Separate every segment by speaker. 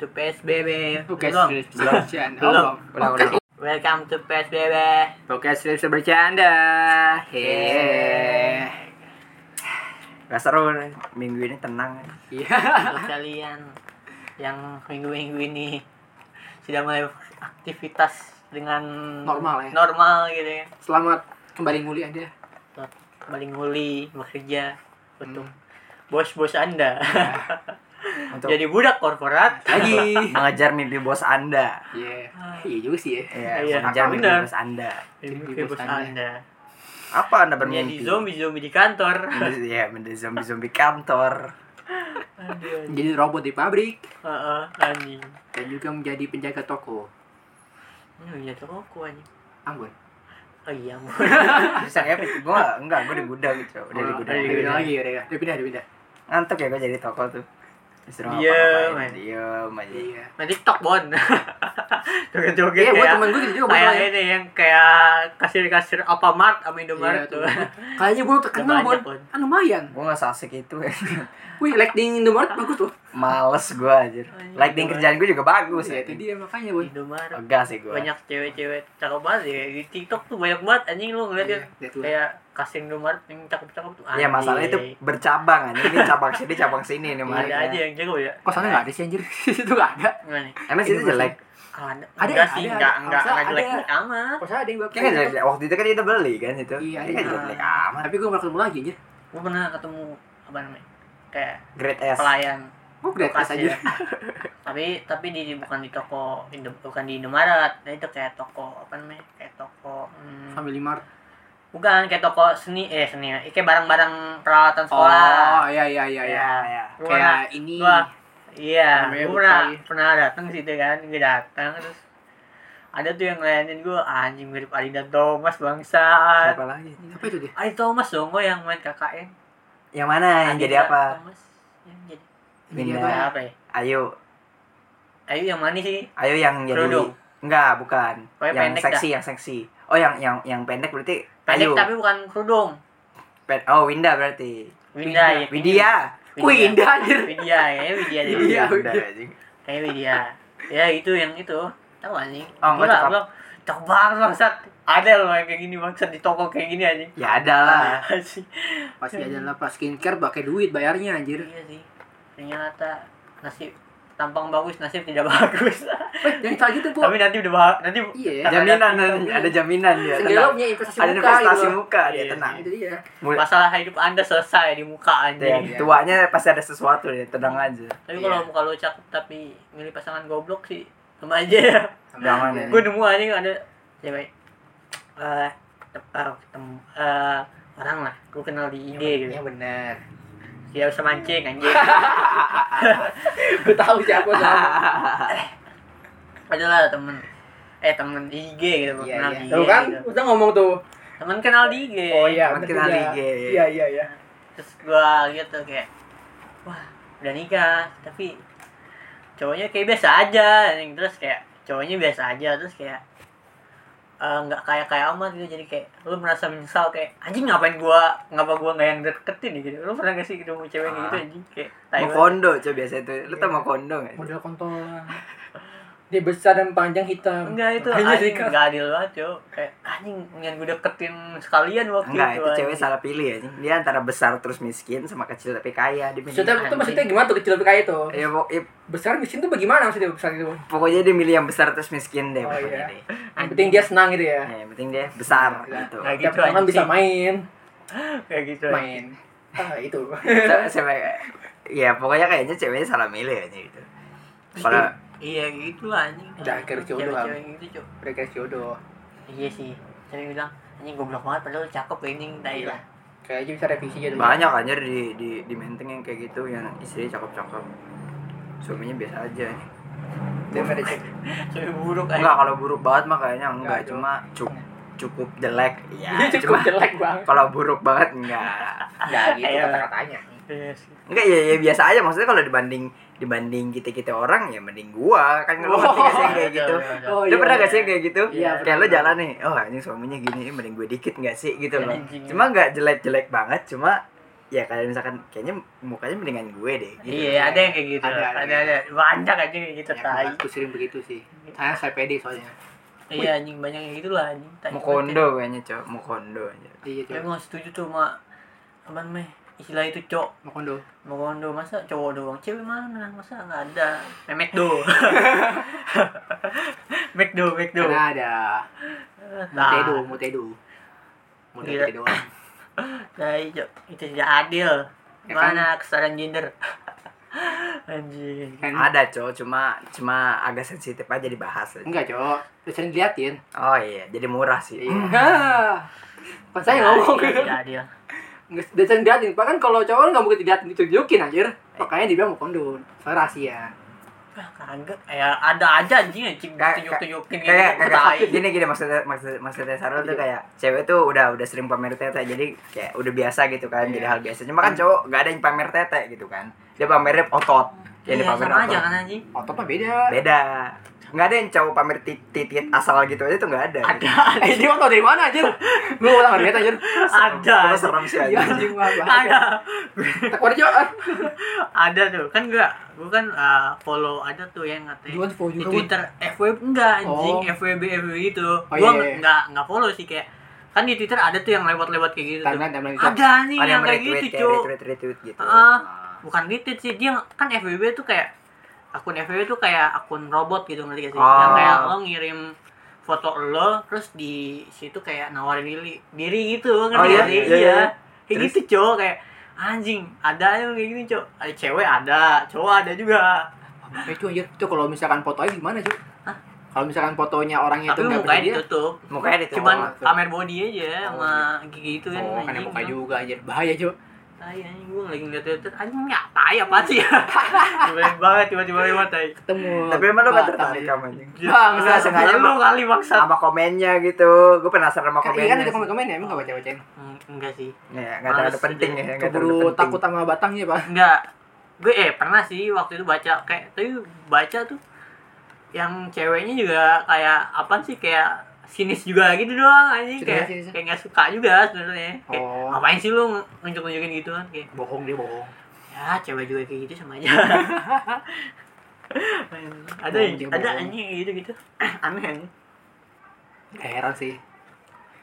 Speaker 1: to PSBB.
Speaker 2: Oke,
Speaker 1: Belum.
Speaker 2: serius bercanda.
Speaker 1: Belum.
Speaker 2: Allah.
Speaker 3: Ulang,
Speaker 2: Oke.
Speaker 3: ulang.
Speaker 1: Welcome to PSBB.
Speaker 3: Podcast Lips Bercanda. Hehehe. Gak seru nih. minggu ini tenang.
Speaker 2: Iya.
Speaker 1: Untuk kalian yang minggu-minggu ini sudah mulai aktivitas dengan
Speaker 2: Normal ya.
Speaker 1: normal gitu ya.
Speaker 2: Selamat kembali nguli ada.
Speaker 1: Paling nguli bekerja untuk bos-bos Anda.
Speaker 3: Untuk
Speaker 1: Jadi budak korporat.
Speaker 2: Lagi.
Speaker 3: mengejar mimpi bos Anda.
Speaker 2: Iya. Iya juga sih ya.
Speaker 3: Iya,
Speaker 1: Iya,
Speaker 3: mengejar mimpi
Speaker 1: benar.
Speaker 3: bos Anda.
Speaker 1: Mimpi bos Anda.
Speaker 3: Apa
Speaker 1: Jadi
Speaker 3: Anda bermimpi?
Speaker 1: zombie-zombie di kantor.
Speaker 3: Menjadi- Iya, menjadi zombie-zombie kantor.
Speaker 1: Aduh.
Speaker 2: Menjadi robot di pabrik
Speaker 1: Heeh, anjing.
Speaker 2: dan juga menjadi penjaga toko.
Speaker 1: Ini punya Oh, iya, toko anjing.
Speaker 2: Ambon.
Speaker 1: Oh iya, mau.
Speaker 3: Bisa ngepit. Gua enggak, gua di gudang gitu. Udah di
Speaker 2: Oh,
Speaker 1: dari
Speaker 2: Udah
Speaker 3: gudang. udah di
Speaker 2: pindah
Speaker 3: gudang.
Speaker 2: lagi, udah udah pindah, udah pindah.
Speaker 3: Ngantuk ya gua jadi toko tuh. Disuruh
Speaker 1: Diem,
Speaker 3: ngapa-ngapain.
Speaker 1: eh.
Speaker 3: Diem aja.
Speaker 2: Iya.
Speaker 1: Main TikTok, Bon. Joget-joget
Speaker 2: Iya,
Speaker 1: ya.
Speaker 2: gua temen gue gitu juga
Speaker 1: kayak
Speaker 2: masalahnya.
Speaker 1: ini yang kayak kasir-kasir apa mart sama
Speaker 2: Iya,
Speaker 1: Indomaret
Speaker 2: tuh.
Speaker 1: tuh.
Speaker 2: Kayaknya gue terkenal,
Speaker 1: Udah
Speaker 2: Bon.
Speaker 1: banyak, Bon.
Speaker 2: Kan lumayan.
Speaker 3: Gua enggak sasik itu. ya.
Speaker 2: Wih, lighting Indomaret bagus loh.
Speaker 3: Males gua anjir.
Speaker 1: Anjing,
Speaker 3: Lighting
Speaker 1: gua-
Speaker 3: kerjaan gua juga bagus
Speaker 2: Iya,
Speaker 3: ya.
Speaker 2: itu dia makanya, Bon.
Speaker 1: Indomaret.
Speaker 3: Enggak sih gua.
Speaker 1: Banyak cewek-cewek cakep banget ya. Di TikTok tuh banyak banget anjing lu ngeliat
Speaker 2: Iya,
Speaker 1: ya.
Speaker 2: lihat lu.
Speaker 1: Kayak kasir Indomaret yang cakep-cakep tuh.
Speaker 3: Iya masalah itu
Speaker 1: anjing.
Speaker 3: bercabang aja. Ini cabang sini, cabang sini
Speaker 1: ada
Speaker 3: nih
Speaker 1: Iya, aja
Speaker 3: mereka.
Speaker 1: yang jago ya.
Speaker 2: Kosannya nggak ada sih anjir. Itu nggak ada.
Speaker 1: Gimana nih?
Speaker 3: Emang situ
Speaker 2: Ini
Speaker 3: jelek.
Speaker 1: Kalau ada,
Speaker 2: Ada, ya,
Speaker 1: enggak
Speaker 2: ada,
Speaker 1: sih,
Speaker 2: ada.
Speaker 1: enggak, enggak,
Speaker 2: Masa
Speaker 1: enggak
Speaker 2: ada- ya.
Speaker 1: jelek amat.
Speaker 2: Kosannya ada yang gitu. bagus.
Speaker 3: Kan nggak jelek. Waktu itu kan kita beli kan itu.
Speaker 2: Iya,
Speaker 3: Ini kan
Speaker 1: iya.
Speaker 3: jelek amat.
Speaker 2: Tapi gue nggak ketemu lagi anjir.
Speaker 1: Gue pernah ketemu, apa namanya, kayak
Speaker 3: Grade S.
Speaker 1: pelayan
Speaker 2: Gue gratis
Speaker 1: kasir.
Speaker 2: aja.
Speaker 1: tapi tapi di bukan di toko Indo, bukan di Indomaret nah itu kayak toko apa namanya kayak toko hmm,
Speaker 2: Family Mart.
Speaker 1: bukan kayak toko seni eh seni eh, kayak barang-barang peralatan sekolah
Speaker 2: Oh, iya iya iya iya.
Speaker 1: ya
Speaker 3: Ya.
Speaker 1: Gua
Speaker 2: Kayak ini.
Speaker 1: gua iya
Speaker 2: Namanya
Speaker 1: gua pernah
Speaker 2: Bukali.
Speaker 1: pernah datang situ kan gue datang terus ada tuh yang ngelayanin gue anjing mirip Adinda Thomas bangsat
Speaker 3: Siapa lagi?
Speaker 2: Apa itu dia?
Speaker 1: Adi Thomas dong gue yang main KKN
Speaker 3: Yang mana? Yang
Speaker 1: Adinda
Speaker 3: jadi apa?
Speaker 1: Thomas yang jadi
Speaker 2: Ini
Speaker 3: Winda.
Speaker 2: apa?
Speaker 1: apa ya
Speaker 3: Ayo,
Speaker 1: Ayu yang manis sih
Speaker 3: ayo yang jadi.
Speaker 1: Kerudung.
Speaker 3: Enggak, bukan.
Speaker 1: Pokoknya
Speaker 3: yang
Speaker 1: pendek
Speaker 3: seksi, yang seksi. Oh, yang yang yang pendek berarti
Speaker 1: pendek
Speaker 3: ayo.
Speaker 1: tapi bukan kerudung
Speaker 3: Pen- oh, Winda berarti.
Speaker 1: Winda ya
Speaker 3: Widya.
Speaker 2: Wih, indah anjir.
Speaker 1: Widya ya Widya deh
Speaker 2: Iya,
Speaker 3: Winda
Speaker 2: Widya.
Speaker 3: anjing.
Speaker 1: kayak Widya ya itu yang itu tahu anjing
Speaker 3: Oh, enggak, cakep.
Speaker 1: bang cakep banget bangsat ada loh yang kayak gini bangsat di toko kayak gini anjing
Speaker 3: Ya ada lah.
Speaker 1: Anjing.
Speaker 2: Pas jajan lah pas skincare pakai duit bayarnya anjir.
Speaker 1: iya sih ternyata nasib tampang bagus nasib tidak bagus
Speaker 2: Eh, jangan salah gitu, Bu.
Speaker 1: tapi nanti udah bah- nanti
Speaker 2: Iya ya.
Speaker 3: Jaminan ada jaminan dia.
Speaker 2: Seenggaknya lo
Speaker 3: Tenang.
Speaker 2: punya investasi
Speaker 3: Ada
Speaker 2: muka gitu.
Speaker 3: investasi
Speaker 2: loh.
Speaker 3: muka dia
Speaker 1: Iya,
Speaker 3: tenang.
Speaker 2: Itu dia.
Speaker 3: Mulai
Speaker 1: masalah hidup anda selesai di muka
Speaker 3: Ya,
Speaker 1: anjing
Speaker 2: Iya.
Speaker 3: tuanya pasti ada sesuatu deh, tenang aja.
Speaker 1: tapi
Speaker 2: Iya.
Speaker 1: kalau muka lo cakep tapi milih pasangan goblok sih sama aja ya
Speaker 3: Jangan ya.
Speaker 1: gue nemu anjing ada cewek eh tem- eh, ketemu eh, orang lah gue kenal di IG gitu
Speaker 2: Ya benar.
Speaker 1: dia usah mancing anjing
Speaker 2: Gue tahu siapa sama.
Speaker 1: adalah temen eh temen di IG gitu gua
Speaker 2: Iya,
Speaker 1: kenal
Speaker 2: iya.
Speaker 1: di IG
Speaker 2: Tuh kan
Speaker 1: gitu.
Speaker 2: udah ngomong tuh.
Speaker 1: temen kenal di IG
Speaker 3: Teman
Speaker 2: bener
Speaker 3: kenal
Speaker 2: juga.
Speaker 3: IG.
Speaker 2: Iya iya iya.
Speaker 1: terus gua lihat tuh kayak wah udah nikah tapi cowoknya kayak biasa aja anjing. terus kayak cowoknya biasa aja terus kayak eh, nggak kayak kayak amat gitu jadi kayak lu merasa menyesal kayak anjing ngapain gua ngapa gua nggak yang deketin ya gitu lu pernah gak sih ketemu cewek kayak gitu
Speaker 3: Ah.
Speaker 1: anjing kayak tai
Speaker 3: Mau
Speaker 1: banget.
Speaker 3: kondo coba biasa itu. Lu tau mau kondo nggak?
Speaker 2: Model kontol. Dia besar dan panjang hitam.
Speaker 1: Enggak itu
Speaker 2: Makanya
Speaker 1: anjing
Speaker 2: nikah.
Speaker 1: enggak adil banget cuy. Kayak anjing mendingan gue deketin sekalian waktu
Speaker 3: Enggak, itu
Speaker 1: anjing.
Speaker 3: cewek salah pilih ya. Dia antara besar terus miskin sama kecil tapi kaya di
Speaker 2: Maksudnya
Speaker 3: milih.
Speaker 2: itu maksudnya gimana tuh kecil kayak itu?
Speaker 3: Ya, pok- ya,
Speaker 2: Besar miskin tuh bagaimana maksudnya besar itu?
Speaker 3: pokoknya dia milih yang besar terus miskin deh
Speaker 2: Oh, iya.
Speaker 3: pokoknya deh.
Speaker 2: Yang penting dia senang gitu ya.
Speaker 3: Ya, yang penting dia besar
Speaker 2: Iya.
Speaker 3: gitu.
Speaker 1: Nah,
Speaker 2: Tiap
Speaker 1: gitu
Speaker 2: tangan
Speaker 1: anjing.
Speaker 2: bisa main.
Speaker 1: kayak gitu. anjing.
Speaker 2: Main. Ah itu.
Speaker 3: Se- Cewek ya pokoknya kayaknya ceweknya salah milih aja gitu. Kalau
Speaker 1: Iya gitu lah anjing.
Speaker 2: Udah, akhirnya jodoh,
Speaker 1: Cewek-cewek gitu cuy.
Speaker 2: Udah kayak jodoh.
Speaker 1: Iya sih. Cewek bilang anjing goblok banget padahal lu cakep anjing tai
Speaker 2: Iya.
Speaker 1: lah.
Speaker 2: Kayaknya bisa revisi aja dulu.
Speaker 3: banyak anjir di di di menteng yang kayak gitu yang istrinya cakep-cakep. Suaminya biasa aja.
Speaker 2: Dia marriage.
Speaker 1: Cewek buruk
Speaker 3: Enggak
Speaker 1: anjing.
Speaker 3: kalau buruk banget mah kayaknya enggak,
Speaker 2: Enggak, Jo.
Speaker 3: cuma cu- cukup jelek ya.
Speaker 2: Dia cukup
Speaker 3: cuma
Speaker 2: jelek banget.
Speaker 3: kalau buruk banget enggak.
Speaker 2: Enggak gitu
Speaker 1: Ayo.
Speaker 2: kata-katanya.
Speaker 1: Iya sih.
Speaker 3: Enggak ya, ya biasa aja maksudnya kalau dibanding dibanding kita-kita orang ya mending gua kan lu
Speaker 2: Oh,
Speaker 3: ngerti gak sih yang kayak
Speaker 1: Iya,
Speaker 3: gitu.
Speaker 1: iya, iya.
Speaker 2: Oh,
Speaker 3: lu
Speaker 2: iya,
Speaker 3: pernah gak
Speaker 2: iya.
Speaker 3: sih kayak gitu?
Speaker 2: Iya,
Speaker 3: kayak lu
Speaker 2: pernah.
Speaker 3: jalan nih, oh anjing suaminya gini, eh, mending gue dikit gak sih gitu loh.
Speaker 1: Anjing.
Speaker 3: Cuma gak jelek-jelek banget, cuma ya kayak misalkan kayaknya mukanya mendingan gue deh
Speaker 1: iya ada yang kayak gitu
Speaker 2: Ada,
Speaker 1: ada
Speaker 2: ada.
Speaker 1: ada, banyak aja kayak gitu
Speaker 2: Ya,
Speaker 1: tai
Speaker 2: aku sering begitu sih. Saya saya pede soalnya.
Speaker 1: iya anjing banyak yang gitulah anjing tai banget
Speaker 3: mau
Speaker 2: gitu.
Speaker 3: kondo kayaknya cok mau kondo aja
Speaker 2: Iya,
Speaker 1: ya. tapi
Speaker 2: coba.
Speaker 1: nggak setuju tuh sama apa namanya istilah itu cok
Speaker 2: Mau kondo.
Speaker 1: mau kondo masa cowok doang cewek mana masa nggak ada memek do mek do mek do
Speaker 2: Karena ada
Speaker 1: Nah,
Speaker 2: mutedu, mutedu.
Speaker 1: Gila.
Speaker 2: Mutedu itu doang.
Speaker 1: tai cok Nah, itu tidak adil
Speaker 2: Ya kan?
Speaker 1: mana kesetaraan gender anjing
Speaker 2: Kan
Speaker 3: ada cok cuma cuma agak sensitif aja dibahas aja.
Speaker 2: enggak, Cok. Lu sering diliatin.
Speaker 3: oh iya jadi murah sih
Speaker 2: Iya. Pas saya
Speaker 1: Tidak
Speaker 2: ngomong.
Speaker 1: adil, tidak adil
Speaker 2: Nggak, Dia sering diliatin. Bahkan kalau cowok kan nggak mungkin diliatin ditunjukin anjir. Makanya dia bilang mau kondo. Soalnya rahasia.
Speaker 1: Ah, kagak ya ada aja anjing anjing
Speaker 3: Kayak-
Speaker 1: tunjuk tunjukin gitu
Speaker 3: kayak
Speaker 1: tai.
Speaker 3: kayak gini gini maksudnya maksud maksudnya Sarul tuh kayak cewek tuh udah udah sering pamer tete jadi kayak udah biasa gitu kan jadi
Speaker 2: Iya.
Speaker 3: hal biasa cuma kan cowok gak ada yang pamer tete gitu kan dia pamernya otot dia
Speaker 1: Iya,
Speaker 3: dipamerin
Speaker 1: sama
Speaker 3: otot.
Speaker 1: aja kan anjing
Speaker 2: Ototnya beda.
Speaker 3: beda nggak ada yang cowok pamer tit- titit asal gitu aja tuh nggak ada
Speaker 1: ada
Speaker 2: Eh, dia mau tau dari mana anjir? Lu ulang lihat anjir.
Speaker 1: ada
Speaker 3: Cuma serem sih
Speaker 2: Iya,
Speaker 3: aja
Speaker 2: anjing maaf.
Speaker 1: ada
Speaker 2: Tekor Cok. Ah,
Speaker 1: ada tuh kan gua gua kan ah, follow ada tuh yang katanya
Speaker 4: Juan follow
Speaker 1: di
Speaker 4: juga.
Speaker 1: Twitter FWB enggak anjing
Speaker 2: Oh.
Speaker 1: FWB FWB gitu
Speaker 2: Oh,
Speaker 1: gua
Speaker 2: iya, iya.
Speaker 1: enggak enggak follow sih kayak kan di Twitter ada tuh yang lewat-lewat kayak gitu tuh.
Speaker 2: Timeline, timeline Cok.
Speaker 1: ada anjing
Speaker 3: ada
Speaker 1: yang
Speaker 3: yang
Speaker 1: kayak
Speaker 3: retweet
Speaker 1: gitu
Speaker 3: kayak
Speaker 1: cuy
Speaker 3: retweet retweet gitu
Speaker 1: Heeh.
Speaker 3: Nah.
Speaker 1: bukan retweet sih dia kan FWB tuh kayak akun FWB tuh kayak akun robot gitu ngerti gak sih
Speaker 3: Oh.
Speaker 1: yang kayak lo ngirim foto lo terus di situ kayak nawarin diri diri gitu ngerti
Speaker 3: Oh,
Speaker 1: gak
Speaker 3: iya,
Speaker 1: sih
Speaker 3: iya, iya.
Speaker 1: kayak
Speaker 3: Terus?
Speaker 1: gitu cowok kayak anjing ada yang kayak gini cowok ada cewek ada cowok ada juga
Speaker 2: Eh, Cok anjir. Cok kalau misalkan fotonya gimana, Cok?
Speaker 1: Hah?
Speaker 2: Kalau misalkan fotonya orangnya itu
Speaker 1: tapi
Speaker 2: nggak
Speaker 1: mukanya
Speaker 2: bersedia,
Speaker 1: ditutup
Speaker 3: mukanya itu
Speaker 1: cuman
Speaker 2: Oh, tuh.
Speaker 1: pamer body aja
Speaker 2: Oh,
Speaker 1: sama
Speaker 3: iya.
Speaker 1: gigi gitu kan
Speaker 2: Oh, karena
Speaker 1: anjing.
Speaker 2: muka juga anjir. Bahaya, Cok.
Speaker 1: tai anjing gue lagi ngeliat Twitter anjing ya tai apa sih tiba-tiba banget tiba-tiba lewat tai
Speaker 2: Ketemu.
Speaker 3: tapi emang lu gak
Speaker 2: Batam,
Speaker 3: tertarik
Speaker 2: anjir.
Speaker 3: sama anjing?
Speaker 2: Bangsa,
Speaker 3: sengaja
Speaker 1: lu kali bangsa
Speaker 3: sama komennya gitu gue penasaran sama
Speaker 2: Kan iya kan
Speaker 3: komennya
Speaker 2: ada komen-komen ya, emang gak baca-bacain.
Speaker 1: Hmm, enggak sih
Speaker 3: ya nggak terlalu
Speaker 1: Males
Speaker 3: penting
Speaker 1: aja.
Speaker 3: ya nggak terlalu
Speaker 2: Keburu
Speaker 3: penting.
Speaker 2: takut sama batangnya, Pak.
Speaker 1: Enggak. Gue eh pernah sih waktu itu baca kayak tapi baca tuh yang ceweknya juga kayak apa sih kayak sinis juga gitu doang anjing
Speaker 2: Sinis,
Speaker 1: kayak
Speaker 2: sinis.
Speaker 1: kayak nggak suka juga sebenarnya kayak
Speaker 2: Oh.
Speaker 1: ngapain sih lu nunjuk nunjukin gitu kan kayak
Speaker 2: Bohong dia bohong.
Speaker 1: ya cewek juga kayak gitu sama aja ada
Speaker 2: Bohong,
Speaker 1: yang
Speaker 2: dia
Speaker 1: ada
Speaker 2: bohong.
Speaker 1: anjing kayak gitu gitu aneh anjing
Speaker 2: Gak heran sih.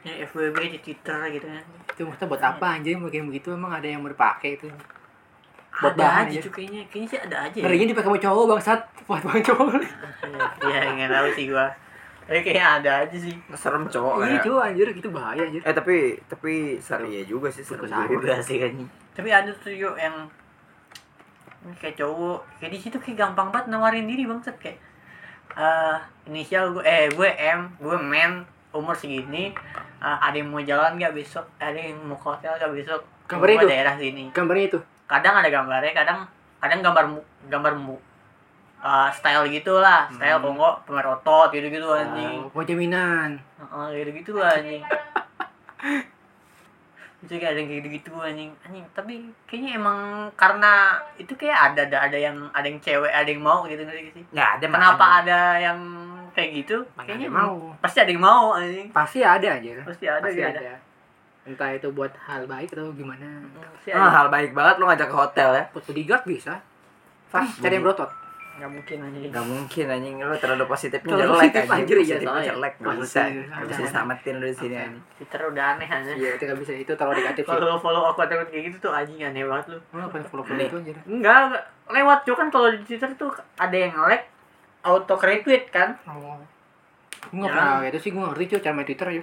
Speaker 1: yang FWB di Twitter gitu kan
Speaker 2: Itu maksudnya buat apa anjir mau kayak begitu emang ada yang mau dipakai itu. Buat
Speaker 1: ada aja
Speaker 2: bahan ya? aja.
Speaker 1: tuh kayaknya kayaknya sih ada aja ya.
Speaker 2: Ngerinya dipakai sama cowok bangsat. Buat bang cowok.
Speaker 1: ya nggak tahu sih gua tapi kayaknya ada aja sih
Speaker 3: serem cowok ya.
Speaker 2: Iya
Speaker 3: kayak.
Speaker 2: cowok anjir gitu bahaya anjir.
Speaker 3: eh tapi tapi serem iya juga sih serem
Speaker 2: Ikut aku.
Speaker 3: juga sih kan
Speaker 1: tapi ada tuh yuk yang ini kayak cowok kayak di situ kayak gampang banget nawarin diri bangset kayak eh inisial gue eh gue M gue men umur segini eh, ada yang mau jalan gak besok ada yang mau ke hotel gak besok
Speaker 2: Gambar
Speaker 1: Gua
Speaker 2: itu?
Speaker 1: daerah sini
Speaker 2: Gambarnya itu.
Speaker 1: kadang ada gambarnya kadang kadang gambar mu- gambar mu eh, style gitulah style
Speaker 3: Hmm.
Speaker 1: kongo pemer otot gitu gitu anjing
Speaker 2: Oh, Mau jaminan.
Speaker 1: Heeh, gitu-gitu lah anjing. itu kayak ada yang kayak gitu-gitu anjing. Anjing, tapi kayaknya emang karena itu kayak ada ada ada yang ada yang cewek, ada yang mau gitu ngerti gak sih?
Speaker 3: nggak ada
Speaker 1: Kenapa ada yang kayak gitu?
Speaker 2: Makanya
Speaker 1: Kayaknya
Speaker 2: mau.
Speaker 1: mau. Pasti ada yang mau anjing.
Speaker 2: Pasti ada anjir.
Speaker 1: Pasti ada
Speaker 2: Pasti
Speaker 1: kayak ada.
Speaker 2: ada. Entah itu buat hal baik atau gimana.
Speaker 1: Hmm, Pasti
Speaker 3: ah,
Speaker 1: ada.
Speaker 3: hal baik banget lu ngajak ke hotel ya
Speaker 2: Buat bodyguard bisa. Fah,
Speaker 1: Hmm,
Speaker 2: cari yang berotot.
Speaker 1: Enggak mungkin anjing.
Speaker 3: nggak mungkin anjing lu terlalu positifnya
Speaker 2: Terlalu
Speaker 3: jelek
Speaker 2: positif, anjir,
Speaker 3: anjing
Speaker 2: iya,
Speaker 3: positifnya
Speaker 2: soalnya.
Speaker 3: jelek nggak
Speaker 2: Positif,
Speaker 3: bisa nggak bisa
Speaker 2: jangan.
Speaker 3: selamatin lu di sini anjing
Speaker 1: Twitter udah aneh anjing.
Speaker 2: Iya, itu gak bisa. Itu terlalu negatif sih.
Speaker 1: Kalau lo follow aku akun kayak gitu tuh anjing aneh banget lu.
Speaker 2: Lu ngapain follow-follow itu anjir?
Speaker 1: Enggak, enggak. lewat juga kan kalau di Twitter tuh ada yang like auto retweet kan.
Speaker 2: Oh. Gue gak
Speaker 1: Ya.
Speaker 2: pernah itu sih, gue ngerti cuy cara main Twitter ya.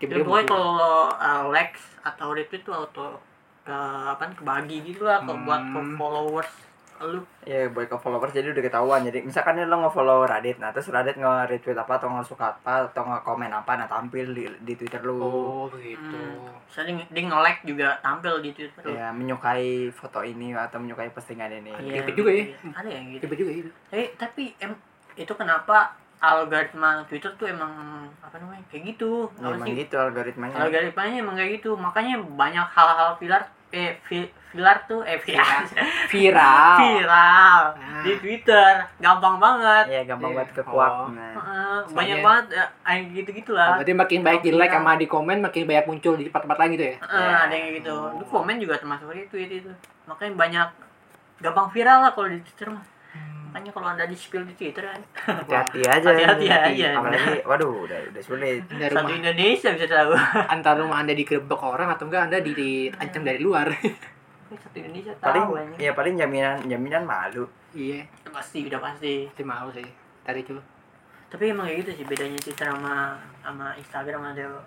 Speaker 1: Ya, pokoknya kalau uh, likes atau retweet tuh auto uh, apa kebagi gitu lah kalau buat ke
Speaker 2: Hmm.
Speaker 1: followers lu
Speaker 3: ya buat ke followers jadi udah ketahuan jadi misalkan lo nge-follow Radit nah terus Radit nge-retweet apa atau nge-suka apa atau nge-komen apa nah tampil di, di Twitter lu
Speaker 2: Oh begitu.
Speaker 1: Hmm. misalnya dia nge-like juga tampil di Twitter. Iya.
Speaker 3: ya menyukai foto ini atau menyukai postingan ini Iya,
Speaker 2: Ribet juga ya.
Speaker 1: Ada yang gitu.
Speaker 2: Tiba juga itu.
Speaker 1: Tapi tapi em, itu kenapa algoritma Twitter tuh emang apa namanya kayak gitu.
Speaker 3: Ya,
Speaker 1: Apa
Speaker 3: emang
Speaker 1: sih?
Speaker 3: gitu algoritmanya
Speaker 1: Algoritmanya emang kayak gitu. Makanya banyak hal-hal pilar eh vi- viral tuh eh viral
Speaker 2: viral
Speaker 1: viral
Speaker 2: Nah.
Speaker 1: di Twitter gampang banget
Speaker 3: Iya, gampang
Speaker 2: Iya.
Speaker 3: banget kekuat.
Speaker 2: Oh.
Speaker 3: Nah.
Speaker 1: Heeh,
Speaker 2: Soalnya-
Speaker 1: banyak banget ya, kayak gitu gitulah
Speaker 2: berarti makin baik di like sama di komen makin banyak muncul di tempat-tempat lain gitu ya
Speaker 3: iya.
Speaker 1: Heeh, ada yang kayak gitu Lu komen juga termasuk di tweet itu makanya banyak gampang viral lah kalau di Twitter mah makanya kalau anda di spill di Twitter kan
Speaker 3: Hati-hati aja.
Speaker 1: Hati-hati aja.
Speaker 3: Apalagi, waduh, udah, udah sulit.
Speaker 2: Anda
Speaker 1: satu
Speaker 2: rumah
Speaker 1: Indonesia bisa tahu
Speaker 2: antar rumah anda digerebek orang atau enggak anda di, diancam dari luar
Speaker 1: satu Indonesia
Speaker 3: Paling,
Speaker 1: tahu anjing.
Speaker 3: ya paling jaminan, jaminan malu.
Speaker 2: iya
Speaker 1: pasti udah pasti
Speaker 2: pasti mau sih tadi tuh
Speaker 1: tapi emang kayak gitu sih bedanya Twitter sama sama Instagram ada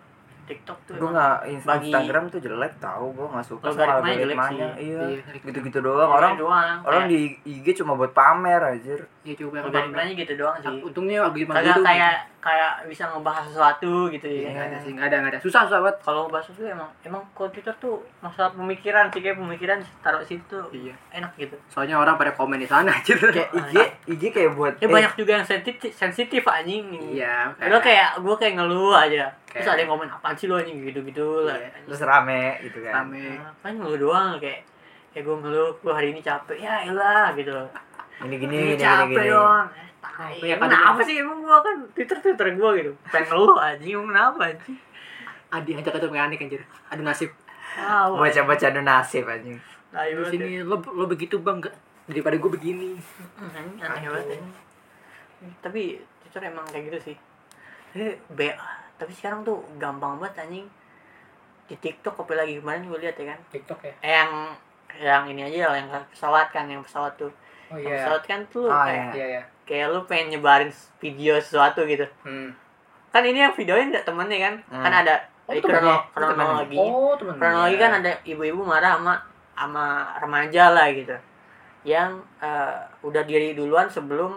Speaker 1: TikTok tuh
Speaker 3: Gue
Speaker 1: emang
Speaker 3: nggak
Speaker 1: bagi-
Speaker 3: Instagram tuh jelek tau, gue nggak suka sama
Speaker 1: Logaritmanya jelek
Speaker 3: algoritmanya.
Speaker 1: sih.
Speaker 3: Iya,
Speaker 2: Iya.
Speaker 3: gitu-gitu doang. Orang
Speaker 1: doang
Speaker 3: orang
Speaker 1: kayak,
Speaker 3: di IG cuma buat pamer aja.
Speaker 2: ya coba
Speaker 1: di
Speaker 2: aku
Speaker 1: logaritmanya gitu doang
Speaker 2: Ah,
Speaker 1: sih
Speaker 2: untungnya algoritma
Speaker 1: kagak
Speaker 2: gitu
Speaker 1: kayak kayak bisa ngebahas sesuatu gitu
Speaker 2: Iya,
Speaker 1: ya
Speaker 2: nggak ada sih nggak ada nggak ada susah susah banget
Speaker 1: kalau ngebahas sesuatu emang emang kalau Twitter tuh masalah pemikiran sih kayak pemikiran taruh situ tuh
Speaker 2: iya
Speaker 1: enak gitu
Speaker 2: soalnya orang pada komen di sana aja
Speaker 3: Kayak IG, IG kayak buat
Speaker 1: iya. ya
Speaker 3: eh,
Speaker 1: banyak juga yang sensitif sensitif anjing
Speaker 2: iya
Speaker 1: lo kayak gue kayak ngeluh aja terus
Speaker 2: Kayak-
Speaker 1: ada yang komen apaan sih lo anjing gitu gitu lah
Speaker 2: Iya.
Speaker 1: anjing.
Speaker 3: terus rame gitu kan.
Speaker 2: rame
Speaker 1: Nah, kan ngeluh doang kayak ya gue ngeluh gue hari ini capek ya elah gitu loh
Speaker 3: Ini gini,
Speaker 1: ini
Speaker 3: gini, gini,
Speaker 1: capek
Speaker 3: gini.
Speaker 1: doang Eh, tai.
Speaker 2: Iya,
Speaker 1: Emang
Speaker 2: kadang-
Speaker 1: kenapa sih emang gue kan twitter twitter gue gitu pengen ngeluh anjing emang kenapa anjing
Speaker 2: adi ajak ketemu mekanik anjir ada nasib
Speaker 1: wow
Speaker 3: Baca-baca donasib anjing.
Speaker 1: aneh
Speaker 2: Terus
Speaker 1: banget ya.
Speaker 2: ini lo lo begitu bang nggak? daripada gue begini
Speaker 1: Aneh, aneh banget ya. tapi twitter emang kayak gitu sih tapi be- tapi sekarang tuh gampang banget anjing di tiktok apa lagi kemarin gue lihat ya kan
Speaker 4: TikTok ya
Speaker 1: Eh, yang yang ini aja lah, yang pesawat kan yang pesawat tuh
Speaker 4: oh
Speaker 1: Yang
Speaker 4: iya
Speaker 1: pesawat kan tuh
Speaker 3: Ah,
Speaker 1: kayak-
Speaker 3: iya.
Speaker 4: iya iya
Speaker 1: kayak lu pengen nyebarin video sesuatu gitu
Speaker 4: hmm.
Speaker 1: kan ini yang videonya nggak temennya kan
Speaker 3: Hmm.
Speaker 1: kan ada
Speaker 4: Oh,
Speaker 1: eh,
Speaker 4: temennya.
Speaker 1: krono-
Speaker 3: Itu temennya.
Speaker 1: kronologi
Speaker 4: oh teman
Speaker 1: kronologi
Speaker 3: Iya.
Speaker 1: kan ada ibu-ibu marah sama sama remaja lah gitu yang eh, udah diri duluan sebelum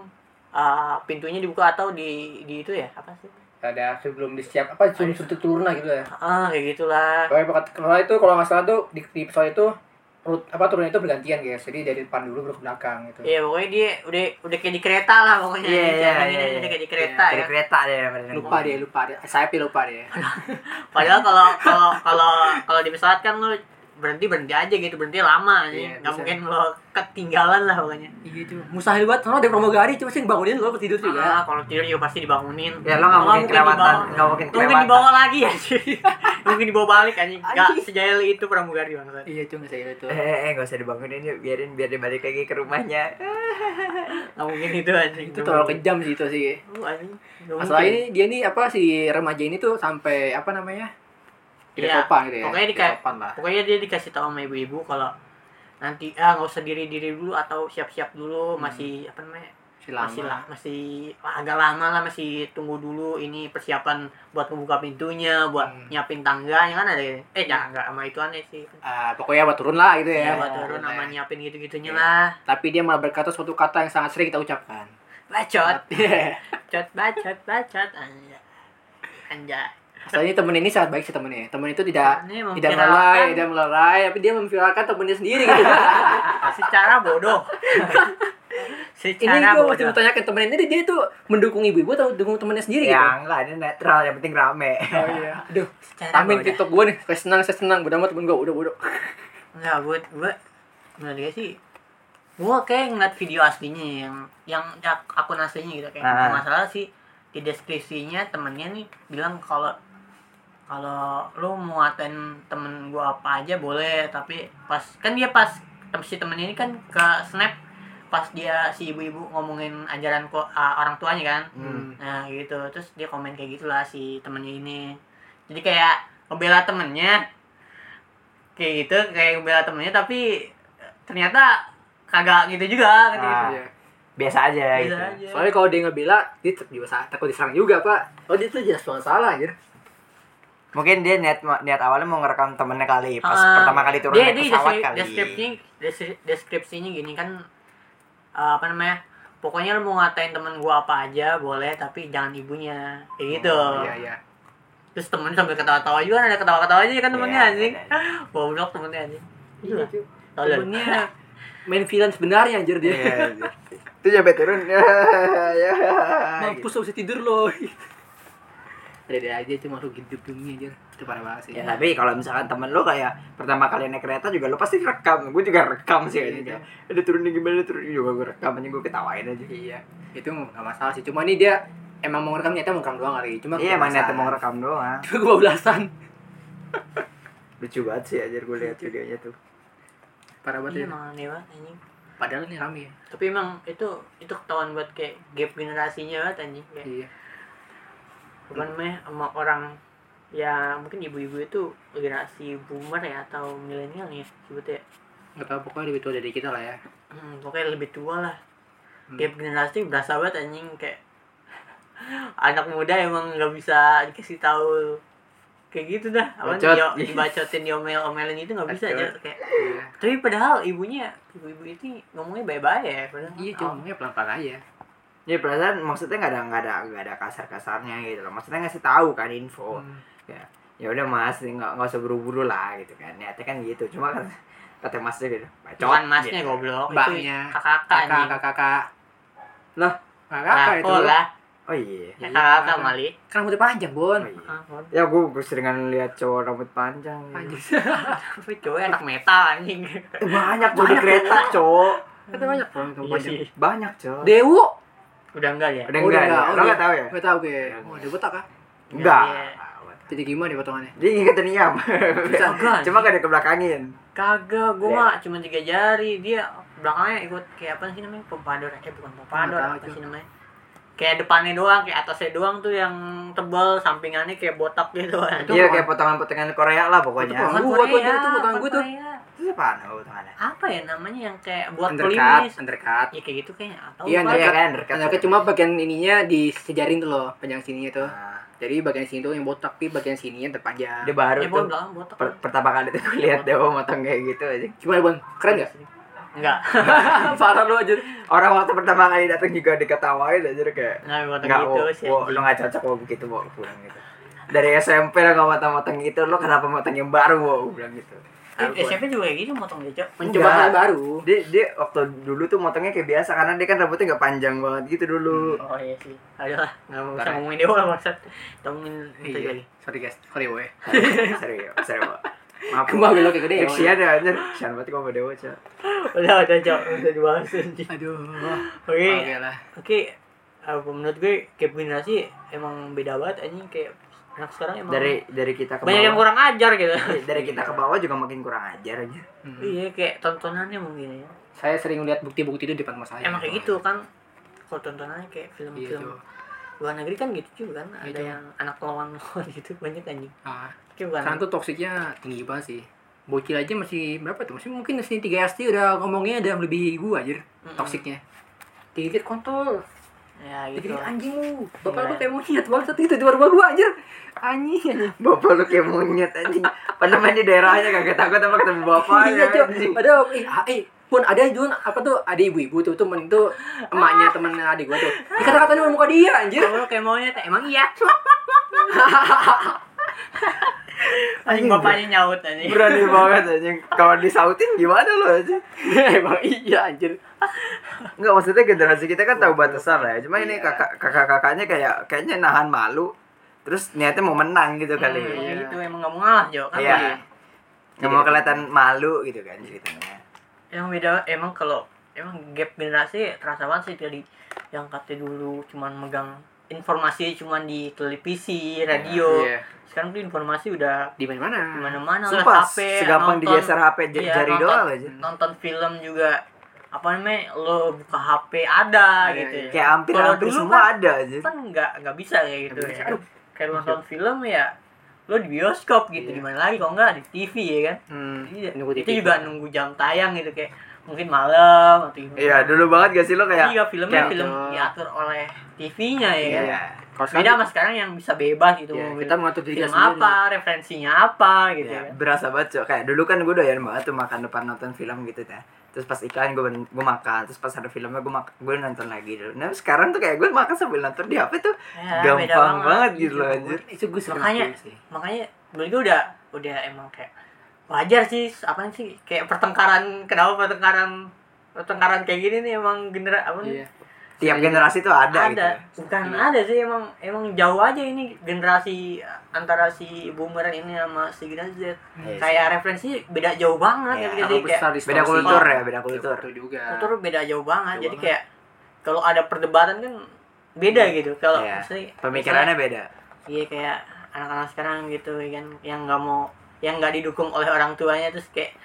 Speaker 1: eh, pintunya dibuka atau di di itu ya apa sih
Speaker 4: ada sebelum disiap apa sebelum surut turun lah gitu ya
Speaker 1: ah kayak gitulah
Speaker 4: Kalau pakai- kalau itu kalau nggak salah tuh di, di pesawat itu perut apa turunnya itu bergantian guys. Jadi dari depan dulu baru ke belakang gitu.
Speaker 2: Eh,
Speaker 1: Iya pokoknya dia udah udah kayak di kereta lah pokoknya
Speaker 3: Iya, iya,
Speaker 1: Jangan
Speaker 3: iya,
Speaker 1: ini
Speaker 3: iya.
Speaker 1: udah kayak di kereta
Speaker 3: Dari
Speaker 1: ya.
Speaker 3: kereta deh pada
Speaker 2: lupa Kan, deh lupa deh saya lupa deh
Speaker 1: Padahal kalau kalau kalau kalau di pesawat kan lu berhenti berhenti aja gitu berhenti lama aja
Speaker 2: Iya,
Speaker 1: nggak
Speaker 2: bisa.
Speaker 1: mungkin lo ketinggalan lah pokoknya
Speaker 2: iya cuy mustahil banget soalnya ada pramugari cuma sih bangunin lo tidur juga
Speaker 1: Ah, kalau tidur juga pasti dibangunin
Speaker 3: Ya lo nggak
Speaker 1: Nggak
Speaker 3: mungkin
Speaker 1: dibawa.
Speaker 3: kelewatan, nggak mungkin
Speaker 1: Nggak mungkin
Speaker 3: kelewatan.
Speaker 1: dibawa lagi ya sih mungkin dibawa balik anjing nggak
Speaker 2: Anjing.
Speaker 1: sejahil itu pramugari banget
Speaker 2: iya cuy nggak saya itu
Speaker 3: Eh, eh, eh, nggak usah dibangunin yuk, biarin biar dia balik lagi ke rumahnya.
Speaker 1: nggak mungkin itu anjing
Speaker 2: itu terlalu kejam sih itu sih
Speaker 1: Lu, anjing Nggak
Speaker 2: masalah
Speaker 1: mungkin.
Speaker 2: ini dia nih apa si remaja ini tuh sampai apa namanya tidak
Speaker 1: Iya,
Speaker 2: sopan gitu ya
Speaker 1: pokoknya dia
Speaker 2: Tidak
Speaker 1: kayak-
Speaker 2: sopan lah
Speaker 1: pokoknya dia dikasih tahu sama ibu-ibu kalau nanti ah nggak usah diri diri dulu atau siap-siap dulu
Speaker 2: Hmm.
Speaker 1: masih apa namanya masih lah
Speaker 2: silang
Speaker 1: masih agak lama lah masih tunggu dulu ini persiapan buat membuka pintunya buat
Speaker 2: Hmm.
Speaker 1: nyiapin tangganya kan ada gitu. eh jangan nggak sama itu aneh sih
Speaker 2: Ah, pokoknya buat turun lah gitu
Speaker 1: ya,
Speaker 2: ya
Speaker 1: buat turun
Speaker 2: Nah,
Speaker 1: sama nyiapin gitu gitunya
Speaker 2: Iya.
Speaker 1: lah
Speaker 2: tapi dia malah berkata suatu kata yang sangat sering kita ucapkan
Speaker 1: bacot
Speaker 2: Iya.
Speaker 1: bacot bacot bacot anjay anjay
Speaker 2: Soalnya temen ini sangat baik sih temennya. Temen itu tidak
Speaker 1: Ini memviralkan.
Speaker 2: tidak melelai, tidak melelai, tapi dia memviralkan temennya sendiri gitu.
Speaker 1: secara bodoh
Speaker 2: ini
Speaker 1: secara
Speaker 2: gue mesti
Speaker 1: bodoh
Speaker 2: bertanyakan temen ini dia tuh mendukung ibu-ibu atau dukung temennya sendiri
Speaker 1: Iya.
Speaker 3: Ya enggak, ini netral, yang penting rame.
Speaker 2: gitu. Oh iya. Aduh,
Speaker 1: secara
Speaker 2: tamin
Speaker 1: bodoh.
Speaker 2: TikTok gue nih. Saya senang, saya senang. Udah amat temen gue, udah udah.
Speaker 1: Enggak, gue, gue menurut gue sih gue kayak ngeliat video aslinya yang yang ak- akun aslinya gitu kayak
Speaker 3: Ah.
Speaker 1: nggak masalah sih di deskripsinya temennya nih bilang kalau kalau lu mau ngatain temen gue apa aja boleh tapi pas kan dia pas si temennya ini kan ke snap pas dia si ibu-ibu ngomongin ajaran ko, ah, orang tuanya kan
Speaker 3: Hmm.
Speaker 1: nah gitu terus dia komen kayak gitulah si temennya ini jadi kayak ngebela temennya kayak gitu kayak ngebela temennya tapi ternyata kagak gitu juga gitu
Speaker 3: Ah,
Speaker 2: Iya.
Speaker 3: Biasa aja
Speaker 1: Biasa
Speaker 3: gitu.
Speaker 1: aja.
Speaker 2: Soalnya kalau dia ngebela, dia ter- juga sa- takut diserang juga, Pak. Oh, dia tuh jelas banget salah, anjir.
Speaker 3: Mungkin dia niat niat awalnya mau ngerekam temennya kali pas
Speaker 1: Ah.
Speaker 3: pertama kali turun
Speaker 1: dia
Speaker 3: naik
Speaker 1: dia
Speaker 3: pesawat
Speaker 1: deskrip-
Speaker 3: kali.
Speaker 1: deskripsinya desi- deskripsinya gini kan eh, apa namanya pokoknya lu mau ngatain temen gua apa aja boleh tapi jangan ibunya
Speaker 3: Hmm,
Speaker 1: kayak gitu
Speaker 2: Iya, iya.
Speaker 1: terus temennya sambil ketawa-tawa juga kan ada ketawa-ketawa aja kan temennya
Speaker 3: Iya,
Speaker 1: anjing
Speaker 3: ada, ada.
Speaker 1: goblok temennya anjing
Speaker 2: Iya, cuy.
Speaker 1: Tolol.
Speaker 2: Temennya main villain sebenarnya anjir dia.
Speaker 3: Iya, iya. Itu sampai turun. Ya, ya,
Speaker 2: gitu. Mampus lo bisa tidur lo. Ada-ada aja cuma makhluk hidup dunia anjir. itu parah banget sih
Speaker 3: Ya tapi kalau misalkan temen lu kayak pertama kali naik kereta juga lu pasti rekam. Gue juga rekam sih
Speaker 2: Iya,
Speaker 3: aja. Ada turunnya gimana turun juga gue rekam aja gue ketawain aja.
Speaker 2: iya itu nggak masalah sih cuma ini dia emang mau ngerekam nyata mau ngerekam doang kali cuma
Speaker 3: Iya emang niatnya mau rekam doang.
Speaker 2: gue belasan
Speaker 3: Lucu banget sih aja gue lihat videonya tuh.
Speaker 2: parah
Speaker 1: Iya,
Speaker 2: banget ya.
Speaker 1: emang aneh banget anjing.
Speaker 2: padahal ini rame ya
Speaker 1: Tapi emang itu itu ketahuan buat kayak gap generasinya banget anjing. Kayak,
Speaker 2: iya
Speaker 1: cuman meh sama orang ya mungkin ibu-ibu itu generasi boomer ya atau milenial ya sebetulnya.
Speaker 2: nggak tahu pokoknya lebih tua dari kita lah ya
Speaker 1: Hmm, pokoknya lebih tua lah.
Speaker 2: Hmm.
Speaker 1: Gap generasi berasa banget anjing kayak anak muda emang nggak bisa dikasih tahu kayak gitu dah apa
Speaker 3: Bacot.
Speaker 1: dia dibacotin diomel omelin itu nggak bisa aja
Speaker 3: Bacot.
Speaker 1: kayak
Speaker 2: iya
Speaker 1: tapi padahal ibunya ibu-ibu itu ngomongnya baik-baik ya padahal
Speaker 2: iya
Speaker 1: oh,
Speaker 2: cuma ngomongnya pelan pelan aja
Speaker 3: Ya perasaan maksudnya nggak ada nggak ada nggak ada kasar-kasarnya gitu loh. Maksudnya ngasih tahu kan info.
Speaker 2: Hmm.
Speaker 3: Ya udah mas nggak nggak usah buru-buru lah gitu kan. Niatnya kan gitu. Cuma kan kata masnya gitu.
Speaker 1: Cuman
Speaker 3: Bacot.
Speaker 1: masnya
Speaker 3: gitu.
Speaker 1: goblok Oh, itu
Speaker 2: Iya. Mbaknya.
Speaker 1: kakak-kakak
Speaker 2: kakak
Speaker 1: nih.
Speaker 2: kakak kakak
Speaker 3: Lah?
Speaker 2: kakak
Speaker 1: Kakak
Speaker 2: itu
Speaker 1: lah,
Speaker 3: Oh iya.
Speaker 2: Iya,
Speaker 1: kakak
Speaker 2: kakak.
Speaker 1: Mali.
Speaker 2: kan rambutnya panjang bon
Speaker 3: Oh iya.
Speaker 1: Ah, waduh.
Speaker 3: Ya gue seringan lihat cowok rambut panjang. Gitu.
Speaker 2: panjang
Speaker 1: Tapi cowok anak metal anjing.
Speaker 3: Eh, Banyak cowok di kereta cowok.
Speaker 2: kata banyak bon itu
Speaker 1: Iya
Speaker 2: panjang
Speaker 1: sih.
Speaker 3: Banyak cowok.
Speaker 2: dewu
Speaker 1: Udah enggak ya?
Speaker 3: Udah
Speaker 2: Oh,
Speaker 3: enggak,
Speaker 2: enggak, oh,
Speaker 3: ya? lo
Speaker 2: iya.
Speaker 3: enggak tahu ya?
Speaker 2: Gak tau gue.
Speaker 3: Iya.
Speaker 2: Oh, dia botak ah.
Speaker 3: Enggak.
Speaker 1: Iya.
Speaker 2: Jadi gimana nih potongannya?
Speaker 3: Dia ingetin nyam.
Speaker 1: Kagak.
Speaker 3: Cuma gak ada kebelakangin.
Speaker 1: Kagak, gue
Speaker 3: Iya.
Speaker 1: mah cuma tiga jari. Dia belakangnya ikut kayak apa sih namanya? Pompador. Eh bukan pompador,
Speaker 2: Nggak tahu,
Speaker 1: apa
Speaker 2: cuy.
Speaker 1: sih namanya? Kayak depannya doang, kayak atasnya doang tuh yang tebal, sampingannya kayak botak gitu.
Speaker 2: Itu
Speaker 3: Iya
Speaker 2: apa?
Speaker 3: kayak potongan-potongan Korea lah pokoknya.
Speaker 2: Itu gua tuh, dia tuh potongan gua tuh.
Speaker 1: Korea.
Speaker 3: Itu apaan lo potongannya?
Speaker 1: Apa ya namanya yang kayak buat
Speaker 2: Undercut,
Speaker 1: pelimis?
Speaker 2: undercut.
Speaker 1: Ya kayak gitu kayaknya. Atau
Speaker 2: Iya,
Speaker 1: apa?
Speaker 2: Undercut.
Speaker 3: Iya kan,
Speaker 2: Undercut cuma bagian ininya disejarin tuh loh, panjang sininya tuh.
Speaker 3: Nah,
Speaker 2: Jadi bagian sini tuh yang botak, tapi bagian sininya terpanjang.
Speaker 3: Dia
Speaker 1: Ya
Speaker 3: baru tuh
Speaker 1: pokoknya belakang botak.
Speaker 3: per- pertama kali tuh gue lihat Dewa motong kayak gitu aja.
Speaker 2: Gimana, Bon? Keren gak?
Speaker 1: Enggak.
Speaker 2: Parah lu aja.
Speaker 3: Orang waktu pertama kali datang juga diketawain aja kayak
Speaker 1: Nah, buat
Speaker 3: enggak
Speaker 1: gitu
Speaker 3: wo,
Speaker 1: sih.
Speaker 3: wo,
Speaker 1: anjing.
Speaker 3: lo nggak cocok wo begitu wo pulang gitu. Dari SMP lo nggak motong-motong gitu, lo kenapa motong yang baru wo Gua bilang gitu.
Speaker 1: Eh, SMP juga kayak gitu motong gejok.
Speaker 2: Mencoba
Speaker 3: Enggak.
Speaker 2: hal baru.
Speaker 3: dia dia waktu dulu tuh motongnya kayak biasa karena dia kan rambutnya nggak panjang banget gitu dulu
Speaker 1: Oh iya sih. Ayolah, enggak mau bisa
Speaker 3: Karena-
Speaker 1: ngomongin dewa lah maksud. Ngomongin itu
Speaker 2: Iya.
Speaker 1: lagi.
Speaker 2: Sorry guys, sorry gue.
Speaker 3: serius serius maaf
Speaker 2: Gua belok kayak gede ya.
Speaker 3: Ipsia deh anjir Sian banget gue sama Dewa Cak
Speaker 1: Udah, udah, Cok. Udah dibahas anjing.
Speaker 2: Aduh.
Speaker 1: Oke.
Speaker 2: Oke lah.
Speaker 1: Oke. Apa menurut gue gap generasi emang beda banget anjing kayak anak sekarang emang
Speaker 3: Dari dari kita ke
Speaker 1: banyak yang
Speaker 3: bawah
Speaker 1: kurang ajar gitu.
Speaker 3: Dari kita ke bawah juga makin kurang ajar aja
Speaker 2: Hmm.
Speaker 1: iya, kayak tontonannya mungkin ya.
Speaker 2: Saya sering lihat bukti-bukti itu di depan mata saya.
Speaker 1: Emang kayak gitu kan kalau tontonannya kayak
Speaker 2: Iya
Speaker 1: film-film
Speaker 2: tuh.
Speaker 1: luar negeri kan gitu juga kan ada
Speaker 2: Gitu.
Speaker 1: yang anak lawan lawan gitu banyak anjing
Speaker 2: Ah,
Speaker 1: kayak bukan
Speaker 2: sekarang tuh toksiknya tinggi banget sih. Bocil aja masih berapa tuh? Masih mungkin masih 3 SD udah ngomongnya udah melebihi gua anjir.
Speaker 1: Mm-mm.
Speaker 2: Toksiknya. Dikit kontol.
Speaker 1: ya gitu
Speaker 2: Dikit anjing lu.
Speaker 1: Iya.
Speaker 2: Bapak lu kayak monyet banget itu di rumah gua anjir. Anjing anjing.
Speaker 3: Bapak lu kayak monyet anjing Padahal main di daerahnya kagak takut sama ketemu bapaknya
Speaker 2: Iya, Cok.
Speaker 3: anjing
Speaker 2: Padahal eh, ah, eh pun ada Jun apa tuh ada ibu-ibu tuh temen tuh emaknya temen adik gua tuh dikata-katain sama muka dia anjir
Speaker 1: Kalau lu kayak maunya teh emang iya. Anjing
Speaker 3: Anjing,
Speaker 1: bapaknya nyaut anjing.
Speaker 3: Berani banget anjing Kalau disautin gimana lu anjing
Speaker 2: emang iya anjir
Speaker 3: Enggak maksudnya generasi kita kan tahu batasan lah ya. Cuma
Speaker 1: Iya.
Speaker 3: ini kakak kakak kakaknya kayak kayaknya nahan malu. Terus niatnya mau menang gitu kali.
Speaker 1: Hmm,
Speaker 2: Iya.
Speaker 1: gitu emang gak mau ngalah Jo kan.
Speaker 3: Iya.
Speaker 1: Iya.
Speaker 3: Nggak mau kelihatan malu gitu kan ceritanya.
Speaker 1: Yang beda emang kalau emang gap generasi terasa banget sih dari yang katanya dulu cuman megang informasi cuman di televisi, radio.
Speaker 2: Iya.
Speaker 1: Sekarang tuh informasi udah
Speaker 2: di mana-mana
Speaker 1: di mana-mana lah
Speaker 3: Sumpah,
Speaker 1: HP,
Speaker 3: segampang
Speaker 1: nonton,
Speaker 3: digeser HP j-
Speaker 1: iya,
Speaker 3: jari
Speaker 1: nonton,
Speaker 3: doang aja.
Speaker 1: Nonton film juga apa namanya? Lo buka HP ada
Speaker 2: Iya,
Speaker 1: gitu.
Speaker 2: iya.
Speaker 1: ya.
Speaker 3: Kayak hampir
Speaker 1: Kalau
Speaker 3: hampir
Speaker 1: dulu
Speaker 3: semua
Speaker 1: kan-
Speaker 3: ada aja.
Speaker 1: kan nggak nggak bisa kayak gitu
Speaker 2: Nggak bisa.
Speaker 1: ya. Kayak lu nonton film ya lo di bioskop gitu
Speaker 2: Iya.
Speaker 1: gimana lagi kalau nggak di TV ya kan
Speaker 2: Hmm,
Speaker 1: Iya.
Speaker 2: nunggu
Speaker 1: itu
Speaker 2: TV.
Speaker 1: juga nunggu jam tayang gitu kayak mungkin malam atau gimana
Speaker 3: Iya, dulu banget gak sih lo
Speaker 1: Tapi
Speaker 3: kayak
Speaker 1: juga filmnya
Speaker 2: kayak-
Speaker 1: film
Speaker 2: ya. Iya, Betul.
Speaker 1: diatur oleh TV-nya ya kan
Speaker 3: Iya.
Speaker 2: Kalau
Speaker 1: beda
Speaker 2: sekarang
Speaker 1: sama sekarang yang bisa bebas gitu
Speaker 2: ya,
Speaker 1: mau
Speaker 2: kita mengatur diri kita
Speaker 1: film
Speaker 2: sendiri.
Speaker 1: apa referensinya apa gitu
Speaker 3: Iya,
Speaker 1: ya kan
Speaker 3: berasa banget Cok. kayak dulu kan gue doyan banget tuh makan depan nonton film gitu ya terus pas iklan gue gue makan terus pas ada filmnya gue makan gue nonton lagi dulu nah sekarang tuh kayak gue makan sambil nonton di hp tuh
Speaker 1: Ya, beda
Speaker 3: gampang banget gitu loh anjir
Speaker 2: Iya, Itu gue sering
Speaker 1: Makanya-
Speaker 2: sih.
Speaker 1: makanya menurut gue udah udah emang kayak wajar sih apa sih kayak pertengkaran kenapa pertengkaran pertengkaran kayak gini nih emang genera apa nih
Speaker 2: Iya.
Speaker 3: tiap generasi tuh
Speaker 1: ada,
Speaker 3: ada, gitu
Speaker 1: bukan ada sih emang emang jauh aja ini generasi antara si boomer ini sama si generasi Z.
Speaker 3: Iya sih.
Speaker 1: Kayak referensi beda jauh banget
Speaker 3: Iya,
Speaker 1: gitu
Speaker 2: Terlalu
Speaker 1: jadi kayak
Speaker 2: besar distorsi.
Speaker 3: beda kultur ya beda kultur
Speaker 2: Kultur juga. Iya.
Speaker 1: kultur beda jauh banget.
Speaker 2: Jauh
Speaker 1: jadi
Speaker 2: banget.
Speaker 1: kayak kalau ada perdebatan kan beda gitu. Kalau
Speaker 3: Iya.
Speaker 1: misalnya-
Speaker 3: pemikirannya beda
Speaker 1: iya kayak anak-anak sekarang gitu ya kan yang nggak mau yang nggak didukung oleh orang tuanya terus kayak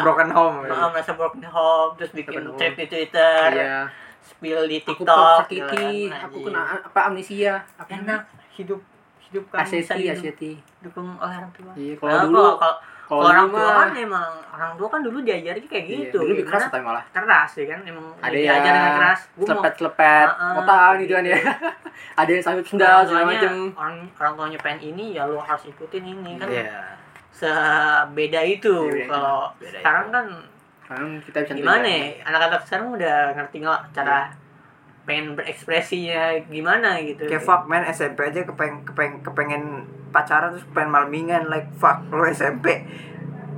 Speaker 1: Ah.
Speaker 3: broken home gitu.
Speaker 1: maaf merasa broken home terus bikin
Speaker 2: Broken home.
Speaker 1: thread di Twitter,
Speaker 2: Iya.
Speaker 1: spill di
Speaker 2: Aku
Speaker 1: TikTok, gitu
Speaker 2: sakiti,
Speaker 1: kan,
Speaker 2: aku
Speaker 1: anjing.
Speaker 2: kena a- apa amnesia, apa
Speaker 1: enak hidup hidup
Speaker 2: kan
Speaker 1: kamu bisa
Speaker 2: Aseti,
Speaker 1: didukung
Speaker 2: aseti.
Speaker 1: oleh orang tua.
Speaker 2: Iya,
Speaker 1: Kalau
Speaker 2: kalau dulu
Speaker 1: kalau,
Speaker 2: kalau
Speaker 1: Nah, orang
Speaker 2: dulu
Speaker 1: tua
Speaker 2: mah-
Speaker 1: kan emang orang tua kan dulu diajarin kayak
Speaker 2: Iya,
Speaker 1: gitu.
Speaker 2: Dulu lebih keras
Speaker 1: Karena
Speaker 2: tapi malah.
Speaker 1: keras ya kan emang
Speaker 2: Ada
Speaker 1: diajarin
Speaker 2: yang
Speaker 1: dengan keras. Gua mau
Speaker 2: Selepet-selepet,
Speaker 1: Heeh, iya.
Speaker 2: kotaan gitu kan ya. Ada yang sambil sendal
Speaker 1: orang
Speaker 2: segala
Speaker 1: tuanya-
Speaker 2: macam.
Speaker 1: orang orang tuanya pengen ini ya lu harus ikutin ini kan
Speaker 3: Iya,
Speaker 1: sebeda itu
Speaker 2: Iya, beda. Kan
Speaker 1: kalau
Speaker 3: beda
Speaker 1: sekarang
Speaker 3: itu.
Speaker 1: kan
Speaker 2: Sekarang kita bisa
Speaker 1: gimana ya
Speaker 2: bedain.
Speaker 1: anak-anak sekarang udah ngerti nggak
Speaker 2: Iya.
Speaker 1: cara pengen berekspresinya gimana gitu
Speaker 3: Kayak fuck man SMP aja kepeng kepeng kepengen pacaran terus pengen malmingan like fuck lu SMP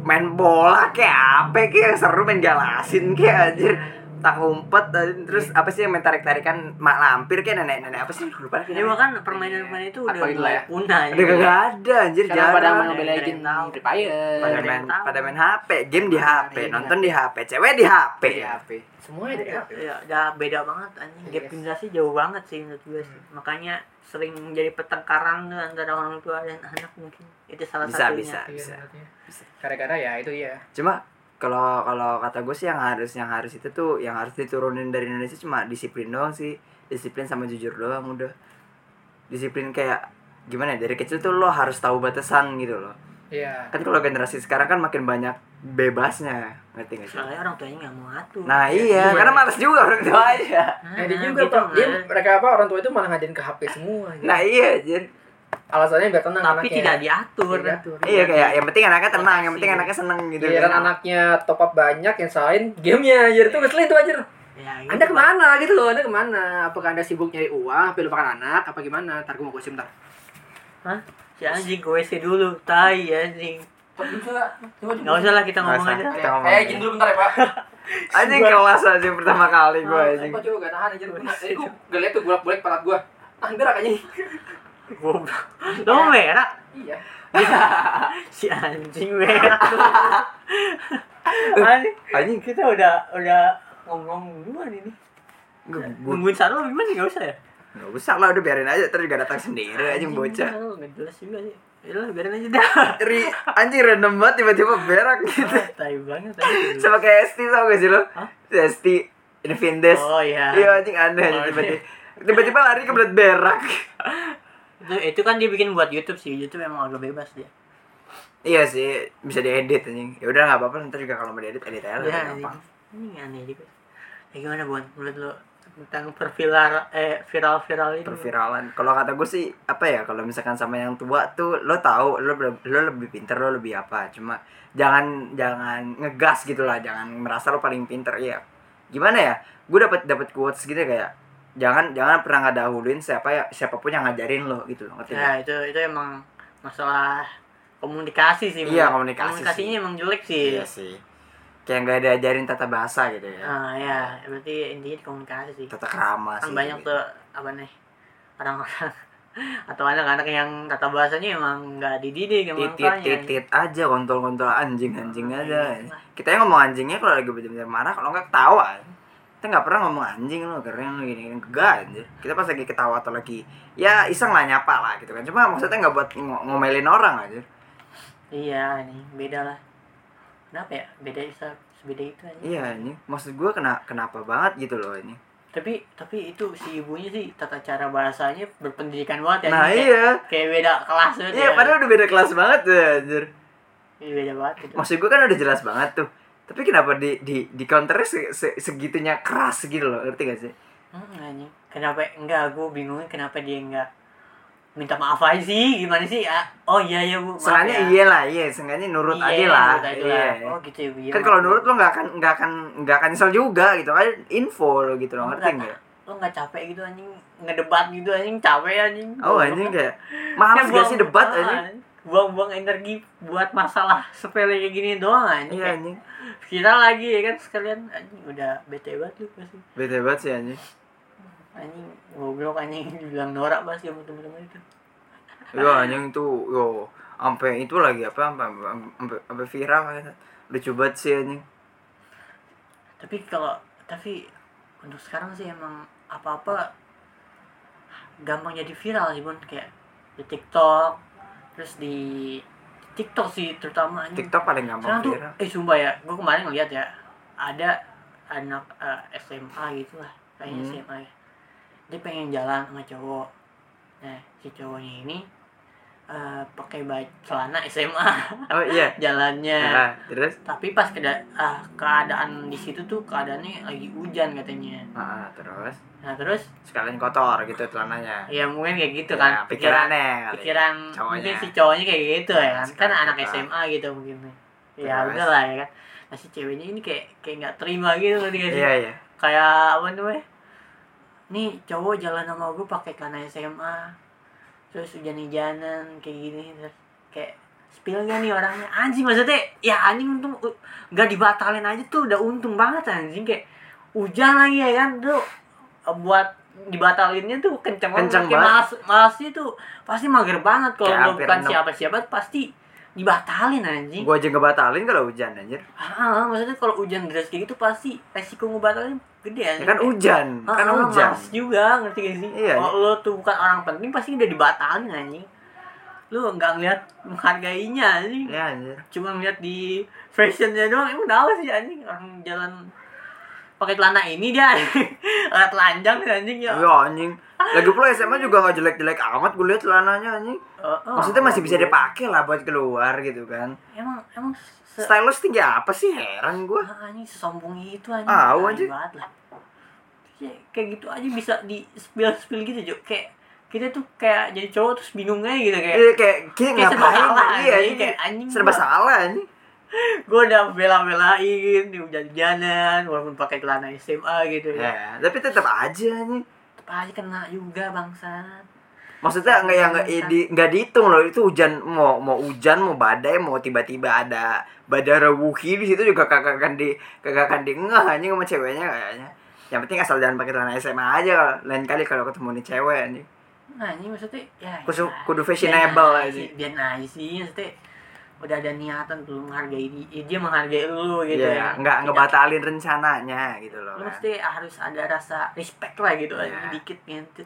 Speaker 3: main bola kayak apa kayak seru main galasin kayak anjir tak umpet anjir. terus apa sih yang main tarik tarikan mak lampir kayak nenek nenek apa sih lupa lagi
Speaker 1: ya
Speaker 3: namanya.
Speaker 1: bahkan permainan-permainan itu udah
Speaker 2: Apa gitu lah
Speaker 1: mulai
Speaker 2: ya.
Speaker 1: punah
Speaker 3: udah
Speaker 1: ya.
Speaker 3: gak ada anjir
Speaker 2: Sekarang pada
Speaker 3: jarang
Speaker 2: main Mobile
Speaker 1: Ada yang
Speaker 2: Legends,
Speaker 1: tahu.
Speaker 2: Free Fire.
Speaker 3: pada
Speaker 1: Ada yang
Speaker 3: main
Speaker 1: tahu.
Speaker 3: pada main HP game di HP
Speaker 2: Iya.
Speaker 3: nonton di HP cewek di HP
Speaker 2: Di HP.
Speaker 4: Semuanya ada ya.
Speaker 1: Ya, udah beda banget anjing. Gap
Speaker 4: Yes.
Speaker 1: generasi jauh banget sih menurut gue sih.
Speaker 4: Hmm.
Speaker 1: Makanya sering jadi pertengkaran tuh antara orang tua dan anak mungkin. Itu salah
Speaker 3: bisa
Speaker 1: satunya.
Speaker 3: bisa
Speaker 4: Iya,
Speaker 3: bisa
Speaker 4: sebenarnya. Gara-gara ya itu ya.
Speaker 3: cuma kalau kalau kata gue sih yang harus yang harus itu tuh yang harus diturunin dari Indonesia cuma disiplin doang sih disiplin sama jujur doang udah disiplin kayak gimana ya, dari kecil tuh lo harus tahu batasan gitu loh
Speaker 4: Iya.
Speaker 3: kan kalau generasi sekarang kan makin banyak bebasnya ngerti gak sih
Speaker 1: Soalnya orang tuanya nggak mau atur.
Speaker 3: nah iya karena males juga orang tua aja
Speaker 1: Nah,
Speaker 4: Nah, dia juga
Speaker 1: gitu,
Speaker 4: Pak. dia
Speaker 1: nah.
Speaker 4: mereka apa orang tua itu malah ngajarin ke HP semua. gitu.
Speaker 3: nah iya jir
Speaker 4: Alasannya biar tenang
Speaker 1: tapi
Speaker 4: anaknya.
Speaker 1: tidak diatur.
Speaker 4: Iya, diatur.
Speaker 3: iya kayak yang penting anaknya tenang yang
Speaker 1: Proteksi.
Speaker 3: penting anaknya seneng gitu
Speaker 4: Giliran
Speaker 2: iya.
Speaker 4: anaknya top up banyak yang salahin gamenya anjir itu ngeselin tuh anjir.
Speaker 1: Ya, gitu,
Speaker 2: Anda
Speaker 4: Iya.
Speaker 1: Pak.
Speaker 2: kemana gitu loh, Anda kemana? Apakah Anda sibuk nyari uang, tapi lupakan anak, apa gimana? Ntar gue mau gosip ntar
Speaker 1: Si anjing gue sih dulu. Tai anjing. Nggak usah lah kita
Speaker 3: Nggak
Speaker 1: ngomong
Speaker 3: usah.
Speaker 1: aja.
Speaker 3: Kita
Speaker 4: Eh,
Speaker 3: ngomong aja.
Speaker 2: dulu bentar ya Pak
Speaker 3: aja kelas aja pertama kali gue
Speaker 4: Eh,
Speaker 3: aja
Speaker 2: Apa coba gak tahan aja Tadi gue gak liat tuh bolak-balik patat gue
Speaker 4: Ah,
Speaker 2: Tahan gerak aja
Speaker 1: Goblok. Lo mau merah?
Speaker 2: Iya
Speaker 1: Si anjing merah. anjing.
Speaker 3: anjing
Speaker 1: Kita udah udah ngomong duluan ini.
Speaker 3: gue
Speaker 1: Nungguin Sarlo gimana nggak usah ya?
Speaker 3: Gak usah lah udah biarin aja terus juga datang sendiri aja yang bocah
Speaker 1: Sarlo nggak jelas juga sih. Ya lah, biarin aja dah.
Speaker 3: Ri, anjing random banget tiba-tiba berak gitu
Speaker 1: Ah, tai banget anjing.
Speaker 3: Sama kayak Esti tau gak sih lo?
Speaker 1: Hah?
Speaker 3: Si Esti Infindes
Speaker 1: Oh iya.
Speaker 3: Iya anjing aneh aja
Speaker 1: Oh,
Speaker 3: tiba-tiba Tiba-tiba lari kebelet berak
Speaker 1: Itu, itu kan dia bikin buat YouTube sih. YouTube emang agak bebas dia.
Speaker 3: Iya sih bisa diedit anjing Ya udah gak apa-apa ntar juga kalau mau diedit edit aja lah
Speaker 1: Ya,
Speaker 3: gampang
Speaker 1: ini aneh juga. Ya gimana buat menurut lo tentang perviral eh viral-viral itu?
Speaker 3: Iya. Perviralan Kalau kata gue sih apa ya kalau misalkan sama yang tua tuh lo tahu lo ber- lo lebih pinter lo lebih apa cuma jangan jangan ngegas gitu lah jangan merasa lo paling pinter ya gimana ya gue dapat dapat quotes gitu kayak jangan jangan pernah ngadahuluin siapa ya siapapun yang ngajarin lo gitu loh ngerti nggak?
Speaker 1: Ya itu itu emang masalah komunikasi sih.
Speaker 3: Iya,
Speaker 1: menurut-
Speaker 3: komunikasi
Speaker 1: Komunikasinya
Speaker 3: sih. Iya
Speaker 1: emang jelek sih.
Speaker 3: sih kayak nggak diajarin tata bahasa gitu ya
Speaker 1: Ah ya, berarti intinya di komunikasi sih.
Speaker 3: tata kerama
Speaker 1: kan
Speaker 3: sih
Speaker 1: banyak
Speaker 3: gitu.
Speaker 1: tuh apa nih orang-orang atau anak-anak yang tata bahasanya emang nggak dididik emang
Speaker 3: titit
Speaker 1: makanya.
Speaker 3: titit aja kontol kontol anjing anjing
Speaker 1: Ah,
Speaker 3: aja
Speaker 1: iya.
Speaker 3: kita yang ngomong anjingnya kalau lagi bener-bener marah kalau nggak ketawa kita nggak pernah ngomong anjing lo keren lo gini gini enggak anjir kita pas lagi ketawa atau lagi ya iseng lah nyapa lah gitu kan cuma maksudnya nggak buat ng- ngomelin orang aja
Speaker 1: iya ini beda lah kenapa ya beda bisa sebeda itu aja
Speaker 3: iya ini maksud gue kena kenapa banget gitu loh ini
Speaker 1: tapi tapi itu si ibunya sih tata cara bahasanya berpendidikan banget ya ini
Speaker 3: nah
Speaker 1: kayak,
Speaker 3: iya
Speaker 1: kayak beda kelas banget
Speaker 3: iya
Speaker 1: ya.
Speaker 3: padahal udah beda kelas banget tuh anjir
Speaker 1: Iya, beda banget gitu.
Speaker 3: maksud gue kan udah jelas banget tuh tapi kenapa di di di counternya se- se- segitunya keras gitu loh ngerti gak sih
Speaker 1: Hmm, ini kenapa enggak aku bingungnya kenapa dia enggak minta maaf aja sih gimana sih Ah, oh iya ya bu maaf
Speaker 3: sengaja
Speaker 1: ya.
Speaker 3: iya lah iya sengaja nurut aja lah
Speaker 1: nurut aja
Speaker 3: iya
Speaker 1: lah. oh gitu ya bu iya,
Speaker 3: kan
Speaker 1: maaf,
Speaker 3: kalau
Speaker 1: Bu.
Speaker 3: nurut lo nggak akan nggak akan nggak akan nyesel juga gitu kan info lo gitu lo ngerti
Speaker 1: Nah.
Speaker 3: nggak
Speaker 1: lo nggak capek gitu anjing ngedebat gitu anjing capek anjing
Speaker 3: oh anjing kayak
Speaker 1: Kan
Speaker 3: males gak
Speaker 1: buang-
Speaker 3: sih debat
Speaker 1: ah,
Speaker 3: anjing
Speaker 1: buang-buang energi buat masalah sepele kayak gini doang anjing
Speaker 3: iya
Speaker 1: Kayak
Speaker 3: anjing
Speaker 1: kita lagi ya kan sekalian anjing udah bete banget lu pasti
Speaker 3: bete banget sih anjing
Speaker 1: anjing goblok anjing dibilang norak pas sama temen-temen itu
Speaker 3: yo anjing tuh yo sampai itu lagi apa sampai sampai sampai viral kan. lucu banget sih anjing
Speaker 1: tapi kalau tapi untuk sekarang sih emang apa-apa gampang jadi viral sih bun kayak di TikTok terus di TikTok sih terutama anjing.
Speaker 3: TikTok paling
Speaker 1: sekarang
Speaker 3: gampang
Speaker 1: tuh
Speaker 3: viral
Speaker 1: eh sumpah ya gue kemarin ngeliat ya ada anak eh, SMA gitu lah kayaknya
Speaker 3: Hmm.
Speaker 1: SMA ya dia pengen jalan sama cowok nah si cowoknya ini eh, pakai baju celana SMA
Speaker 3: oh iya
Speaker 1: jalannya
Speaker 3: nah, terus
Speaker 1: tapi pas keda- ah, keadaan di situ tuh keadaannya lagi hujan katanya
Speaker 3: Ah, ah, terus
Speaker 1: nah terus
Speaker 3: sekalian kotor gitu celananya
Speaker 1: ya mungkin kayak gitu
Speaker 3: Ya,
Speaker 1: kan
Speaker 3: pikirannya kali. ya.
Speaker 1: pikiran
Speaker 3: Cowoknya.
Speaker 1: mungkin si cowoknya kayak gitu ya kan kan
Speaker 3: Sekarang
Speaker 1: anak
Speaker 3: kita-
Speaker 1: SMA gitu mungkin ya
Speaker 3: Terus?
Speaker 1: udah lah ya kan nah si ceweknya ini kayak kayak nggak terima gitu loh dia
Speaker 3: iya iya
Speaker 1: kayak apa namanya nih cowok jalan sama gue pakai celana SMA terus hujan-hujanan kayak gini terus kayak spill gak nih orangnya anjing maksudnya ya anjing untung uh, nggak dibatalin aja tuh udah untung banget anjing kayak hujan lagi ya kan tuh eh, buat dibatalinnya tuh kenceng,
Speaker 3: Kenceng
Speaker 1: kayak
Speaker 3: banget.
Speaker 1: malas malasnya tuh pasti mager banget kalau
Speaker 3: Kayak
Speaker 1: gua
Speaker 3: hampir
Speaker 1: bukan
Speaker 3: enam.
Speaker 1: siapa-siapa pasti dibatalin anjing
Speaker 3: gua aja ngebatalin kalau hujan anjir
Speaker 1: ah, maksudnya kalau hujan deras kayak gitu pasti resiko ngebatalin gede
Speaker 3: ya
Speaker 1: anjing
Speaker 3: kan
Speaker 1: Kayak-
Speaker 3: hujan
Speaker 1: Ah,
Speaker 3: kan
Speaker 1: ah,
Speaker 3: hujan
Speaker 1: males juga ngerti gak sih
Speaker 3: Iya,
Speaker 1: kalau lo tuh bukan orang penting pasti udah dibatalin anjing lu nggak ngeliat menghargainya anjing
Speaker 3: ya anjir
Speaker 1: cuma ngeliat di fashionnya doang ya emang kenapa sih anjing orang jalan pakai celana ini dia anjing. Orang telanjang sih, anjing ya
Speaker 3: ya anjing lagi pula SMA juga nggak jelek-jelek amat gue liat celananya anjing
Speaker 1: Oh, oh.
Speaker 3: maksudnya masih bisa dipakai lah buat keluar gitu kan
Speaker 1: emang emang se
Speaker 3: stylus tinggi apa sih heran gua
Speaker 1: Ah, anjing sesombong itu anjing
Speaker 3: Ah,
Speaker 1: Tai
Speaker 3: anjing.
Speaker 1: banget lah Ya, kayak gitu aja bisa di spill spill gitu Jok. kayak kita tuh kayak jadi cowok terus bingung aja gitu kayak
Speaker 3: Iya kayak kayak
Speaker 1: Kayak serba
Speaker 3: ngapain
Speaker 1: salah,
Speaker 3: iya
Speaker 1: anjing.
Speaker 3: anjing
Speaker 1: Kayak anjing
Speaker 3: serba
Speaker 1: gua.
Speaker 3: salah anjing
Speaker 1: gue udah bela-belain di hujan-hujanan walaupun pakai celana SMA gitu ya.
Speaker 3: ya tapi tetap aja anjing
Speaker 1: Tetep aja kena juga bangsa.
Speaker 3: maksudnya nggak yang nggak di nggak dihitung loh itu hujan mau mau hujan mau badai mau tiba-tiba ada badara wuhi di situ juga kakak akan di kakak akan di ngeh anjing sama ceweknya kayaknya yang penting asal jangan pakai celana SMA aja kalau- lain kali kalau ketemu nih cewek anjing
Speaker 1: Nah ini maksudnya ya.
Speaker 3: Kudu-
Speaker 1: ya,
Speaker 3: kudu
Speaker 1: biarin
Speaker 3: fashionable aja.
Speaker 1: sih, Biar aja sih maksudnya udah ada niatan tuh lu menghargai di- ya, dia menghargai lu gitu
Speaker 3: Iya,
Speaker 1: ya.
Speaker 3: nggak
Speaker 1: Tidak-
Speaker 3: ngebatalin
Speaker 2: Nah,
Speaker 3: rencananya gitu loh
Speaker 1: Lu
Speaker 3: kan.
Speaker 1: mesti harus ada rasa respect lah gitu
Speaker 3: Iya.
Speaker 1: anjing, dikit ngentit.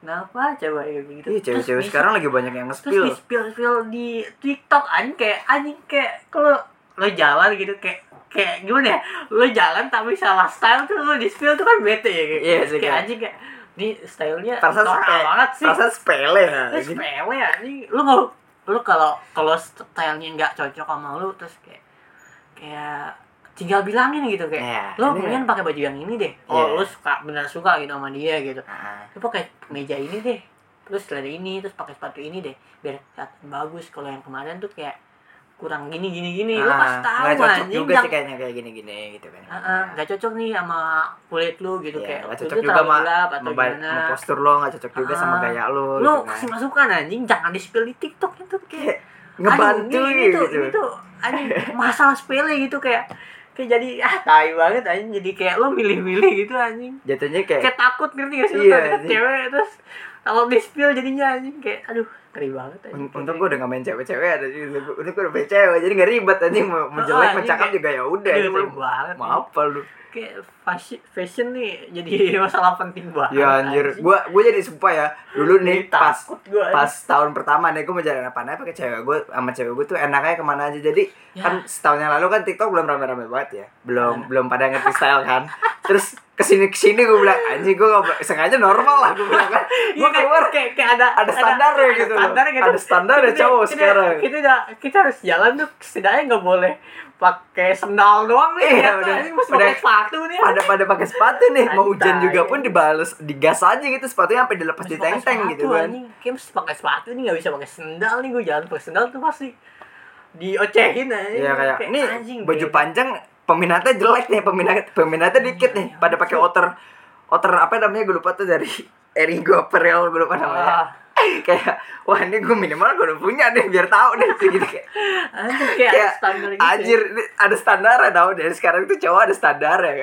Speaker 1: Kenapa coba ya begitu?
Speaker 3: Iya, cewek-cewek sekarang lagi banyak yang
Speaker 1: terus
Speaker 3: nge-spill.
Speaker 1: di spill spill di TikTok anjing kayak anjing kayak kalau lo jalan gitu kayak kayak gimana ya lo jalan tapi salah style tuh lo di spill tuh kan bete ya kayak,
Speaker 3: Iya sih,
Speaker 1: kayak
Speaker 3: kayak-
Speaker 1: anjing kayak ini stylenya
Speaker 3: Perasaan
Speaker 1: norak
Speaker 3: sepele,
Speaker 1: banget sih
Speaker 3: perasaan sepele.
Speaker 1: terus
Speaker 3: anjing.
Speaker 1: sepele anjing lo nggak lo kalau kalau stylenya nggak cocok sama lo terus kayak kayak tinggal bilangin gitu kayak
Speaker 3: Iya,
Speaker 1: lo
Speaker 3: ini-
Speaker 1: mendingan pakai baju yang ini deh
Speaker 3: Iya.
Speaker 1: oh lo suka benar suka gitu sama dia gitu
Speaker 3: Ah.
Speaker 1: lu pakai meja ini deh terus celana ini terus pakai sepatu ini deh biar kelihatan bagus kalau yang kemarin tuh kayak kurang gini gini gini lu
Speaker 3: Ah,
Speaker 1: pasti tahu
Speaker 3: nggak cocok
Speaker 1: anjing
Speaker 3: juga
Speaker 1: yang
Speaker 3: sih kayaknya kayak gini-gini gitu kan.
Speaker 1: Ah, ah, nggak cocok nih sama kulit lu gitu
Speaker 3: Iya,
Speaker 1: kayak
Speaker 3: nggak
Speaker 1: waktu
Speaker 3: cocok
Speaker 1: itu
Speaker 3: juga
Speaker 1: terlalu
Speaker 3: sama
Speaker 1: gelap atau
Speaker 3: sama ba-
Speaker 1: gimana
Speaker 3: sama postur lo nggak cocok juga sama
Speaker 1: Ah,
Speaker 3: gaya lo
Speaker 1: lu
Speaker 3: gitu kan.
Speaker 1: kasih masukan anjing jangan di spill di tiktok itu kayak
Speaker 3: Ngebantu
Speaker 1: aduh, ini, ini
Speaker 3: gitu.
Speaker 1: tuh, ini tuh anjing masalah sepele gitu kayak kayak jadi ah tai banget anjing jadi kayak lu milih-milih gitu anjing
Speaker 3: Jatuhnya kayak
Speaker 1: kayak takut ngerti gak sih lu
Speaker 3: Iya,
Speaker 1: takut
Speaker 3: sih.
Speaker 1: cewek terus kalau di spill jadinya anjing kayak aduh ngeri banget anjing
Speaker 3: un- untung gue udah gak main cewek-cewek ada untung gue udah main cewek jadi gak ribet anjing mau mau
Speaker 1: Ah,
Speaker 3: jelek
Speaker 1: anjing,
Speaker 3: mau cakep
Speaker 1: kayak-
Speaker 3: juga ya udah
Speaker 1: Aduh,
Speaker 3: anjing.
Speaker 1: ngeri banget
Speaker 3: mau apa lu
Speaker 1: kayak fashion, fashion nih jadi masalah penting banget
Speaker 3: ya anjir gue gue jadi sumpah ya dulu nih
Speaker 1: Ah,
Speaker 3: pas
Speaker 1: takut gue
Speaker 3: pas tahun pertama nih gue mau jalan apa pakai cewek gue sama cewek gue tuh enaknya kemana aja jadi
Speaker 1: Ya.
Speaker 3: kan setahun yang lalu kan TikTok belum rame-rame banget ya belum belum pada ngerti style kan terus kesini kesini gue bilang anjing gue nggak ber- sengaja normal lah gue bilang kan gue
Speaker 1: Iya, kayak-
Speaker 3: keluar
Speaker 1: kayak, kayak ada
Speaker 3: ada standarnya gitu loh.
Speaker 1: standar gitu
Speaker 3: Ada standarnya
Speaker 1: Kita-
Speaker 3: cowok
Speaker 1: kita-
Speaker 3: sekarang.
Speaker 1: kita, udah- kita harus jalan tuh setidaknya nggak boleh pakai sendal doang nih
Speaker 3: Iya,
Speaker 1: ya,
Speaker 3: udah.
Speaker 1: ini mesti
Speaker 3: Udah.
Speaker 1: pakai sepatu nih
Speaker 3: pada pada pakai sepatu nih mau hujan
Speaker 1: Santai.
Speaker 3: juga pun dibales digas aja gitu sepatunya sampai dilepas
Speaker 1: Mesti
Speaker 3: di
Speaker 1: pakai
Speaker 3: teng-teng gitu
Speaker 1: sepatu,
Speaker 3: kan
Speaker 1: anjing. kayak mesti pakai sepatu nih nggak bisa pakai sendal nih gue jalan pakai sendal tuh pasti diocehin aja
Speaker 3: Iya kayak Iya, ini baju panjang peminatnya jelek nih peminat peminatnya dikit nih pada pakai outer outer apa namanya gue lupa tuh dari Erigo Perel gue lupa namanya
Speaker 1: Ah.
Speaker 3: kayak wah ini gue minimal gue udah punya deh biar tahu deh gitu kayak
Speaker 1: Anjir kayak ada
Speaker 3: Kayak,
Speaker 1: standar gitu.
Speaker 3: anjir ini ada standar ya tau deh sekarang tuh cowok ada standar ya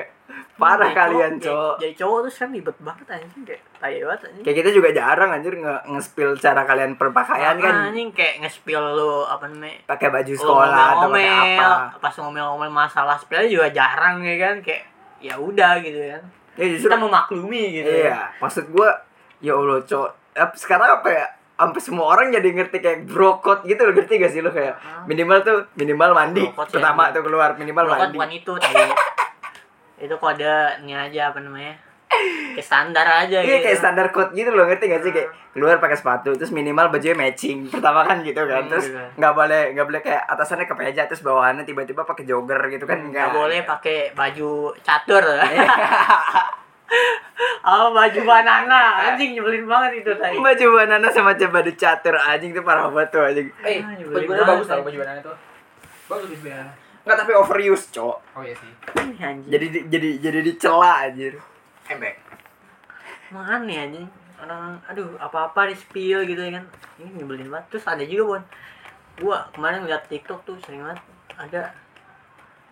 Speaker 3: parah
Speaker 1: Jadi
Speaker 3: kalian
Speaker 1: jadi-
Speaker 3: cowok Iya.
Speaker 1: Jadi cowok tuh sekarang ribet banget anjing kayak tai banget anjing.
Speaker 3: kayak kita juga jarang anjir nge, nge-spill cara kalian berpakaian kan
Speaker 1: anjing kayak nge-spill lu apa namanya?
Speaker 3: pakai baju
Speaker 1: Lu
Speaker 3: sekolah atau pakai apa
Speaker 1: ngomel-ngomel, pas ngomel-ngomel masalah spill juga jarang ya kan kayak ya udah gitu kan.
Speaker 3: ya justru
Speaker 1: Kita memaklumi gitu. ya.
Speaker 3: iya maksud gue ya allah cowok ap- sekarang apa ya sampai semua orang jadi ngerti kayak brokot gitu loh ngerti gak sih lo kayak
Speaker 1: Ah.
Speaker 3: minimal tuh minimal mandi
Speaker 1: Brokot ya,
Speaker 3: pertama
Speaker 1: iya.
Speaker 3: tuh keluar minimal
Speaker 1: Bukan,
Speaker 3: mandi
Speaker 1: bukan itu tadi. itu kode ini aja apa namanya? Kayak standar aja
Speaker 3: Iya
Speaker 1: gitu.
Speaker 3: kayak standar code gitu loh ngerti gak sih kayak keluar pakai sepatu terus minimal bajunya matching pertama kan gitu kan
Speaker 1: Hmm,
Speaker 3: terus
Speaker 1: gitu.
Speaker 3: nggak boleh nggak boleh kayak atasannya kepeja terus bawahannya tiba-tiba pakai jogger gitu kan nggak
Speaker 1: Hmm,
Speaker 3: Iya.
Speaker 1: Nggak boleh pakai baju catur. Oh, baju
Speaker 3: Iya.
Speaker 1: banana. Anjing nyebelin banget itu tadi.
Speaker 3: baju banana sama baju catur anjing tuh parah banget tuh anjing
Speaker 4: Eh,
Speaker 1: Ah, nyebelin
Speaker 4: baju
Speaker 1: banget,
Speaker 4: banana bagus tau
Speaker 1: anjing.
Speaker 4: baju banana itu. Bagus baju banana.
Speaker 3: nggak tapi overuse cok
Speaker 4: Oh iya sih.
Speaker 1: Ih, Anjing.
Speaker 3: jadi di- jadi jadi dicela anjir
Speaker 4: Embek.
Speaker 1: Makan nih anjing orang aduh apa-apa di spill gitu ya kan ini nyebelin banget terus ada juga bon gua kemarin liat tiktok tuh sering banget ada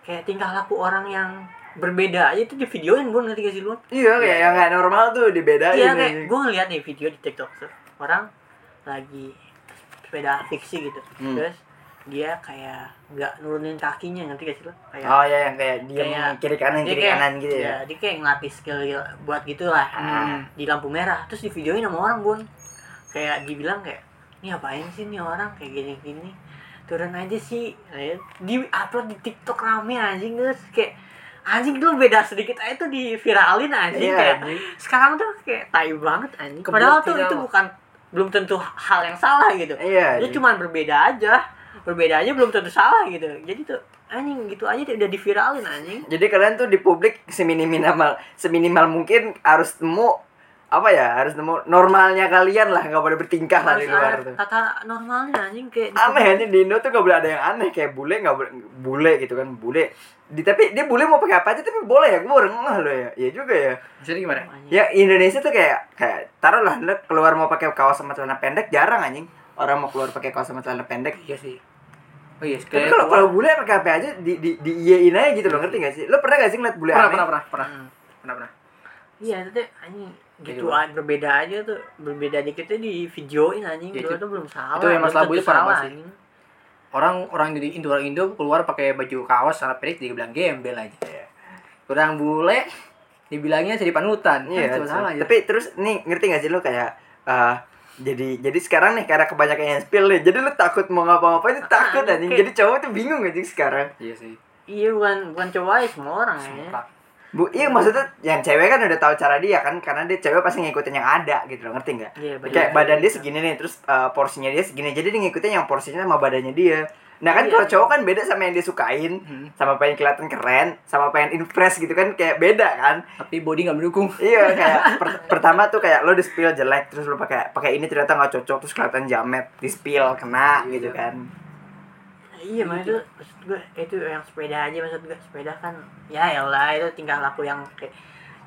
Speaker 1: kayak tingkah laku orang yang berbeda aja itu di videoin bon ngerti gak sih lu
Speaker 3: iya kayak yang nggak normal tuh dibedain
Speaker 1: iya
Speaker 3: anjing.
Speaker 1: kayak gua ngeliat nih video di tiktok tuh orang lagi sepeda fiksi gitu
Speaker 3: Hmm.
Speaker 1: terus dia kayak nggak nurunin kakinya ngerti gak sih lu kayak
Speaker 3: oh ya yang kayak diem
Speaker 1: Kayak-
Speaker 3: kiri kanan
Speaker 1: dia
Speaker 3: kiri
Speaker 1: kayak-
Speaker 3: kanan gitu
Speaker 1: iya,
Speaker 3: ya
Speaker 1: dia kayak ngelatih skill gitu- buat gitulah
Speaker 3: Hmm.
Speaker 1: di lampu merah terus di videoin sama orang bun kayak dibilang kayak ini apain sih nih orang kayak gini gini turun aja sih Eh, di upload di TikTok rame anjing terus kayak anjing dulu beda sedikit aja tuh diviralin anjing
Speaker 3: Iya,
Speaker 1: kayak
Speaker 3: anjing.
Speaker 1: sekarang tuh kayak tai banget anjing padahal tuh
Speaker 4: Kebutin
Speaker 1: itu
Speaker 4: sama.
Speaker 1: bukan belum tentu hal yang salah gitu
Speaker 3: iya
Speaker 1: dia
Speaker 3: anjing.
Speaker 1: cuma berbeda aja berbeda aja belum tentu salah gitu jadi tuh anjing gitu aja tuh udah diviralin anjing
Speaker 3: Jadi kalian tuh di publik seminimal seminimal mungkin harus nemu apa ya harus nemu normalnya kalian lah nggak boleh bertingkah lah di
Speaker 1: harus
Speaker 3: luar
Speaker 1: ada
Speaker 3: tuh.
Speaker 1: tata normalnya anjing kayak
Speaker 3: Aneh aja di Indo tuh nggak boleh ada yang aneh kayak bule nggak boleh bule gitu kan bule. Di, tapi dia bule mau pakai apa aja tapi boleh ya gue baru ngeh loh ya ya juga ya
Speaker 4: Jadi gimana?
Speaker 1: Anjing.
Speaker 3: ya Indonesia tuh kayak kayak taruh lah lu keluar mau pakai kaos sama celana pendek jarang anjing orang mau keluar pakai kaos sama celana pendek
Speaker 4: Iya sih. Oh iya,
Speaker 3: tapi
Speaker 4: kayak
Speaker 3: kalau kalau bule pakai apa aja di di di iyain aja gitu loh ngerti gak sih lo pernah gak sih ngeliat bule
Speaker 4: pernah,
Speaker 3: aneh
Speaker 4: pernah, pernah, pernah,
Speaker 1: Hmm.
Speaker 4: pernah, pernah.
Speaker 1: iya itu tuh anjing gitu
Speaker 4: Iya.
Speaker 1: an- berbeda aja tuh berbeda dikit tuh di videoin anjing
Speaker 4: Iya,
Speaker 1: itu
Speaker 4: itu-
Speaker 1: tuh belum salah
Speaker 4: itu yang
Speaker 1: belum
Speaker 4: masalah
Speaker 1: tentu
Speaker 4: buyut parah
Speaker 1: salah,
Speaker 4: banget sih.
Speaker 1: anjing.
Speaker 4: Orang orang di Indo orang Indo keluar pakai baju kaos celana pendek dibilang gembel aja. Orang bule dibilangnya jadi panutan. Kan
Speaker 3: Iya,
Speaker 4: cuma salah aja.
Speaker 3: tapi terus nih ngerti gak sih lo kayak eh, jadi jadi sekarang nih karena kebanyakan yang spill nih, jadi lo takut mau ngapa-ngapain tuh takut
Speaker 1: Ah,
Speaker 3: anjing.
Speaker 1: oke.
Speaker 3: Jadi cowok tuh bingung anjing sekarang.
Speaker 4: Iya sih.
Speaker 1: iya bukan bukan cowok aja semua orang ya
Speaker 4: Sempak.
Speaker 3: Bu, iya maksudnya yang cewek kan udah tahu cara dia kan karena dia cewek pasti ngikutin yang ada gitu loh, ngerti nggak?
Speaker 1: Iya, bener.
Speaker 3: Kayak badan dia segini nih, terus eh, porsinya dia segini. Jadi dia ngikutin yang porsinya sama badannya dia. Nah kan
Speaker 1: Iya.
Speaker 3: kalau cowok kan beda sama yang dia sukain,
Speaker 4: Hmm.
Speaker 3: sama pengen kelihatan keren, sama pengen impress gitu kan kayak beda kan.
Speaker 4: Tapi body nggak mendukung.
Speaker 3: iya kayak per- pertama tuh kayak lo di spill jelek terus lo pakai pakai ini ternyata nggak cocok terus kelihatan jamet di spill kena gitu kan
Speaker 1: iya maksud maksud gue itu yang sepeda aja maksud gue sepeda kan ya elah itu tingkah laku yang kayak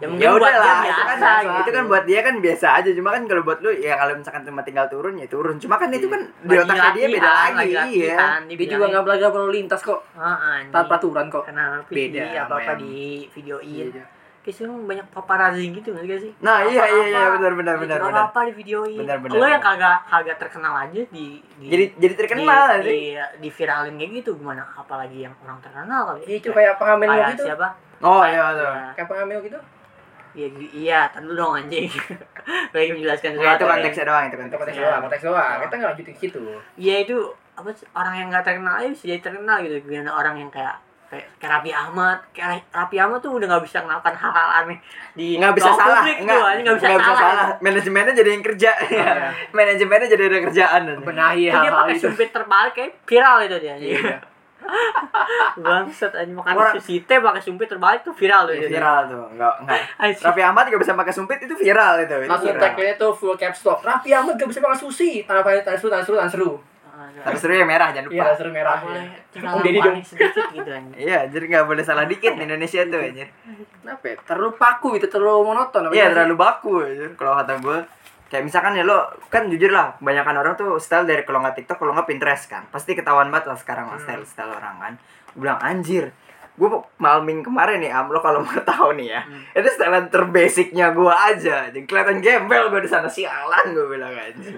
Speaker 1: yang mungkin
Speaker 3: ya
Speaker 1: buat
Speaker 3: udah
Speaker 1: dia
Speaker 3: lah itu
Speaker 1: biasa
Speaker 3: kan
Speaker 1: gitu.
Speaker 3: itu kan buat dia kan biasa aja cuma kan kalau buat lo ya kalau misalkan cuma tinggal turun ya turun cuma kan itu kan di
Speaker 1: Lagi kan.
Speaker 3: otaknya dia beda
Speaker 1: latihan,
Speaker 3: lagi iya
Speaker 1: latihan,
Speaker 4: Dia juga nggak belajar lalu lintas kok.
Speaker 1: Ah, anjing.
Speaker 4: Taat peraturan kok.
Speaker 1: Karena
Speaker 4: Beda
Speaker 1: beda apa apa
Speaker 3: sama yang-
Speaker 1: di videoin
Speaker 4: Iya.
Speaker 1: kayak sih banyak paparazzi gitu nggak sih, gak sih
Speaker 3: Nah, iya, iya, iya,
Speaker 1: Apa-apa,
Speaker 3: benar, benar,
Speaker 1: gitu,
Speaker 3: benar,
Speaker 1: apa apa di videoin
Speaker 3: Benar, benar,
Speaker 1: lo yang
Speaker 3: benar.
Speaker 1: kagak kagak terkenal aja di, di
Speaker 3: jadi jadi
Speaker 1: di,
Speaker 3: terkenal sih
Speaker 1: di, di viralin kayak gitu gimana apalagi yang orang terkenal kali
Speaker 3: Iya,
Speaker 4: Itu kayak pengamen lo
Speaker 1: Kayak
Speaker 4: gitu.
Speaker 1: siapa
Speaker 3: oh iya betul
Speaker 1: Ya,
Speaker 4: Kayak pengamen lo gitu.
Speaker 1: iya gi- iya tentu dong anjing lagi menjelaskan
Speaker 3: Nah, itu
Speaker 1: sesuatu, ya.
Speaker 3: konteksnya doang itu
Speaker 4: Itu konteks
Speaker 3: konteksnya
Speaker 1: Iya.
Speaker 4: doang, konteks doang. Kita nggak lanjutin ke situ.
Speaker 1: iya itu apa sih, orang yang nggak terkenal aja bisa jadi terkenal gitu gimana orang yang kayak kayak, kayak Raffi Ahmad kayak Raffi Ahmad tuh udah nggak bisa melakukan hal-hal aneh di
Speaker 3: nggak bisa
Speaker 1: ruang
Speaker 3: salah
Speaker 1: publik tuh,
Speaker 3: nggak
Speaker 1: anjing, nggak bisa,
Speaker 3: nggak bisa
Speaker 1: salah
Speaker 3: salah manajemennya jadi yang kerja Iya.
Speaker 4: Iya.
Speaker 3: manajemennya jadi ada kerjaan anjing.
Speaker 4: Benahi
Speaker 1: itu dia
Speaker 4: hal-hal
Speaker 1: pakai
Speaker 4: itu.
Speaker 1: sumpit terbalik kayak viral itu dia anjing.
Speaker 4: Iya.
Speaker 1: Bangsat anjing makan
Speaker 3: Orang-
Speaker 1: sushi teh pakai sumpit terbalik tuh Iya, viral tuh dia.
Speaker 3: viral tuh nggak nggak
Speaker 1: Anjing.
Speaker 3: Raffi Ahmad gak bisa pakai sumpit itu viral itu. itu
Speaker 4: Langsung
Speaker 3: viral.
Speaker 2: ya.
Speaker 4: tag-nya tuh full caps lock. Raffi Ahmad gak bisa makan sushi. Tanpa tanseru, tanseru, tanseru.
Speaker 3: Harus seru yang merah jangan
Speaker 4: Iya,
Speaker 3: lupa.
Speaker 4: tanseru
Speaker 1: Nggak
Speaker 4: merah.
Speaker 1: boleh
Speaker 4: ya.
Speaker 1: Ah, terlalu
Speaker 4: Om Deddy dong.
Speaker 1: aneh sedikit gitu anjing.
Speaker 3: Iya, jadi nggak boleh salah dikit di Indonesia tuh anjir.
Speaker 2: gitu,
Speaker 4: Kenapa ya? Terlalu paku itu, terlalu monoton. apa
Speaker 3: Iya,
Speaker 4: gimana sih?
Speaker 3: terlalu baku anjir kalau kata gue. kayak misalkan ya lo kan jujur lah kebanyakan orang tuh style dari kalau nggak TikTok kalau nggak Pinterest kan pasti ketahuan banget lah sekarang lah style style orang kan gue bilang anjir gue malming kemarin nih am lo kalau mau tahu nih ya itu style terbasicnya gue aja jadi kelihatan gembel gue di sana sialan gue bilang anjir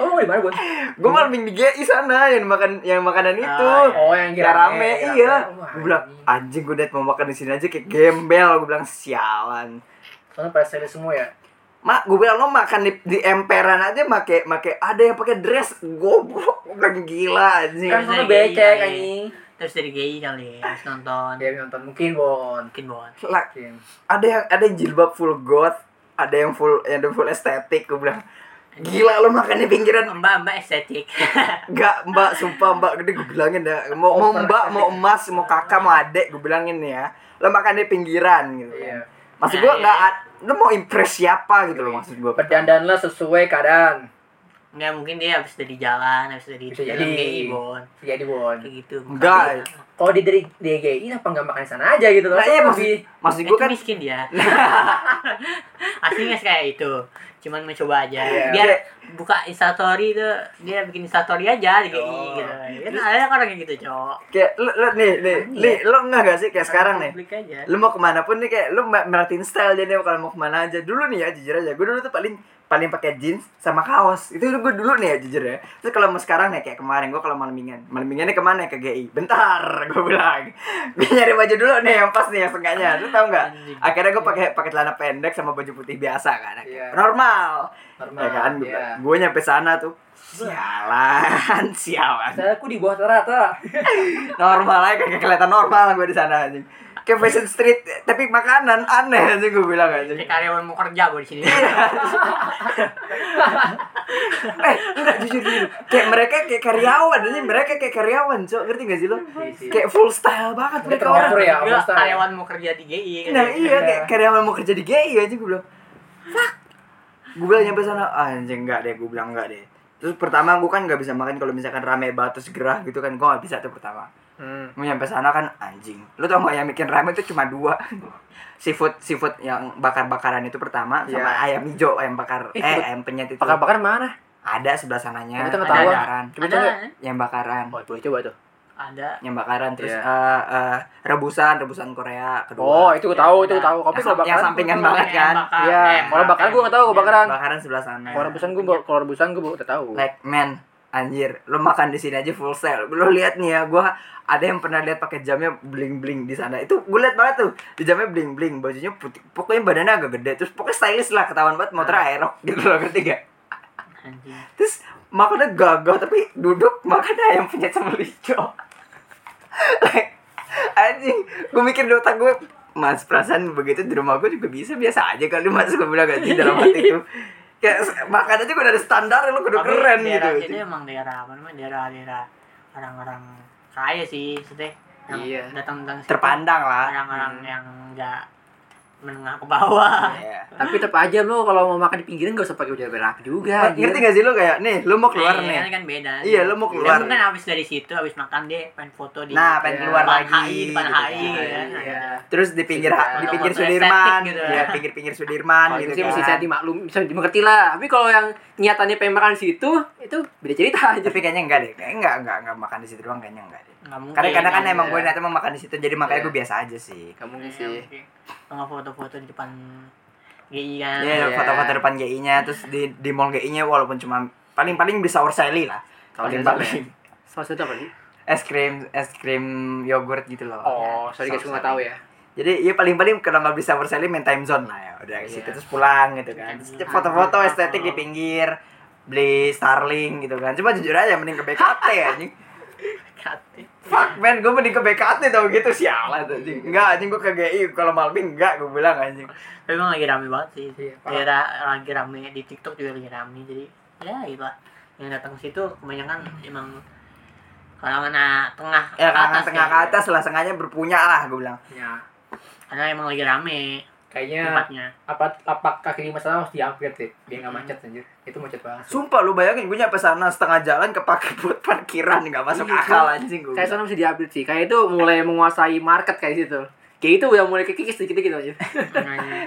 Speaker 2: Oh, mau di mana, Bun?
Speaker 3: gue malming di GI sana yang makan yang makanan itu
Speaker 2: Oh, yang
Speaker 3: Gak rame, iya.
Speaker 2: Wah,
Speaker 3: Gue bilang,
Speaker 2: ini.
Speaker 3: anjing gue net mau makan di sini aja kayak gembel. Gue bilang, sialan.
Speaker 2: Soalnya pada style semua ya.
Speaker 3: Mak, gue bilang lo makan di, di emperan aja make make ada yang pakai dress goblok, gue bilang gila anjing.
Speaker 1: Kan
Speaker 2: Kan
Speaker 1: soalnya
Speaker 2: soalnya
Speaker 1: becek,
Speaker 2: becek anjing.
Speaker 1: terus dari GI kali ya, terus nonton
Speaker 2: Dia nonton mungkin, Bon.
Speaker 1: mungkin buat
Speaker 3: Lah,
Speaker 2: Mungkin.
Speaker 3: ada yang ada yang jilbab full goth, ada yang full yang full estetik, gue bilang. Gila lo makan di pinggiran
Speaker 1: Kan mbak mbak estetik
Speaker 3: Enggak mbak, sumpah mbak Gede gue bilangin ya Mau, mau mbak, mau emas, mau kakak, mau adek Gue bilangin ya Lo makan di pinggiran gitu
Speaker 2: Iya.
Speaker 3: kan Maksud
Speaker 1: Nah,
Speaker 3: gue nggak ad- Lo mau impress siapa gitu loh maksud gue
Speaker 2: Berdandanlah sesuai keadaan.
Speaker 1: nggak mungkin dia habis dari jalan habis dari
Speaker 2: Bisa
Speaker 1: dalam
Speaker 2: jadi.
Speaker 1: GI bon
Speaker 2: Jadi, Iya, Bon.
Speaker 1: kayak gitu
Speaker 3: Enggak.
Speaker 2: Kalau di dari DGI apa enggak makan di sana aja gitu loh.
Speaker 3: Lah iya maksud,
Speaker 2: Lebih-
Speaker 3: maksud
Speaker 1: itu
Speaker 3: gue kan
Speaker 1: miskin dia aslinya kayak itu cuman mencoba aja
Speaker 2: Iya.
Speaker 1: biar buka instastory itu dia bikin instastory aja di GI
Speaker 2: Oh.
Speaker 1: gitu kan ada orang kayak gitu cowok
Speaker 3: Kayak lo, lo nih,
Speaker 1: Iya.
Speaker 3: nih, nih Lo enggak gak sih kayak sekarang nih
Speaker 1: Publik aja.
Speaker 3: Lo mau kemana pun nih kayak Lo mer- merhatiin style jadi kalau mau kemana aja Dulu nih ya jujur aja Gue dulu tuh paling paling pakai jeans sama kaos itu gue dulu nih ya jujur ya terus kalau mau sekarang nih kayak kemarin gue kalau malemingan malemingannya kemana ya? ke GI bentar gue bilang gue nyari baju dulu nih yang pas nih yang sengaknya lu tau nggak
Speaker 1: Anjing.
Speaker 3: akhirnya gue pakai pakai celana pendek sama baju putih biasa kan
Speaker 2: Iya.
Speaker 3: normal
Speaker 2: Normal,
Speaker 3: ya kan
Speaker 2: iya.
Speaker 3: gue nyampe sana tuh sialan sialan
Speaker 2: Saya aku di bawah rata-rata.
Speaker 3: normal aja kagak kelihatan normal gue di sana anjing kayak fashion street tapi makanan aneh anjing gue bilang anjing
Speaker 1: Kayak karyawan mau kerja gua di sini.
Speaker 3: eh enggak jujur jujur kayak mereka kayak karyawan anjing mereka kayak karyawan cok ngerti gak
Speaker 1: Iya,
Speaker 3: sih lo
Speaker 2: sih.
Speaker 3: kayak full style banget mereka
Speaker 2: Mereka
Speaker 3: orang
Speaker 2: over ya,
Speaker 1: Gila,
Speaker 2: Ustaz.
Speaker 1: karyawan mau kerja di GI. kan.
Speaker 3: Nah iya kayak karyawan mau kerja di GI aja gue bilang Fuck Gue bilang nyampe sana "Ah, Anjing enggak deh gue bilang enggak deh Terus pertama gue kan gak bisa makan kalau misalkan rame banget terus gerah gitu kan Gue gak bisa tuh pertama
Speaker 2: Hmm.
Speaker 3: Gue nyampe sana kan anjing Lu tau gak yang bikin rame itu cuma dua Seafood seafood yang bakar-bakaran itu pertama Sama
Speaker 2: Iya.
Speaker 3: ayam hijau ayam bakar
Speaker 2: Ih,
Speaker 3: Eh,
Speaker 2: seafood
Speaker 3: ayam penyet itu
Speaker 2: Bakar-bakar mana?
Speaker 3: Ada sebelah sananya
Speaker 2: Tapi itu
Speaker 3: Yang
Speaker 2: nggak
Speaker 1: tahu, ah.
Speaker 3: bakaran
Speaker 2: Coba
Speaker 1: ada,
Speaker 2: coba.
Speaker 3: Yang bakaran
Speaker 2: Oh, boleh coba tuh.
Speaker 1: ada.
Speaker 3: Yang bakaran terus
Speaker 2: Iya.
Speaker 3: eh, eh, rebusan rebusan Korea kedua
Speaker 2: Oh, itu gue tahu, itu gue tahu. Kopi
Speaker 3: Yang
Speaker 2: kalau
Speaker 3: sam- yang
Speaker 2: bakaran.
Speaker 3: sampingan
Speaker 2: gua tahu.
Speaker 3: banget kan
Speaker 1: Bakar,
Speaker 2: Iya,
Speaker 1: eh,
Speaker 2: kalau bakaran gue nggak tahu, kalau bakaran.
Speaker 3: bakaran sebelah sana
Speaker 2: Kalau iya. rebusan gue, kalau rebusan gue udah tahu.
Speaker 3: like man anjir lo makan di sini aja full sale lo lihat nih ya gua ada yang pernah lihat pakai jamnya bling bling di sana itu gue lihat banget tuh di jamnya bling bling bajunya putih pokoknya badannya agak gede terus pokoknya stylish lah ketahuan banget motor aerok gitu loh ketiga
Speaker 1: Anjing.
Speaker 3: terus makannya gagah tapi duduk makannya ayam penyet sama lico like anjing gue mikir di otak gue mas perasaan begitu di rumah gue juga bisa biasa aja kali mas gue bilang gak dalam hati itu kayak s- makan aja gue dari standar lo
Speaker 1: Tapi ya
Speaker 3: kudu keren gitu
Speaker 1: daerah itu emang daerah apa namanya? Daerah-daerah orang-orang kaya sih, maksudnya. Yang
Speaker 2: Iya.
Speaker 1: Datang datang
Speaker 3: terpandang Hmm. lah
Speaker 1: Orang-orang yang enggak menengah ke bawah.
Speaker 3: Iya.
Speaker 2: Tapi tetap aja lo kalau mau makan di pinggiran gak usah pakai udah rapi juga. anjir.
Speaker 3: ngerti gak sih lo kayak nih lo mau keluar
Speaker 1: Nah, iya,
Speaker 3: nih
Speaker 1: kan beda.
Speaker 3: Iya, lu mau
Speaker 1: Dia
Speaker 3: keluar.
Speaker 1: mungkin habis dari situ, habis makan dia pengen foto di
Speaker 3: nah
Speaker 2: Iya.
Speaker 3: pengen keluar
Speaker 1: depan
Speaker 3: lagi
Speaker 1: HI, depan HI
Speaker 3: gitu kan.
Speaker 1: gitu kan.
Speaker 2: Iya.
Speaker 3: terus di pinggir
Speaker 2: Iya.
Speaker 3: di pinggir
Speaker 1: Foto-foto
Speaker 3: Sudirman
Speaker 1: estetik gitu.
Speaker 3: ya pinggir pinggir Sudirman
Speaker 2: Kalau Oh, itu
Speaker 3: gitu
Speaker 2: sih mesti
Speaker 3: kan
Speaker 2: saya dimaklum, bisa dimengerti lah. Tapi kalau yang niatannya pengen makan di situ, itu beda cerita aja.
Speaker 3: tapi kayaknya enggak deh kayaknya enggak enggak enggak makan di situ doang kayaknya enggak deh
Speaker 1: Nggak mungkin.
Speaker 3: Karena kadang kan
Speaker 1: Iya.
Speaker 3: emang gue
Speaker 2: Iya.
Speaker 3: niatnya mau makan di situ, jadi makanya
Speaker 2: Iya.
Speaker 3: gue biasa aja sih.
Speaker 2: Gak mungkin
Speaker 1: Iya,
Speaker 2: sih.
Speaker 1: mungkin. Nggak foto-foto di depan GI kan.
Speaker 3: Iya,
Speaker 2: Iya.
Speaker 3: foto-foto depan GI-nya, terus di di mall GI-nya walaupun cuma paling-paling bisa Orseli lah.
Speaker 2: Kalau
Speaker 3: Paling
Speaker 2: di
Speaker 3: paling
Speaker 2: Saus itu apa sih?
Speaker 3: es krim es krim yogurt gitu loh.
Speaker 2: Oh, sorry guys, gue gak tahu ya.
Speaker 3: Jadi ya paling-paling kalau nggak bisa Orseli main time zone lah ya, udah ke
Speaker 2: Iya.
Speaker 3: situ terus pulang gitu kan. Terus
Speaker 1: Iya.
Speaker 3: Foto-foto estetik di pinggir, beli Starling gitu kan. Cuma jujur aja mending ke BKT anjing.
Speaker 1: Katik.
Speaker 3: Fuck man, gue mending ke BKT tau gitu sialan anjing. Enggak anjing gue ke GI kalau malming enggak gue bilang anjing.
Speaker 1: Tapi emang lagi rame banget sih.
Speaker 2: Iya, parah.
Speaker 1: Daerah lagi rame di TikTok juga lagi rame. Jadi ya gitu lah. Yang datang ke situ kebanyakan emang kalangan ah, tengah
Speaker 3: ya kanan
Speaker 1: atas
Speaker 3: tengah
Speaker 1: ya.
Speaker 3: ke atas lah sengaja berpunya lah gue bilang
Speaker 2: Ya,
Speaker 1: Karena emang lagi rame
Speaker 2: kayaknya
Speaker 1: tempatnya.
Speaker 2: apa lapak kaki lima sana harus di-upgrade deh, biar gak macet anjir. Itu macet banget.
Speaker 3: sumpah lu bayangin gue nyampe sana setengah jalan kepake buat parkiran nggak masuk
Speaker 2: Iya,
Speaker 3: akal
Speaker 2: iya.
Speaker 3: anjing gue
Speaker 2: Kayak sana mesti di-upgrade sih. Kayak itu mulai menguasai market kayak situ. kayak itu udah mulai kekikis sedikit dikit aja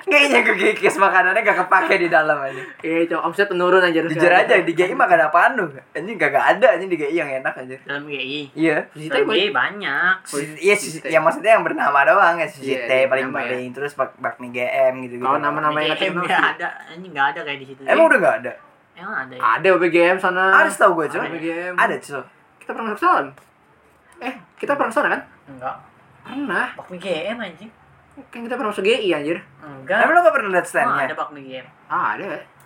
Speaker 3: Kayaknya kekikis makanannya gak kepake di dalam aja.
Speaker 2: iya itu omset menurun aja
Speaker 3: Jujur aja di GI makan apaan lu? Anjing gak, ada anjing di GI yang enak aja.
Speaker 1: dalam GI
Speaker 3: Iya.
Speaker 2: Visitnya
Speaker 5: Tapi banyak.
Speaker 3: Sushi- Iya, sushi- ya maksudnya yang bernama doang ya sushi
Speaker 2: Iya,
Speaker 3: teh
Speaker 2: iya,
Speaker 3: paling-paling terus bak bakmi GM gitu gitu.
Speaker 2: kalau nama-nama yang
Speaker 1: Di
Speaker 2: kata
Speaker 1: GM nggak ada ini nggak ada kayak di situ
Speaker 3: Emang udah gak ada?
Speaker 1: emang ada ya
Speaker 2: ada BGM sana
Speaker 3: Ada setahu gue cuy.
Speaker 2: BGM
Speaker 3: Ada cuy.
Speaker 2: kita pernah ke sana eh kita pernah ke sana kan
Speaker 1: enggak
Speaker 2: pernah
Speaker 1: bakmi GM anjing
Speaker 2: kan kita pernah masuk GI anjir
Speaker 1: enggak
Speaker 3: Tapi lo gak pernah liat
Speaker 1: Emang
Speaker 3: standnya?
Speaker 1: ada bakmi GM
Speaker 2: ah ada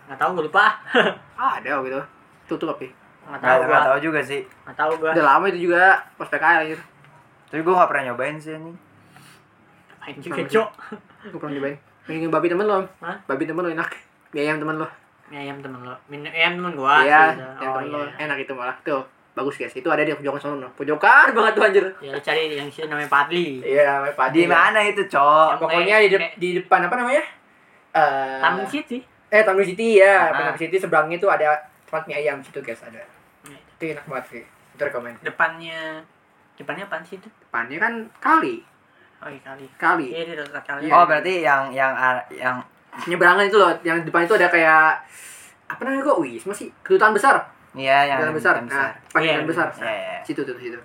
Speaker 1: nggak tahu gue lupa
Speaker 2: ah ada gitu tutup tapi
Speaker 1: nggak
Speaker 3: Gak,
Speaker 1: tahu
Speaker 3: gak
Speaker 1: gue
Speaker 3: tau juga sih.
Speaker 1: nggak tahu gue
Speaker 2: udah lama itu juga pas PKL anjir
Speaker 3: Tapi gue gak pernah nyobain sih anjing.
Speaker 1: main juga cok
Speaker 2: gue pernah nyobain minum babi temen lo
Speaker 1: Hah?
Speaker 2: babi temen lo enak mie ayam temen lo
Speaker 1: mie ayam temen lo mie ayam temen Oh, gue
Speaker 2: iya yang temen lo enak itu malah tuh bagus guys itu ada di pojokan sono no. pojokan banget tuh anjir
Speaker 1: ya lu cari yang sini namanya Padli
Speaker 2: iya namanya Pak
Speaker 3: Di mana itu cok?
Speaker 2: pokoknya di, de- di depan apa namanya Eh,
Speaker 1: Taman City
Speaker 2: eh Tamrin City ya
Speaker 1: Ah.
Speaker 2: Tamrin City sebelahnya tuh ada tempat mie ayam situ guys ada itu enak banget sih itu rekomend
Speaker 1: depannya depannya apaan sih itu
Speaker 2: depannya kan kali
Speaker 1: oh iya kali
Speaker 2: kali
Speaker 1: iya di dekat kali
Speaker 3: Oh berarti yang yang ar- yang
Speaker 2: nyeberangan itu loh yang di depan itu ada kayak apa namanya kok wis masih kedutaan besar
Speaker 3: iya yang
Speaker 2: kedutaan besar
Speaker 3: yang
Speaker 2: nah
Speaker 3: besar.
Speaker 2: pakai
Speaker 1: Iya,
Speaker 2: kedutaan besar
Speaker 1: iya.
Speaker 3: Iya, iya.
Speaker 2: situ tuh situ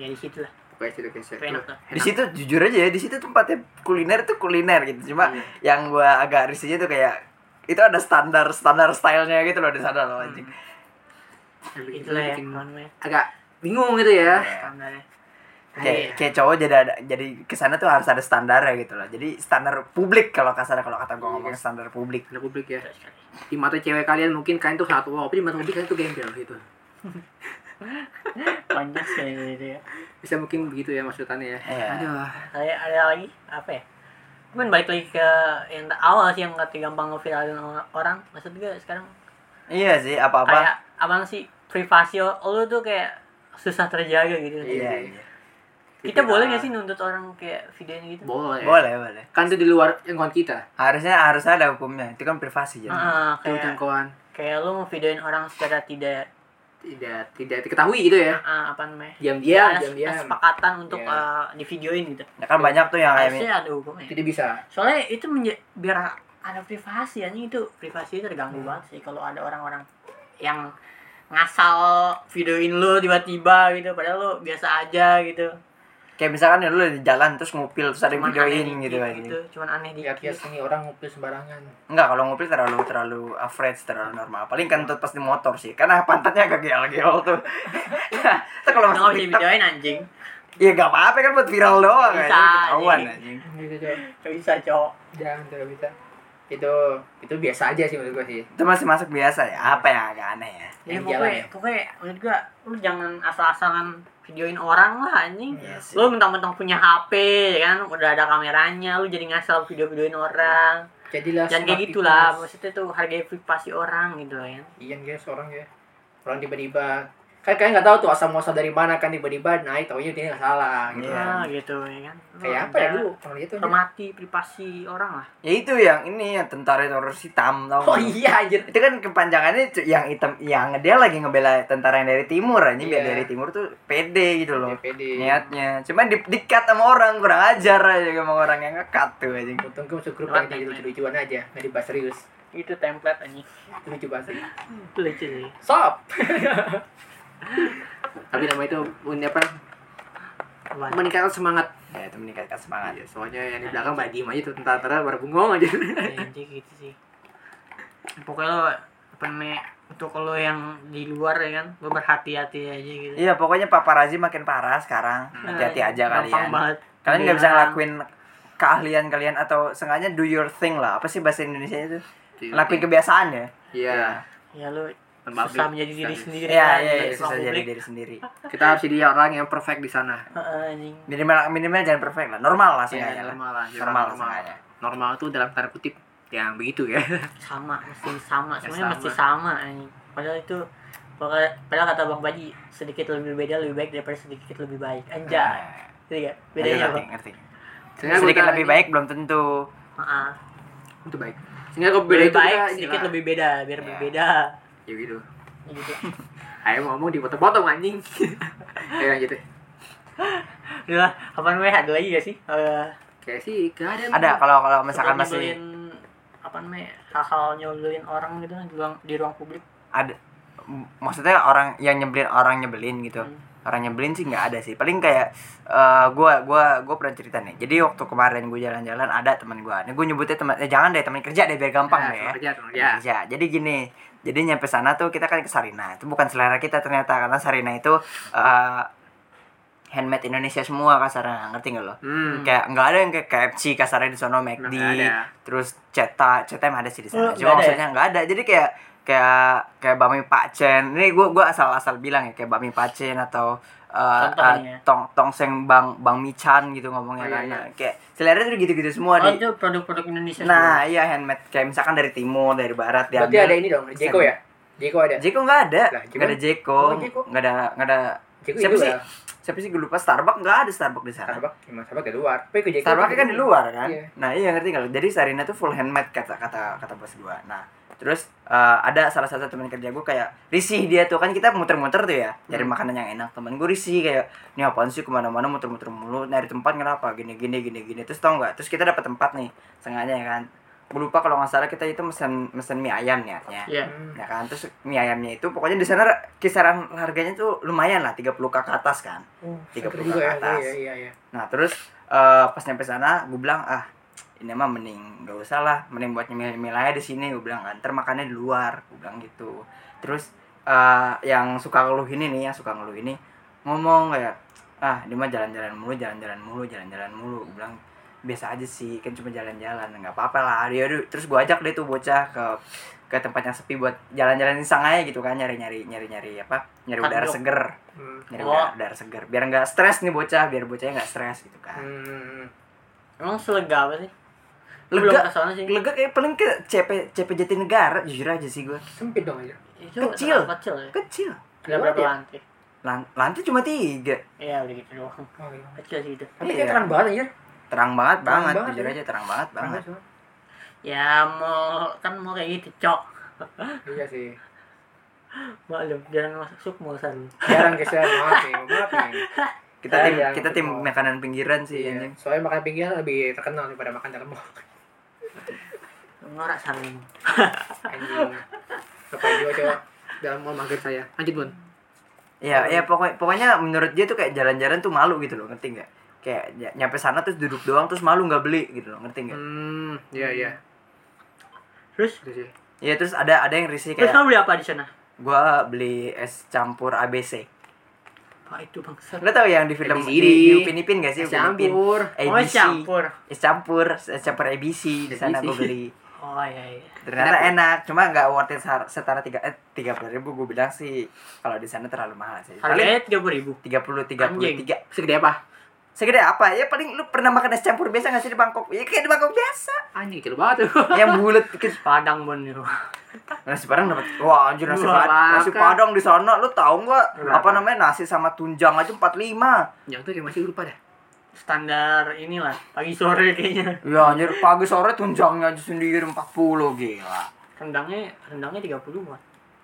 Speaker 1: ya di situ lah
Speaker 2: pokoknya situ guys ya.
Speaker 1: Itu enak tuh.
Speaker 3: Di situ jujur aja ya, di situ tempatnya kuliner tuh kuliner gitu. Cuma
Speaker 2: Iya.
Speaker 3: yang gua agak risihnya tuh kayak itu ada standar standar stylenya gitu loh di sana loh anjing.
Speaker 1: itu lah Hmm. ya namanya
Speaker 2: agak bingung gitu ya
Speaker 3: Iya.
Speaker 1: standarnya
Speaker 3: kayak,
Speaker 1: Iya.
Speaker 3: kayak cowok jadi ada jadi kesana tuh harus ada standarnya gitu loh jadi standar publik kalau kasar kalau kata gue ngomong standar publik
Speaker 2: ada publik ya
Speaker 1: Terus kali.
Speaker 2: di mata cewek kalian mungkin kalian tuh satu tapi di mata publik kalian tuh gembel gitu
Speaker 1: panjang sekali gitu ya
Speaker 2: bisa mungkin begitu ya maksudannya ya
Speaker 3: Iya.
Speaker 2: aduh
Speaker 1: Kayak ada lagi apa ya? Mungkin balik lagi ke yang ta- awal sih yang kata gampang ngeviralin o- orang. Maksud gue sekarang
Speaker 3: iya sih apa apa
Speaker 1: kayak abang sih privasi lo lo tuh kayak susah terjaga gitu.
Speaker 3: iya iya.
Speaker 1: Kita boleh gak sih nuntut orang kayak videonya gitu?
Speaker 2: boleh
Speaker 3: boleh boleh
Speaker 2: kan tuh di luar jangkauan kita
Speaker 3: harusnya harus ada hukumnya itu kan privasi jadi
Speaker 1: Heeh,
Speaker 2: tuh
Speaker 1: Ah, kayak
Speaker 2: jangkauan
Speaker 1: kayak lo ngevideoin orang secara tidak
Speaker 2: tidak tidak diketahui gitu ya
Speaker 1: ah, apa namanya?
Speaker 2: diam-diam
Speaker 1: ada
Speaker 2: diam-diam
Speaker 1: kesepakatan untuk
Speaker 2: Iya.
Speaker 1: eh, divideoin gitu.
Speaker 3: Ya kan banyak tuh yang kayak
Speaker 1: Harusnya ada hukumnya.
Speaker 2: tidak bisa
Speaker 1: Soalnya itu menja- biar ada privasi anjing itu privasi terganggu banget sih kalau ada orang-orang yang ngasal videoin lu tiba-tiba gitu padahal lu biasa aja gitu.
Speaker 3: kayak misalkan ya lu di jalan terus ngupil terus ada yang
Speaker 1: Cuman
Speaker 3: videoin
Speaker 1: aneh
Speaker 3: gitu
Speaker 1: dikit
Speaker 3: kan
Speaker 1: Cuman aneh
Speaker 2: lihat
Speaker 1: dikit.
Speaker 2: sini orang ngumpul sembarangan
Speaker 3: enggak kalau ngupil terlalu terlalu average terlalu normal paling kentut pas di motor sih karena pantatnya agak geol-geol tuh Ntar
Speaker 1: Nggak
Speaker 3: kalau
Speaker 1: bisa
Speaker 3: masuk TikTok
Speaker 1: videoin anjing.
Speaker 3: ya gak apa-apa kan buat viral doang
Speaker 1: Bisa,
Speaker 3: anjing ketahuan
Speaker 1: anjing.
Speaker 3: anjing
Speaker 2: gitu cok
Speaker 1: Nggak bisa, Cok.
Speaker 2: jangan tidak bisa itu itu biasa aja sih menurut gue sih
Speaker 3: itu masih masuk biasa ya apa yang agak aneh ya
Speaker 1: Ya
Speaker 2: Yang
Speaker 1: pokoknya,
Speaker 2: jalan
Speaker 1: pokoknya menurut gua lu jangan asal-asalan videoin orang lah anjing.
Speaker 3: Iya sih.
Speaker 1: Lu mentang-mentang punya HP ya kan udah ada kameranya lu jadi ngasal video-videoin orang.
Speaker 2: jadilah
Speaker 1: Jangan kayak gitulah, maksudnya tuh harga privasi orang gitu loh ya.
Speaker 2: iya guys orang ya orang tiba-tiba kan kalian nggak tahu tuh asal muasal dari mana kan tiba-tiba naik taunya dia nggak salah gitu
Speaker 3: Iya.
Speaker 1: Ya gitu ya kan. Lu
Speaker 2: kayak apa ya
Speaker 1: jangan
Speaker 2: dulu orang itu
Speaker 1: Hormati privasi orang lah.
Speaker 3: ya itu yang ini yang tentara teroris hitam tau
Speaker 2: oh
Speaker 3: nggak?
Speaker 2: iya anjir
Speaker 3: itu kan kepanjangannya cu- yang hitam yang dia lagi ngebela tentara yang dari timur aja biar
Speaker 2: Iya.
Speaker 3: dari timur tuh pede gitu loh
Speaker 2: DPD
Speaker 3: niatnya cuman di, di cut sama orang kurang ajar aja sama orang yang ngekat tuh aja
Speaker 2: untung gue masuk grup
Speaker 1: Lewat
Speaker 2: yang jadi
Speaker 1: template.
Speaker 2: lucu-lucuan aja nggak dibahas serius
Speaker 1: Itu template anjing.
Speaker 2: Itu lucu banget sih
Speaker 1: Itu lucu sih.
Speaker 2: sop tapi nama itu ini apa
Speaker 1: Apaan?
Speaker 2: meningkatkan semangat
Speaker 3: ya itu meningkatkan semangat
Speaker 2: Iya, soalnya yang di belakang pada diem aja tuh tentara-tentara pada bengong aja.
Speaker 1: Anjing gitu sih. Pokoknya lo apa namanya, untuk lo yang di luar ya kan, lo berhati-hati aja gitu.
Speaker 3: iya pokoknya paparazi makin parah sekarang hati-hati aja
Speaker 1: Hmm. Nah, Gampang
Speaker 3: kalian
Speaker 1: banget. Iya.
Speaker 3: kalian nggak bisa
Speaker 1: Bilang,
Speaker 3: ngelakuin keahlian kalian atau sengaja do your thing lah apa sih bahasa Indonesia itu ngelakuin kebiasaan ya
Speaker 2: Iya.
Speaker 1: Ya lo
Speaker 2: Membabi.
Speaker 1: susah menjadi diri sendiri
Speaker 3: iya
Speaker 1: kan, di
Speaker 3: iya iya,
Speaker 1: ruang
Speaker 3: susah jadi
Speaker 1: publik.
Speaker 3: diri sendiri
Speaker 2: Kita harus jadi orang yang perfect di sana.
Speaker 1: Heeh, anjing.
Speaker 3: minimal minimal jangan perfect lah normal lah
Speaker 2: Iya,
Speaker 3: seenggaknya lah
Speaker 2: normal lah.
Speaker 3: normal
Speaker 2: normal. Iya.
Speaker 3: seenggaknya
Speaker 2: Normal tuh dalam tanda kutip yang begitu ya.
Speaker 1: sama mesti sama
Speaker 2: Ya,
Speaker 1: semuanya
Speaker 2: sama.
Speaker 1: mesti sama anjing padahal itu pokoknya- padahal kata bang Baji sedikit lebih beda lebih baik daripada sedikit lebih baik anjay gitu ya bedanya apa
Speaker 3: bedanya Nah, Iya. ngerti, ngerti.
Speaker 2: Sebenarnya
Speaker 3: sedikit
Speaker 2: gua
Speaker 3: lebih
Speaker 2: tanya-
Speaker 3: baik belum tentu
Speaker 1: Heeh.
Speaker 2: Itu baik. Sehingga kalau beda
Speaker 1: lebih
Speaker 2: itu
Speaker 1: baik
Speaker 2: kita ini
Speaker 1: sedikit
Speaker 2: lah.
Speaker 1: lebih beda biar
Speaker 3: Ya.
Speaker 1: berbeda
Speaker 2: Ya gitu.
Speaker 1: gitu
Speaker 2: Ayo ngomong dipotong-potong anjing. Ya lanjut. deh.
Speaker 1: udah apa namanya ada lagi gak sih Eh,
Speaker 2: kayak sih gak ada
Speaker 3: Ada kalau kalau misalkan
Speaker 1: Suka
Speaker 3: masih
Speaker 1: nyebelin, apa namanya hal-hal nyebelin orang gitu kan di ruang, di ruang publik
Speaker 3: ada m- maksudnya orang yang nyebelin orang nyebelin gitu.
Speaker 1: Hmm.
Speaker 3: Orang nyebelin sih nggak ada sih. Paling kayak eh, gua gua gua pernah cerita nih. Jadi waktu kemarin gua jalan-jalan ada teman gua. Ini gua nyebutnya teman eh, jangan deh teman kerja deh biar gampang deh ya.
Speaker 2: kerja teman kerja
Speaker 3: Iya. Jadi gini, jadi nyampe sana tuh kita kan ke Sarina. Itu bukan selera kita ternyata karena Sarina itu eh, handmade Indonesia semua kasarnya. Ngerti nggak lo?
Speaker 2: hmm
Speaker 3: Kayak nggak ada yang kayak KFC kasarnya di sono McD,
Speaker 2: nggak ada.
Speaker 3: terus Ceta, Ceta emang ada sih di
Speaker 1: Oh,
Speaker 3: sana.
Speaker 1: nggak
Speaker 3: Cuma
Speaker 1: ada ya?
Speaker 3: maksudnya nggak ada. Jadi kayak kayak kayak bami pacen. Ini gua gua asal-asal bilang ya kayak bami pacen atau eh,
Speaker 1: Contohnya.
Speaker 3: eh, tong tongseng bang bang michan gitu
Speaker 2: Oh,
Speaker 3: ngomongnya
Speaker 2: iya, gitu.
Speaker 3: kan. Nah, Kayak selera tuh gitu-gitu semua
Speaker 1: oh
Speaker 3: di
Speaker 1: itu produk-produk Indonesia
Speaker 3: Nah, iya handmade kayak misalkan dari timur, dari barat dia.
Speaker 2: berarti ada ini dong Jeko ya Jeko ada
Speaker 3: Jeko enggak ada.
Speaker 2: Lah, Jeko-
Speaker 3: Enggak ada Jeko,
Speaker 2: Oh, Jeko.
Speaker 3: enggak ada enggak ada
Speaker 2: Jeko
Speaker 3: Siapa
Speaker 2: itu
Speaker 3: sih?
Speaker 2: lah
Speaker 3: siapa sih gue lupa Starbucks enggak ada Starbucks di sana.
Speaker 2: Starbucks gimana Starbucks di luar tapi ke Jeko
Speaker 3: Starbucks kan di luar kan.
Speaker 2: Iya.
Speaker 3: Nah, iya ngerti kalau Jadi Sarina tuh full handmade kata kata kata bos gua. Nah, terus eh, ada salah satu teman kerja gue kayak risih dia tuh kan kita muter-muter tuh ya nyari makanan yang enak temen gue risih kayak ini apaan sih kemana-mana muter-muter mulu nyari tempat kenapa gini gini gini gini terus tau nggak terus kita dapat tempat nih sengaja ya kan gue lupa kalau nggak salah kita itu mesen mesen mie ayam niatnya
Speaker 1: Iya.
Speaker 2: Hmm.
Speaker 3: ya kan terus mie ayamnya itu pokoknya di sana kisaran harganya tuh lumayan lah 30 k ke atas kan
Speaker 2: Oh,
Speaker 3: 30
Speaker 2: seger juga
Speaker 3: ke
Speaker 2: ya.
Speaker 3: atas.
Speaker 2: Iya, iya, iya.
Speaker 3: nah terus eh, pas nyampe sana gue bilang ah ini mah mending gak usah lah mending buat nyemil nyemil aja di sini gue bilang kan "Ntar makannya di luar gue bilang gitu terus eh, yang suka ngeluh ini nih yang suka ngeluh ini ngomong kayak ah ini mah jalan-jalan mulu jalan-jalan mulu jalan-jalan mulu gue bilang biasa aja sih kan cuma jalan-jalan nggak apa-apa lah dia terus gue ajak deh tuh bocah ke ke tempat yang sepi buat jalan-jalan iseng aja gitu kan nyari-nyari nyari-nyari apa nyari
Speaker 1: Kan
Speaker 3: udara
Speaker 1: dok.
Speaker 3: seger
Speaker 2: Hmm.
Speaker 3: nyari
Speaker 1: Oh.
Speaker 3: udara, udara seger biar nggak stres nih bocah biar bocahnya nggak stres gitu kan
Speaker 2: Hmm.
Speaker 1: emang selega apa sih Lu belum
Speaker 3: lega
Speaker 1: kesana sih
Speaker 3: lega kayak paling ke CP CP Jatinegara jujur aja sih gue
Speaker 2: Sempit dong ya? aja.
Speaker 1: itu
Speaker 3: Kecil.
Speaker 1: terlalu kecil ya
Speaker 3: kecil
Speaker 1: ada berapa lantai
Speaker 3: Lan- lantai cuma tiga
Speaker 1: iya udah gitu doang
Speaker 2: Oh, iya.
Speaker 1: kecil sih itu
Speaker 2: Tapi
Speaker 3: Iya.
Speaker 2: kayak terang banget anjir.
Speaker 3: terang banget
Speaker 2: Terang
Speaker 3: banget
Speaker 2: banget,
Speaker 3: jujur
Speaker 2: ya.
Speaker 3: aja terang banget banget
Speaker 2: Terang
Speaker 1: ya mau kan mau kayak gitu cok
Speaker 2: banget. Iya sih.
Speaker 1: maklum jangan masuk sukmosan
Speaker 2: Jarang geser banget nih, banget nih.
Speaker 3: kita
Speaker 2: Eh,
Speaker 3: tim
Speaker 2: yang
Speaker 3: kita tim
Speaker 2: kedua.
Speaker 3: makanan pinggiran sih
Speaker 2: Iya.
Speaker 3: anjing
Speaker 2: Soalnya makan pinggiran lebih terkenal daripada makan dalam mall.
Speaker 1: norak saling
Speaker 2: Anjing. Apa juga coba dalam mall mager saya. Lanjut, Bun.
Speaker 3: Ya, ya pokoknya, pokoknya menurut dia tuh kayak jalan-jalan tuh malu gitu loh, ngerti nggak? Kayak ny- nyampe sana terus duduk doang terus malu nggak beli gitu loh, ngerti nggak?
Speaker 2: Hmm, iya iya.
Speaker 1: terus
Speaker 2: Itu sih.
Speaker 3: Ya terus ada ada yang risih
Speaker 1: terus
Speaker 3: kayak
Speaker 1: kamu beli apa di sana
Speaker 3: gua beli es campur ABC.
Speaker 1: Wah itu bangsa
Speaker 3: Lo tau yang di film
Speaker 2: ABCD.
Speaker 3: di, di Upin Ipin gak sih?
Speaker 2: Es
Speaker 3: Upin Ipin.
Speaker 2: campur.
Speaker 1: Oh
Speaker 3: ABC.
Speaker 1: campur
Speaker 3: Es campur, es campur ABC di sana
Speaker 2: ABC.
Speaker 3: gua beli.
Speaker 1: Oh iya iya
Speaker 3: Ternyata enak, cuma nggak worth it sar- setara tiga eh tiga puluh ribu gue bilang sih kalau di sana terlalu mahal sih. Paling
Speaker 1: Harganya tiga puluh ribu
Speaker 3: tiga puluh tiga puluh
Speaker 1: ya? Anjing.
Speaker 3: tiga.
Speaker 2: Segede apa?
Speaker 3: Segede apa? Ya paling lu pernah makan es campur biasa nggak sih di Bangkok? Ya kayak di Bangkok biasa.
Speaker 2: Anjing kecil banget tuh.
Speaker 3: yang bulat dikit
Speaker 1: Padang bon itu
Speaker 3: nasi padang dapat wah anjir nasi
Speaker 2: Wah,
Speaker 3: padang nasi
Speaker 2: makan.
Speaker 3: padang di sana lu tahu nggak
Speaker 2: Berapa?
Speaker 3: apa namanya nasi sama tunjang aja 45
Speaker 2: Yang tuh kayak masih lupa dah.
Speaker 1: Standar inilah Pagi sore kayaknya
Speaker 3: ya anjir pagi sore tunjangnya aja sendiri 40 gila
Speaker 1: Rendangnya Rendangnya tiga puluh an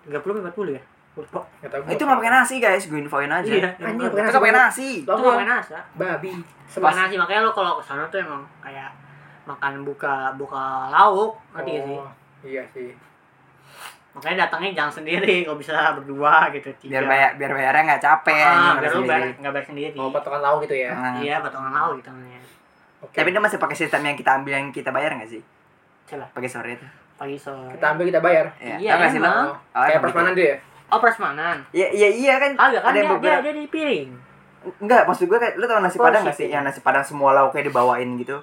Speaker 1: Tiga puluh empat puluh ya Lupa
Speaker 2: Enggak tahu.
Speaker 3: itu nggak pakai nasi guys gue infoin aja
Speaker 1: Iya
Speaker 2: Anjing,
Speaker 1: itu
Speaker 2: pakai
Speaker 3: itu nggak pakai nasi
Speaker 2: Bang,
Speaker 1: nggak pakai nasi ya.
Speaker 2: babi.
Speaker 1: Pakai
Speaker 2: Semas.
Speaker 1: nasi makanya lo kalau kesana tuh emang kayak Makan buka buka lauk Ngerti gak sih
Speaker 2: Oh, Iya sih.
Speaker 1: Makanya datangnya jangan sendiri Kalau bisa berdua gitu tiga.
Speaker 3: biar bayar biar bayarnya nggak capek
Speaker 1: Ah,
Speaker 3: anjing,
Speaker 1: biar
Speaker 3: harus
Speaker 1: lo
Speaker 3: sendiri. Oh,
Speaker 1: bayar, nggak bayar sendiri
Speaker 2: Mau potongan lauk gitu ya.
Speaker 3: Nah,
Speaker 1: Iya potongan lauk gitu namanya
Speaker 2: Oke.
Speaker 3: tapi dia masih pakai sistem yang kita ambil yang kita bayar nggak sih
Speaker 1: Coba
Speaker 3: pakai sore itu
Speaker 1: pagi sore
Speaker 2: Kita ambil kita bayar.
Speaker 3: Iya,
Speaker 1: Iya,
Speaker 3: tau nggak sih lo?
Speaker 1: emang.
Speaker 2: Oh,
Speaker 3: Oh,
Speaker 2: kayak
Speaker 3: emang
Speaker 2: persemanan
Speaker 3: gitu.
Speaker 2: tuh ya.
Speaker 1: Oh prasmanan
Speaker 3: Iya, iya, iya kan.
Speaker 1: Kagak kan iya.
Speaker 3: Ada yang
Speaker 1: dia, dia,
Speaker 3: beberapa-
Speaker 1: dia di piring
Speaker 3: Enggak, maksud gue kayak lu tau nasi
Speaker 1: Oh,
Speaker 3: padang nggak
Speaker 1: sih.
Speaker 3: sih? Yang nasi padang semua lauknya dibawain gitu.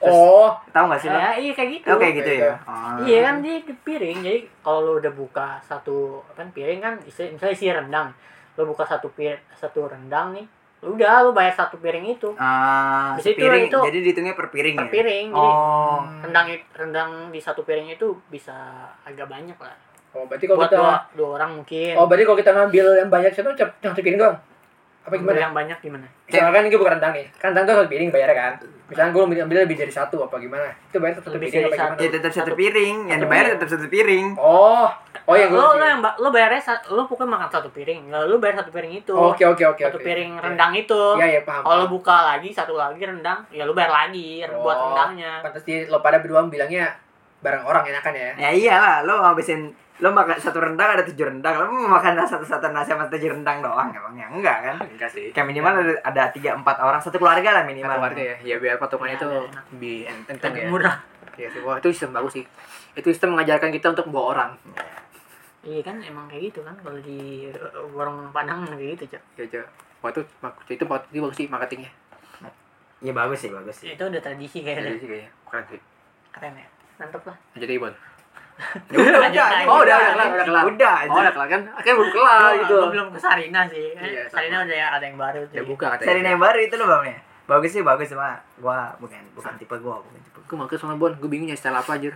Speaker 3: Terus-
Speaker 2: Oh,
Speaker 3: Tahu nggak sih lo?
Speaker 1: Ya, iya kayak gitu
Speaker 3: Oke gitu
Speaker 2: Iya.
Speaker 3: ya. Oh.
Speaker 1: Iya kan dia di piring. Jadi kalau lu udah buka satu kan piring kan isi, misalnya isi rendang. Lu buka satu pir satu rendang nih. Udah lu bayar satu piring itu.
Speaker 3: Ah,
Speaker 1: Di situ
Speaker 3: sepiring.
Speaker 1: itu-
Speaker 3: Jadi dihitungnya per piring
Speaker 1: Per
Speaker 3: ya.
Speaker 1: piring. Jadi
Speaker 3: Oh.
Speaker 1: rendang rendang di satu piring itu bisa agak banyak lah.
Speaker 2: Oh, berarti kalau
Speaker 1: Buat
Speaker 2: kita
Speaker 1: dua, dua orang mungkin.
Speaker 6: Oh,
Speaker 2: Oh, berarti kalau kita ngambil yang banyak itu cep- yang satu piring doang.
Speaker 6: apa gimana
Speaker 1: yang banyak gimana
Speaker 6: misalkan kan gue bukan rendang nih kan rendang tuh harus piring bayarnya kan misalkan gue ambil, ambil lebih dari satu apa gimana itu bayar satu
Speaker 1: Lebih
Speaker 6: piring
Speaker 1: dari
Speaker 6: apa gimana
Speaker 1: satu.
Speaker 3: ya tetap satu piring yang dibayar tetap satu piring
Speaker 6: oh oh yang gue
Speaker 1: lo lo yang ba- lo bayarnya sa- lo pokoknya makan satu piring Nah, lo lo bayar satu piring itu
Speaker 6: oke oke oke
Speaker 1: satu
Speaker 6: oke.
Speaker 1: piring
Speaker 6: Iya.
Speaker 1: rendang itu
Speaker 6: iya iya paham
Speaker 1: kalau lo buka lagi satu lagi rendang ya lo bayar lagi
Speaker 6: Oh.
Speaker 1: buat rendangnya
Speaker 6: pantas dia lo pada berdua bilangnya bareng orang enakan ya
Speaker 3: ya iyalah lo ngabisin lo makan satu rendang ada tujuh rendang lo mau makan satu satu nasi sama tujuh rendang doang emang ya enggak kan
Speaker 2: enggak sih
Speaker 3: kayak minimal ada, ada tiga empat orang satu keluarga iya. lah minimal
Speaker 2: Minimal warga ya, ya biar patungan
Speaker 1: Ya,
Speaker 2: itu
Speaker 1: biar enak.
Speaker 2: lebih enteng
Speaker 1: lebih
Speaker 2: ya.
Speaker 1: murah
Speaker 2: Iya sih, wah itu sistem bagus sih. Itu sistem mengajarkan kita untuk bawa orang.
Speaker 1: iya kan emang kayak gitu kan kalau di eh, warung padang kayak gitu cok
Speaker 2: Ya, Jo. Wah itu bagus, itu bagus itu bagus sih marketingnya.
Speaker 3: ya bagus sih bagus
Speaker 2: Iya.
Speaker 3: sih
Speaker 1: itu udah tradisi
Speaker 2: Jadi
Speaker 6: Iya.
Speaker 1: kayaknya
Speaker 2: Iya sih kayaknya keren sih.
Speaker 1: keren ya mantep lah
Speaker 2: Jadi Ibon.
Speaker 3: Ya udah
Speaker 1: Lanjut
Speaker 3: udah
Speaker 1: lagi.
Speaker 3: oh udah udah
Speaker 2: Udah,
Speaker 3: kelar, udah
Speaker 2: kelar.
Speaker 3: udah
Speaker 2: Oh, udah
Speaker 3: udah
Speaker 2: kelar kan? Akhirnya belum
Speaker 6: Ah,
Speaker 2: kelar
Speaker 1: Gua-
Speaker 2: gitu.
Speaker 1: gua belum ke Sarina sih Kan
Speaker 2: Iya, sama.
Speaker 1: Sarina udah ada yang baru tuh
Speaker 2: Ya buka katanya.
Speaker 3: seri yang baru itu lo bang ya bagus sih bagus cuma gua bukan bukan tipe gua bukan tipe gua
Speaker 2: Gue mager soalnya Bon, gue bingung ya style apa anjir.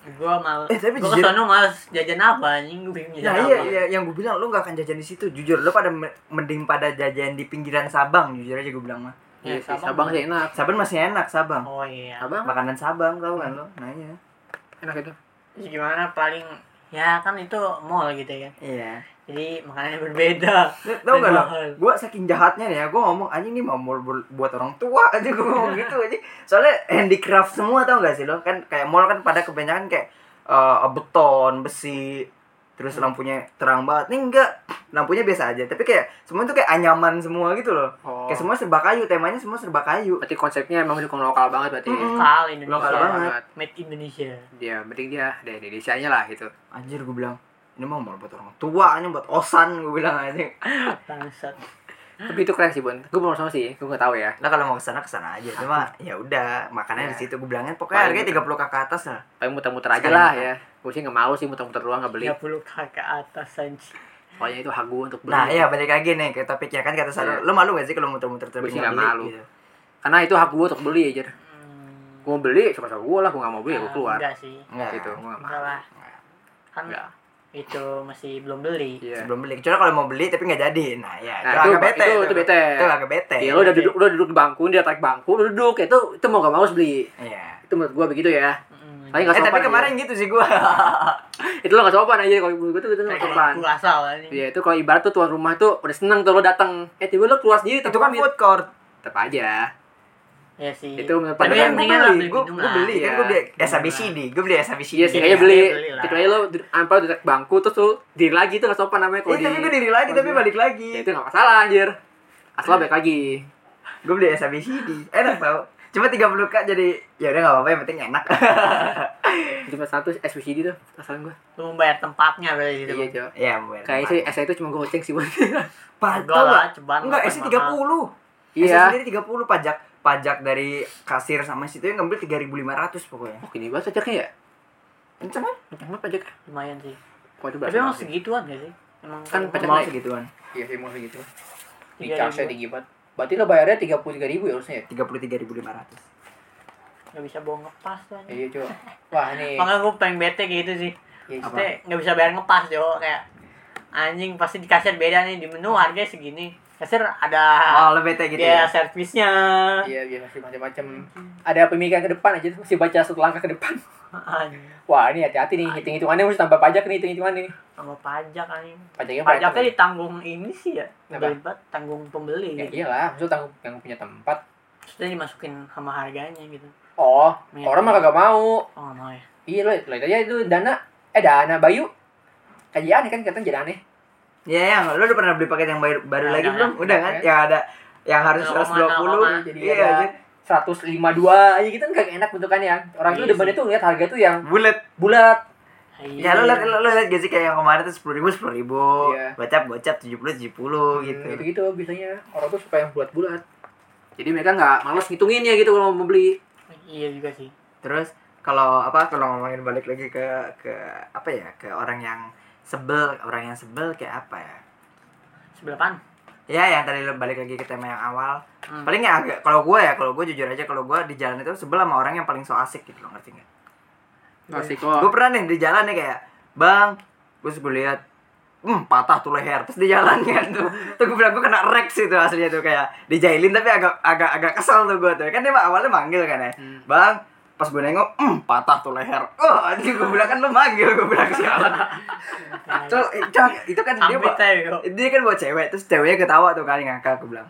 Speaker 1: gue mal
Speaker 3: Eh, tapi
Speaker 1: gue
Speaker 3: jujur-
Speaker 1: kesana mas jajan apa anjing gue bingung
Speaker 3: Nah
Speaker 1: jajan
Speaker 3: iya,
Speaker 1: apa
Speaker 3: iya, yang gue bilang lo gak akan jajan di situ. Jujur, lo pada me- mending pada jajan di pinggiran Sabang. Jujur aja gue bilang mah.
Speaker 1: Ya,
Speaker 2: Iya sih,
Speaker 1: Sabang.
Speaker 2: Sabang sih enak.
Speaker 3: Sabang masih enak Sabang.
Speaker 1: oh iya
Speaker 2: Abang
Speaker 3: Makanan Sabang tau kan lo? Nah iya.
Speaker 2: enak itu.
Speaker 1: Terus gimana paling ya kan itu mall gitu ya
Speaker 3: Iya.
Speaker 1: jadi makanannya berbeda
Speaker 3: Lo
Speaker 1: Dan
Speaker 3: Tau gak lo?
Speaker 1: mahal.
Speaker 3: Gue saking jahatnya nih ya. Gue ngomong anjing ini mau mall bu- buat orang tua aja gue ngomong gitu aja. Soalnya handicraft semua tau gak sih lo? Kan kayak mall kan pada kebanyakan kayak eh, beton, besi, terus lampunya terang banget. Nih enggak, lampunya biasa aja. Tapi kayak semua tuh kayak anyaman semua gitu loh.
Speaker 2: Oh.
Speaker 3: Kayak semua serba kayu, temanya semua serba kayu.
Speaker 2: Berarti konsepnya emang dukung lokal banget berarti. ya.
Speaker 3: Mm-mm.
Speaker 1: lokal Indonesia
Speaker 3: Lokal banget.
Speaker 1: made Indonesia
Speaker 2: Dia penting dia dari Indonesia nya lah gitu.
Speaker 3: anjir gue bilang ini mah mau buat orang tua ini buat osan gue bilang aja
Speaker 1: bangsat
Speaker 2: Tapi itu keren sih Bon. Gue belum sama sih, gue gak tahu ya.
Speaker 3: lah kalau mau kesana kesana aja cuma ya udah makannya
Speaker 2: Ya.
Speaker 3: di situ gue bilangnya pokoknya harganya
Speaker 2: Paling gitu.
Speaker 3: tiga puluh ke atas lah
Speaker 2: Paling muter-muter aja
Speaker 3: Sekali
Speaker 2: lah
Speaker 3: makan.
Speaker 2: ya. Gue sih gak mau sih muter-muter doang gak beli.
Speaker 1: 30 k ke atas anjing
Speaker 2: Soalnya itu hak gue untuk beli.
Speaker 3: nah iya balik lagi nih ke topiknya kan kata
Speaker 2: Iya.
Speaker 3: selalu lo malu gak sih kalau muter-muter
Speaker 2: Gua
Speaker 3: tapi
Speaker 2: sih nggak
Speaker 3: nggak
Speaker 2: malu.
Speaker 3: malu gitu.
Speaker 2: Karena itu hak gue untuk beli aja.
Speaker 1: Hmm,
Speaker 2: Gue mau beli, suka-suka gue lah. Gue gak mau beli, ya
Speaker 1: eh,
Speaker 2: gue
Speaker 3: Nah,
Speaker 2: keluar.
Speaker 1: enggak sih
Speaker 3: Nggak.
Speaker 2: Gitu, gue gak mau.
Speaker 1: enggak lah kan
Speaker 2: Enggak.
Speaker 1: itu masih belum beli
Speaker 2: Iya.
Speaker 3: sebelum beli kecuali kalau mau beli tapi nggak jadi nah ya
Speaker 2: Nah,
Speaker 3: itu,
Speaker 2: itu-
Speaker 3: agak bete
Speaker 2: itu- itu bete.
Speaker 3: itu agak bete
Speaker 2: Ya lo udah duduk, lo duduk di bangku, dia tarik bangku, lo duduk. Ya, itu itu mau gak mau harus beli.
Speaker 3: Iya.
Speaker 2: Itu menurut gue begitu ya.
Speaker 1: Mm,
Speaker 2: Tapi
Speaker 3: Eh
Speaker 2: gak sopan.
Speaker 3: tapi
Speaker 2: aja.
Speaker 3: kemarin gitu sih gue
Speaker 2: itu lo gak sopan aja kalau menurut gue tuh itu gak
Speaker 1: kayak
Speaker 2: sopan.
Speaker 1: gua asal anjing.
Speaker 2: Iya itu kalau ibarat tuh tuan rumah tuh udah seneng tuh lo datang. Eh tiba lo keluar sendiri
Speaker 3: itu kan
Speaker 2: tapi-
Speaker 3: food court
Speaker 2: tetap aja.
Speaker 1: Iya sih
Speaker 2: Itu menurut
Speaker 1: tapi yang
Speaker 2: pandangan
Speaker 3: kan
Speaker 1: penting lah
Speaker 3: gue
Speaker 1: beli
Speaker 3: beli gue
Speaker 1: minum
Speaker 3: gue
Speaker 1: lah.
Speaker 3: beli kan
Speaker 2: Iya.
Speaker 3: gue beli SABCD gue beli SABCD
Speaker 2: Iya sih
Speaker 1: Iya,
Speaker 2: kayaknya beli.
Speaker 1: beli lah.
Speaker 2: Kecuali lo duduk- apa lo duduk bangku terus lo diri lagi itu gak sopan namanya kalau
Speaker 3: Iya,
Speaker 2: di.
Speaker 3: tapi gue diri lagi,
Speaker 2: kalau
Speaker 3: tapi
Speaker 2: di-
Speaker 3: balik
Speaker 2: Ya,
Speaker 3: lagi.
Speaker 2: itu gak masalah anjir. Asal balik lagi.
Speaker 3: gue beli SABCD enak tau cuma 30 k jadi ya udah nggak apa-apa yang penting enak
Speaker 2: Cuma satu SVCD tuh perasaan gue.
Speaker 1: lu membayar tempatnya berarti gitu
Speaker 2: Iya coba.
Speaker 3: ya mungkin
Speaker 2: Kayaknya sih SA itu cuma goceng sih buat. Iya.
Speaker 1: Enggak lah, ceban
Speaker 3: enggak
Speaker 1: lah,
Speaker 3: SC
Speaker 1: mahal.
Speaker 3: 30
Speaker 2: Iya.
Speaker 3: SC sendiri 30 pajak pajak dari kasir sama situ yang ngambil 3500 pokoknya
Speaker 2: Oh gini banget pajaknya ya?
Speaker 3: kenceng kan
Speaker 2: Kenapa pajaknya?
Speaker 1: lumayan sih
Speaker 2: Waduh
Speaker 1: tapi emang segituan gak sih emang
Speaker 2: Kan
Speaker 1: kalau
Speaker 2: pajak
Speaker 1: mau
Speaker 3: mau
Speaker 2: naik.
Speaker 3: segituan
Speaker 2: Iya sih mau segitu.
Speaker 1: Tiga
Speaker 2: Dicasnya
Speaker 1: ribu.
Speaker 2: tinggi banget. Berarti lo bayarnya tiga puluh tiga ribu ya harusnya. ya?
Speaker 3: 33500
Speaker 1: nggak bisa bawa ngepas tuh anjing.
Speaker 2: Iya coba. Wah nih.
Speaker 1: makanya gue pengen bete kayak gitu sih
Speaker 2: Iya,
Speaker 3: Apa?
Speaker 1: Maksudnya nggak bisa bayar ngepas jo kayak anjing pasti di kasir beda nih di menu harganya segini kasir ada
Speaker 3: oh lebih bete gitu
Speaker 1: ya
Speaker 3: ya
Speaker 1: servisnya
Speaker 2: Iya, biasa sih macam-macam. Ada pemikiran ke depan aja terus masih baca satu langkah ke depan.
Speaker 1: Anjing,
Speaker 2: Wah, ini hati-hati nih hitung-hitungannya mesti tambah pajak nih hitung-hitungan nih.
Speaker 1: sama pajak anjing
Speaker 2: Pajaknya berapa?
Speaker 1: pajaknya ditanggung ini sih ya
Speaker 2: Apa?
Speaker 1: berlipat tanggung pembeli
Speaker 3: Iya,
Speaker 2: Ya
Speaker 1: gitu
Speaker 2: iyalah, maksud tanggung yang punya tempat.
Speaker 1: Terus dia dimasukin sama harganya gitu
Speaker 2: Oh,
Speaker 1: Iya.
Speaker 2: orang mah kagak mau.
Speaker 1: oh nggak mau ya
Speaker 2: Iya lo, lo itu aja itu dana eh dana Bayu. Kajian kan katanya jadi aneh.
Speaker 3: ya yang lu udah pernah beli paket yang baru, baru
Speaker 1: Ya,
Speaker 3: lagi
Speaker 1: udah,
Speaker 3: belum udah kan
Speaker 2: Udah.
Speaker 3: yang ada yang harus
Speaker 1: Nol koma, nol
Speaker 3: 120
Speaker 1: koma.
Speaker 2: Jadi
Speaker 3: iya
Speaker 2: ada
Speaker 3: anjir.
Speaker 2: 152 aja gitu kan kagak enak bentukannya. Orang itu
Speaker 1: Iya
Speaker 2: depannya tuh lihat harga tuh yang
Speaker 3: bulat
Speaker 2: bulat.
Speaker 3: ya lo liat lo liat gak sih kayak yang kemarin tuh sepuluh ribu sepuluh ribu
Speaker 2: Iya.
Speaker 3: gocap gocap tujuh puluh tujuh puluh
Speaker 2: gitu.
Speaker 3: gitu
Speaker 2: gitu biasanya orang tuh suka yang bulat-bulat. Jadi mereka nggak males ngitunginnya gitu kalau mau beli.
Speaker 1: iya juga sih
Speaker 3: Terus kalau apa kalau ngomongin balik lagi ke ke apa ya ke orang yang sebel orang yang sebel kayak apa ya?
Speaker 1: sebelah pan
Speaker 3: Ya yang tadi lo balik lagi ke tema yang awal.
Speaker 1: Hmm.
Speaker 3: Paling ya agak kalau gue ya kalau gue jujur aja kalau gue di jalan itu sebel sama orang yang paling so asik gitu lo ngerti nggak?
Speaker 2: Masih
Speaker 3: Gue
Speaker 2: kok.
Speaker 3: pernah nih di jalan nih kayak bang, gue gue lihat hmm, patah tuh leher terus dia jalan kan tuh tuh gue bilang gue kena rex itu aslinya tuh kayak dijailin tapi agak agak agak kesel tuh gue tuh kan dia awalnya manggil kan ya bang pas gue nengok hmm, patah tuh leher oh anjing gue bilang kan lo manggil gue bilang sialan terus eh, Cang, itu kan dia
Speaker 1: Amit
Speaker 3: bawa,
Speaker 1: aja, yuk.
Speaker 3: dia kan bawa cewek terus ceweknya ketawa tuh kan ngakak gue bilang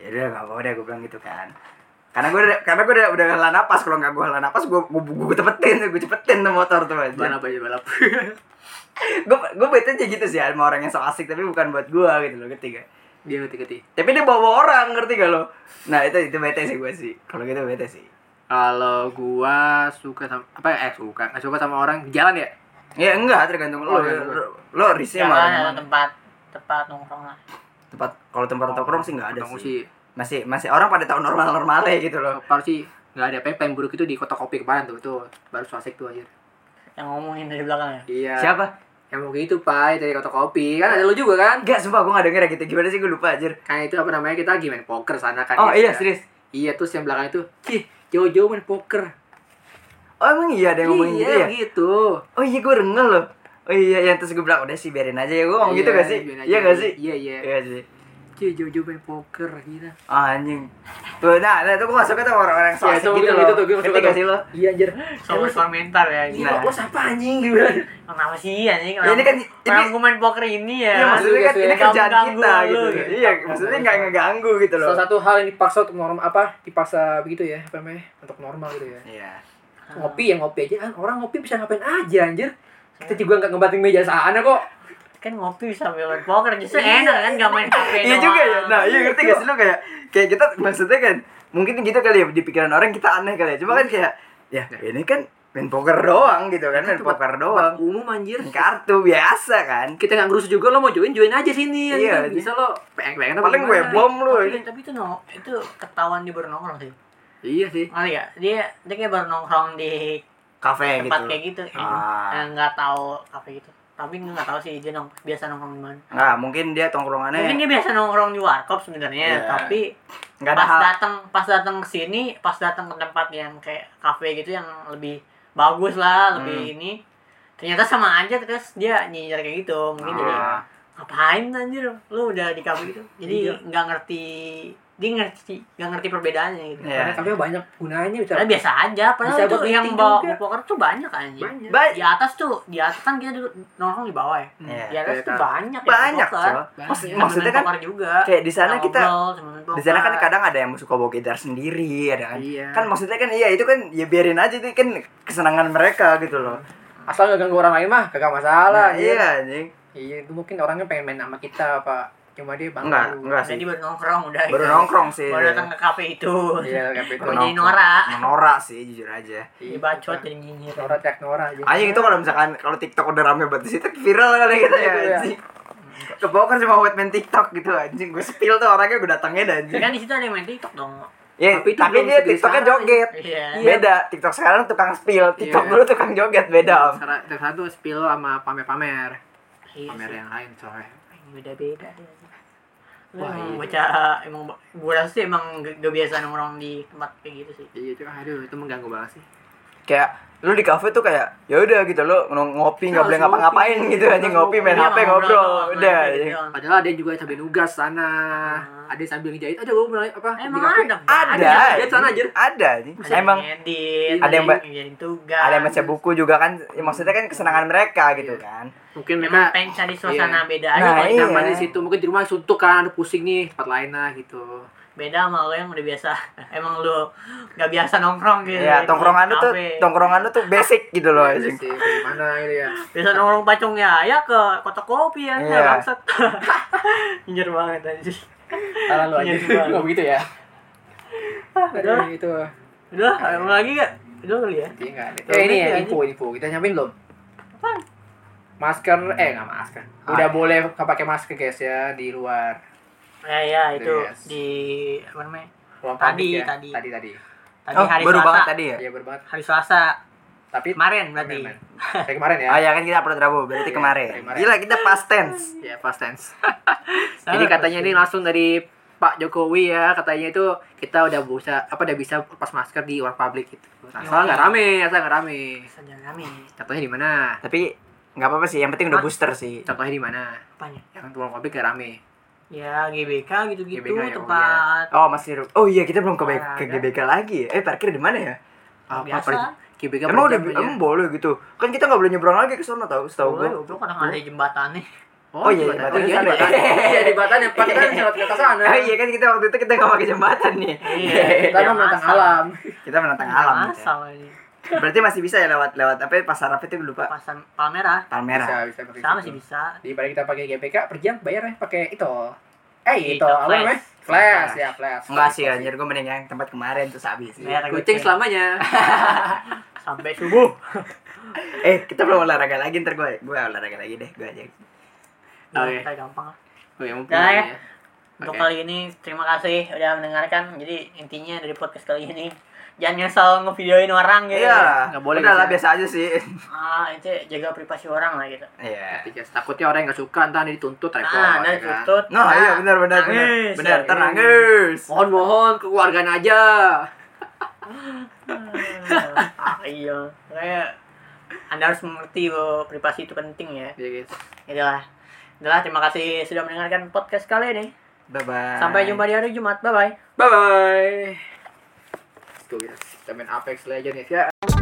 Speaker 3: ya udah gak apa-apa deh gue bilang gitu kan karena gue udah karena gue udah udah hela napas kalau nggak gue hela napas gue gue gue cepetin gue cepetin tuh motor tuh aja
Speaker 2: balap aja balap
Speaker 3: gue gue bete aja gitu sih sama orang yang so asik tapi bukan buat gue gitu loh ketiga
Speaker 2: dia ngerti ngerti
Speaker 3: tapi dia bawa orang ngerti gak lo nah itu itu bete sih gue sih kalau gitu bete sih
Speaker 2: kalau gua suka sama apa ya eh, suka nggak suka sama orang di jalan ya
Speaker 3: ya enggak tergantung lo lo, lo risnya
Speaker 1: Jangan
Speaker 3: sama orang
Speaker 1: ada
Speaker 3: mana.
Speaker 1: tempat tempat nongkrong lah.
Speaker 3: tempat kalau tempat nongkrong sih nggak ada
Speaker 2: Ketemu
Speaker 3: sih
Speaker 2: sih
Speaker 3: masih masih orang pada tahun normal normalnya gitu loh
Speaker 2: Paru sih nggak ada apa paling buruk itu di kota kopi kemarin tuh tuh baru suasik tuh aja
Speaker 1: Yang ngomongin dari belakang ya.
Speaker 2: iya
Speaker 3: siapa
Speaker 2: yang mau gitu pak dari kota kopi kan ada lu juga kan
Speaker 3: enggak sumpah gue nggak denger ya gitu gimana sih gue lupa anjir
Speaker 2: kan itu apa namanya kita lagi main poker sana kan
Speaker 3: oh
Speaker 2: ya,
Speaker 3: iya
Speaker 2: kan?
Speaker 3: serius
Speaker 2: iya terus yang belakang itu ih jauh-jauh main poker
Speaker 3: oh emang iya ada yang ngomongin gitu ya
Speaker 2: iya gitu
Speaker 3: oh iya gue rengel loh oh iya yang terus gue bilang udah sih biarin aja ya gue ngomong gitu
Speaker 2: Iya,
Speaker 3: gak sih
Speaker 2: biarin aja.
Speaker 3: iya gak sih
Speaker 2: iya iya
Speaker 3: iya sih
Speaker 2: Cie, jauh-jauh main poker gila
Speaker 3: Ah, anjing. Tuh, nah, nah itu gue masuknya tuh orang-orang yang so
Speaker 2: Iya,
Speaker 3: asik
Speaker 2: itu
Speaker 3: gitu
Speaker 2: mungkin
Speaker 3: loh.
Speaker 2: gitu tuh, gue masuk
Speaker 3: Ngerti
Speaker 2: ke
Speaker 3: gak sih lo?
Speaker 2: iya anjir
Speaker 1: Sobat komentar ya.
Speaker 2: Iya,
Speaker 1: Gitu.
Speaker 3: Nah.
Speaker 2: lo siapa anjing gitu kan?
Speaker 1: Kenapa sih anjing?
Speaker 3: Ya, ini kan ini
Speaker 1: Kenapa gue main poker ini ya?
Speaker 3: Iya, maksudnya
Speaker 2: juga
Speaker 3: kan
Speaker 2: sih,
Speaker 3: ini kerjaan
Speaker 1: ganggu
Speaker 3: kita
Speaker 1: lu,
Speaker 3: gitu.
Speaker 1: gitu.
Speaker 3: Iya, maksudnya nggak ngeganggu gitu loh.
Speaker 2: Salah satu hal yang dipaksa untuk norm apa? Dipaksa begitu ya, apa namanya? Untuk normal gitu ya.
Speaker 3: Iya.
Speaker 2: Ngopi ya ngopi aja kan. Orang ngopi bisa ngapain aja anjir.
Speaker 3: Ah.
Speaker 2: Kita juga nggak ngebatin meja sana kok.
Speaker 1: Kan ngopi sambil main poker justru enak kan gak main HP
Speaker 3: Iya juga ya. Nah, iya ngerti gak sih lo kayak kayak kita maksudnya kan mungkin gitu kali ya di pikiran orang kita aneh kali ya. Cuma
Speaker 2: Iya.
Speaker 3: kan kayak ya ini kan main poker doang gitu kan, main
Speaker 2: Itu buat-
Speaker 3: poker doang.
Speaker 2: Umum anjir.
Speaker 3: Main Kartu biasa kan.
Speaker 2: Kita nggak ngurus juga lo mau join join aja sini. anjir.
Speaker 3: Iya,
Speaker 2: bisa lo pengen-pengen apa
Speaker 3: Paling gue
Speaker 2: gimana.
Speaker 3: bom lu.
Speaker 1: Tapi, tapi itu no, itu ketahuan di baru nongkrong sih.
Speaker 2: Iya sih.
Speaker 1: Ngerti gak? Dia dia kayak baru nongkrong di
Speaker 3: Kafe
Speaker 1: tempat
Speaker 3: gitu.
Speaker 1: kayak gitu. Eh,
Speaker 3: Ah.
Speaker 1: nggak tahu apa gitu. Tapi gue nggak tahu sih dia nong biasa nongkrong di mana.
Speaker 3: Nah, mungkin dia tongkrongannya
Speaker 1: Mungkin dia biasa nongkrong di warkop sebenarnya,
Speaker 3: Iya.
Speaker 1: tapi
Speaker 3: nggak ada
Speaker 1: pas
Speaker 3: hal
Speaker 1: datang pas datang ke sini, pas datang ke tempat yang kayak kafe gitu yang lebih bagus lah,
Speaker 3: Hmm.
Speaker 1: lebih ini. Ternyata sama aja terus dia nyinyir kayak gitu. Mungkin jadi
Speaker 3: Ah.
Speaker 1: ngapain anjir lu udah di kafe gitu.
Speaker 2: Iya.
Speaker 1: Jadi nggak ngerti dia ngerti nggak ngerti perbedaannya gitu.
Speaker 3: Iya. Kan
Speaker 2: Karena kami banyak gunanya bisa.
Speaker 1: Karena biasa aja, padahal
Speaker 2: Bisa buat
Speaker 1: tuh yang
Speaker 2: meeting
Speaker 1: bawa
Speaker 2: juga.
Speaker 1: poker tuh banyak anjir.
Speaker 2: Banyak.
Speaker 3: Ba-
Speaker 1: Di atas tuh, di atas kan kita dulu nongkrong di bawah ya.
Speaker 3: Iya.
Speaker 1: Di atas
Speaker 2: Iya,
Speaker 1: tuh
Speaker 2: kan.
Speaker 1: banyak yang
Speaker 3: banyak
Speaker 1: poker.
Speaker 3: coy. Maksud-
Speaker 2: Iya.
Speaker 1: Sama
Speaker 3: maksudnya
Speaker 1: main
Speaker 3: kan
Speaker 1: poker juga.
Speaker 3: kayak di sana
Speaker 1: Sama
Speaker 3: kita
Speaker 1: ngobrol, sama main
Speaker 3: di sana kan
Speaker 1: poker.
Speaker 3: kadang ada yang suka bawa gitar sendiri ada kan
Speaker 2: Iya.
Speaker 3: kan maksudnya kan iya itu kan ya biarin aja itu kan kesenangan mereka gitu loh
Speaker 2: Asal nggak ganggu orang lain mah kagak masalah.
Speaker 3: Nah,
Speaker 2: anjir.
Speaker 3: iya anjing
Speaker 2: Iya, itu mungkin orangnya pengen main sama kita apa cuma dia bangga.
Speaker 3: enggak enggak sih
Speaker 1: Jadi baru nongkrong udah.
Speaker 3: baru
Speaker 1: gitu.
Speaker 3: nongkrong sih
Speaker 1: Baru datang ke kafe itu.
Speaker 2: Iya, kayak gitu. Iya,
Speaker 1: Baru
Speaker 3: Nongkrong.
Speaker 1: jadi norak.
Speaker 3: menorak sih jujur aja
Speaker 1: Dibacot jadi nyinyir.
Speaker 2: Nora cek Nora aja.
Speaker 3: anjing itu kalau misalkan kalau TikTok udah rame banget di situ viral kali gitu ya
Speaker 2: Iya.
Speaker 3: anjing kebawa kan cuma buat main TikTok gitu anjing gue spill tuh orangnya gue datangin anjing
Speaker 1: Kan di situ ada yang main TikTok dong.
Speaker 3: ya,
Speaker 2: Tapi
Speaker 3: tapi,
Speaker 2: itu belum
Speaker 3: dia
Speaker 2: segede
Speaker 3: TikToknya
Speaker 2: sekarang.
Speaker 3: joget
Speaker 1: Iya.
Speaker 3: beda TikTok sekarang tukang spill TikTok
Speaker 2: Iya.
Speaker 3: dulu tukang joget beda Om.
Speaker 2: Cara cara satu spill sama pamer-pamer.
Speaker 1: Iya
Speaker 2: Pamer
Speaker 1: sih.
Speaker 2: yang lain soalnya.
Speaker 1: Beda-beda deh.
Speaker 2: Wah,
Speaker 1: Wah,
Speaker 2: iya.
Speaker 1: baca emang gue rasa sih emang gak, gak biasa nongkrong di tempat kayak gitu sih.
Speaker 2: Iya itu aduh itu mengganggu banget sih.
Speaker 3: kayak lu di kafe tuh kayak ya udah gitu lo ngopi
Speaker 2: Harus
Speaker 3: nggak boleh ngapa-ngapain
Speaker 2: ngopi.
Speaker 3: gitu aja
Speaker 2: Harus
Speaker 3: ngopi main
Speaker 1: Iya,
Speaker 3: HP ngobrol
Speaker 1: main
Speaker 3: udah
Speaker 2: Iya,
Speaker 1: HP
Speaker 3: anjing.
Speaker 1: doang.
Speaker 2: Padahal ada yang juga sambil nugas sana. Ada yang sambil ngejahit. Ada gue mulai apa?
Speaker 1: Ah. Emang
Speaker 2: di kafe.
Speaker 1: ada.
Speaker 3: ada
Speaker 2: Lihat sana, anjir.
Speaker 3: ada anjing.
Speaker 1: Ada yang
Speaker 3: emang
Speaker 1: ngedit,
Speaker 3: ada yang ba-
Speaker 1: ngerjain tugas.
Speaker 3: ada yang baca buku juga kan ya, maksudnya kan kesenangan mereka gitu
Speaker 2: Iya.
Speaker 3: kan
Speaker 2: Mungkin
Speaker 1: Memang
Speaker 2: mereka
Speaker 1: pengen ya? cari suasana beda aja
Speaker 3: Nah,
Speaker 1: kalau di
Speaker 3: iya.
Speaker 2: nyaman di situ. Mungkin di rumah suntuk kan, aduh pusing nih, tempat lain lah gitu.
Speaker 1: beda sama lo yang udah biasa emang lo nggak biasa nongkrong gitu
Speaker 3: ya tongkrongan lu tuh
Speaker 1: Kafe.
Speaker 3: tongkrongan lu tuh basic gitu loh anjing.
Speaker 2: Sih, gimana gitu ya.
Speaker 1: biasa nongkrong pacung ya ya ke kotak kopi ya
Speaker 3: Iya.
Speaker 1: yeah. bangsat Nyer banget anjir
Speaker 2: Salah lu aja.
Speaker 1: Iya, cuma.
Speaker 2: Enggak begitu ya.
Speaker 1: udah
Speaker 2: Aduh, itu.
Speaker 1: udah mau lagi gak udah kali ya
Speaker 2: Iya gitu. enggak ada.
Speaker 1: Tuh,
Speaker 2: Eh ini ya
Speaker 1: aja.
Speaker 2: info info. Kita nyampein belum?
Speaker 1: Apaan?
Speaker 2: Masker eh enggak masker. Udah boleh nggak pakai masker guys ya di luar.
Speaker 1: ya ya itu
Speaker 2: Yes.
Speaker 1: di apa namanya
Speaker 2: Ruang
Speaker 1: Tadi,
Speaker 2: publik ya.
Speaker 1: tadi.
Speaker 2: Tadi tadi.
Speaker 1: tadi
Speaker 3: oh
Speaker 1: hari
Speaker 3: baru
Speaker 1: selasa
Speaker 3: banget tadi ya
Speaker 2: Iya berbanget.
Speaker 1: hari selasa
Speaker 2: Tapi
Speaker 1: kemarin berarti
Speaker 2: Kemarin. Kayak kemarin ya.
Speaker 3: Oh ya kan kita upload Rabu berarti
Speaker 2: Iya,
Speaker 3: kemarin.
Speaker 2: kemarin.
Speaker 3: Gila kita past tense.
Speaker 2: Ya past tense.
Speaker 3: Ah,
Speaker 2: Jadi katanya ini langsung dari Pak Jokowi ya katanya itu kita udah bisa apa udah bisa lepas masker Nah,
Speaker 3: Iya.
Speaker 2: di luar publik gitu. Asal nggak rame, asal nggak rame.
Speaker 1: Saja kami
Speaker 2: Contohnya di mana?
Speaker 3: Tapi nggak apa-apa sih yang penting udah booster sih
Speaker 2: Contohnya di mana?
Speaker 1: Apanya?
Speaker 2: Yang tukang kopi kayak rame.
Speaker 1: Ya GBK gitu-gitu
Speaker 2: GBK, ya,
Speaker 1: tempat
Speaker 3: oh masih oh iya kita belum ke, B-
Speaker 1: Olahraga.
Speaker 3: ke GBK lagi ya. eh parkir di mana ya
Speaker 1: biasa.
Speaker 2: per- KBK
Speaker 3: emang udah
Speaker 2: per jam aja.
Speaker 3: emang boleh gitu kan kita nggak boleh nyebrang lagi ke sana tahu setahu
Speaker 1: ya. Boleh,
Speaker 3: gua
Speaker 1: goblok kadang ada jembatannya.
Speaker 3: Oh, iya,
Speaker 2: jembatan.
Speaker 3: jembatan.
Speaker 2: Oh, iya,
Speaker 3: Sana.
Speaker 2: jembatan. Iya, jembatan yang pas kan lewat ke atas sana.
Speaker 3: Ah, iya kan kita waktu itu kita nggak pakai jembatan nih
Speaker 1: Iya.
Speaker 2: Kita kan menantang alam.
Speaker 3: kita menantang alam
Speaker 1: Alam.
Speaker 3: gitu.
Speaker 1: Asal ini.
Speaker 3: berarti masih bisa ya lewat lewat apa ya, pasar apa itu gua lupa
Speaker 1: Pasar Palmerah.
Speaker 3: Palmera
Speaker 2: bisa pakai
Speaker 1: ah. Sama
Speaker 2: situ.
Speaker 1: sih bisa.
Speaker 2: Daripada kita pakai GPK per jam bayarnya pakai itu. Eh,
Speaker 1: Itu,
Speaker 2: itu apa
Speaker 1: flash.
Speaker 2: namanya? Flash
Speaker 3: Flash.
Speaker 2: ya, flash.
Speaker 3: enggak sih anjir gua mending yang tempat kemarin tuh habis sih
Speaker 1: Merah
Speaker 2: Kucing
Speaker 1: gitu.
Speaker 2: selamanya.
Speaker 1: sampai subuh.
Speaker 3: eh kita belum olahraga lagi ntar gue gue olahraga lagi deh gue aja
Speaker 1: Ya,
Speaker 3: iya.
Speaker 2: Oke.
Speaker 1: kita gampang lah.
Speaker 2: Oh, yang mau
Speaker 1: Udah ya.
Speaker 2: pulang ya.
Speaker 1: Untuk
Speaker 2: Oke.
Speaker 1: kali ini terima kasih udah mendengarkan. Jadi intinya dari podcast kali ini jangan nyesel ngevideoin orang gitu.
Speaker 3: iya
Speaker 2: nggak boleh
Speaker 3: udah lah
Speaker 2: gitu
Speaker 3: biasa aja sih
Speaker 1: Ah, itu jaga privasi orang lah gitu.
Speaker 3: iya
Speaker 2: Tiga. Ya, Takutnya orang yang nggak suka entar dia dituntut repot.
Speaker 1: Nah,
Speaker 2: ya
Speaker 1: dan
Speaker 2: kan?
Speaker 1: tutut.
Speaker 3: No,
Speaker 1: nah,
Speaker 3: iya benar benar benar.
Speaker 1: Nangis.
Speaker 3: Benar,
Speaker 1: Iya.
Speaker 3: terangis.
Speaker 2: Mohon-mohon ke keluarganya aja.
Speaker 1: Ah, iya. Kayak Anda harus mengerti bahwa privasi itu penting ya.
Speaker 2: Iya, guys.
Speaker 1: Itulah. Itulah terima kasih sudah mendengarkan podcast kali ini.
Speaker 3: Bye bye.
Speaker 1: Sampai jumpa di hari Jumat. Bye bye.
Speaker 2: Bye bye. Tuh, guys. Kita main Apex Legends ya.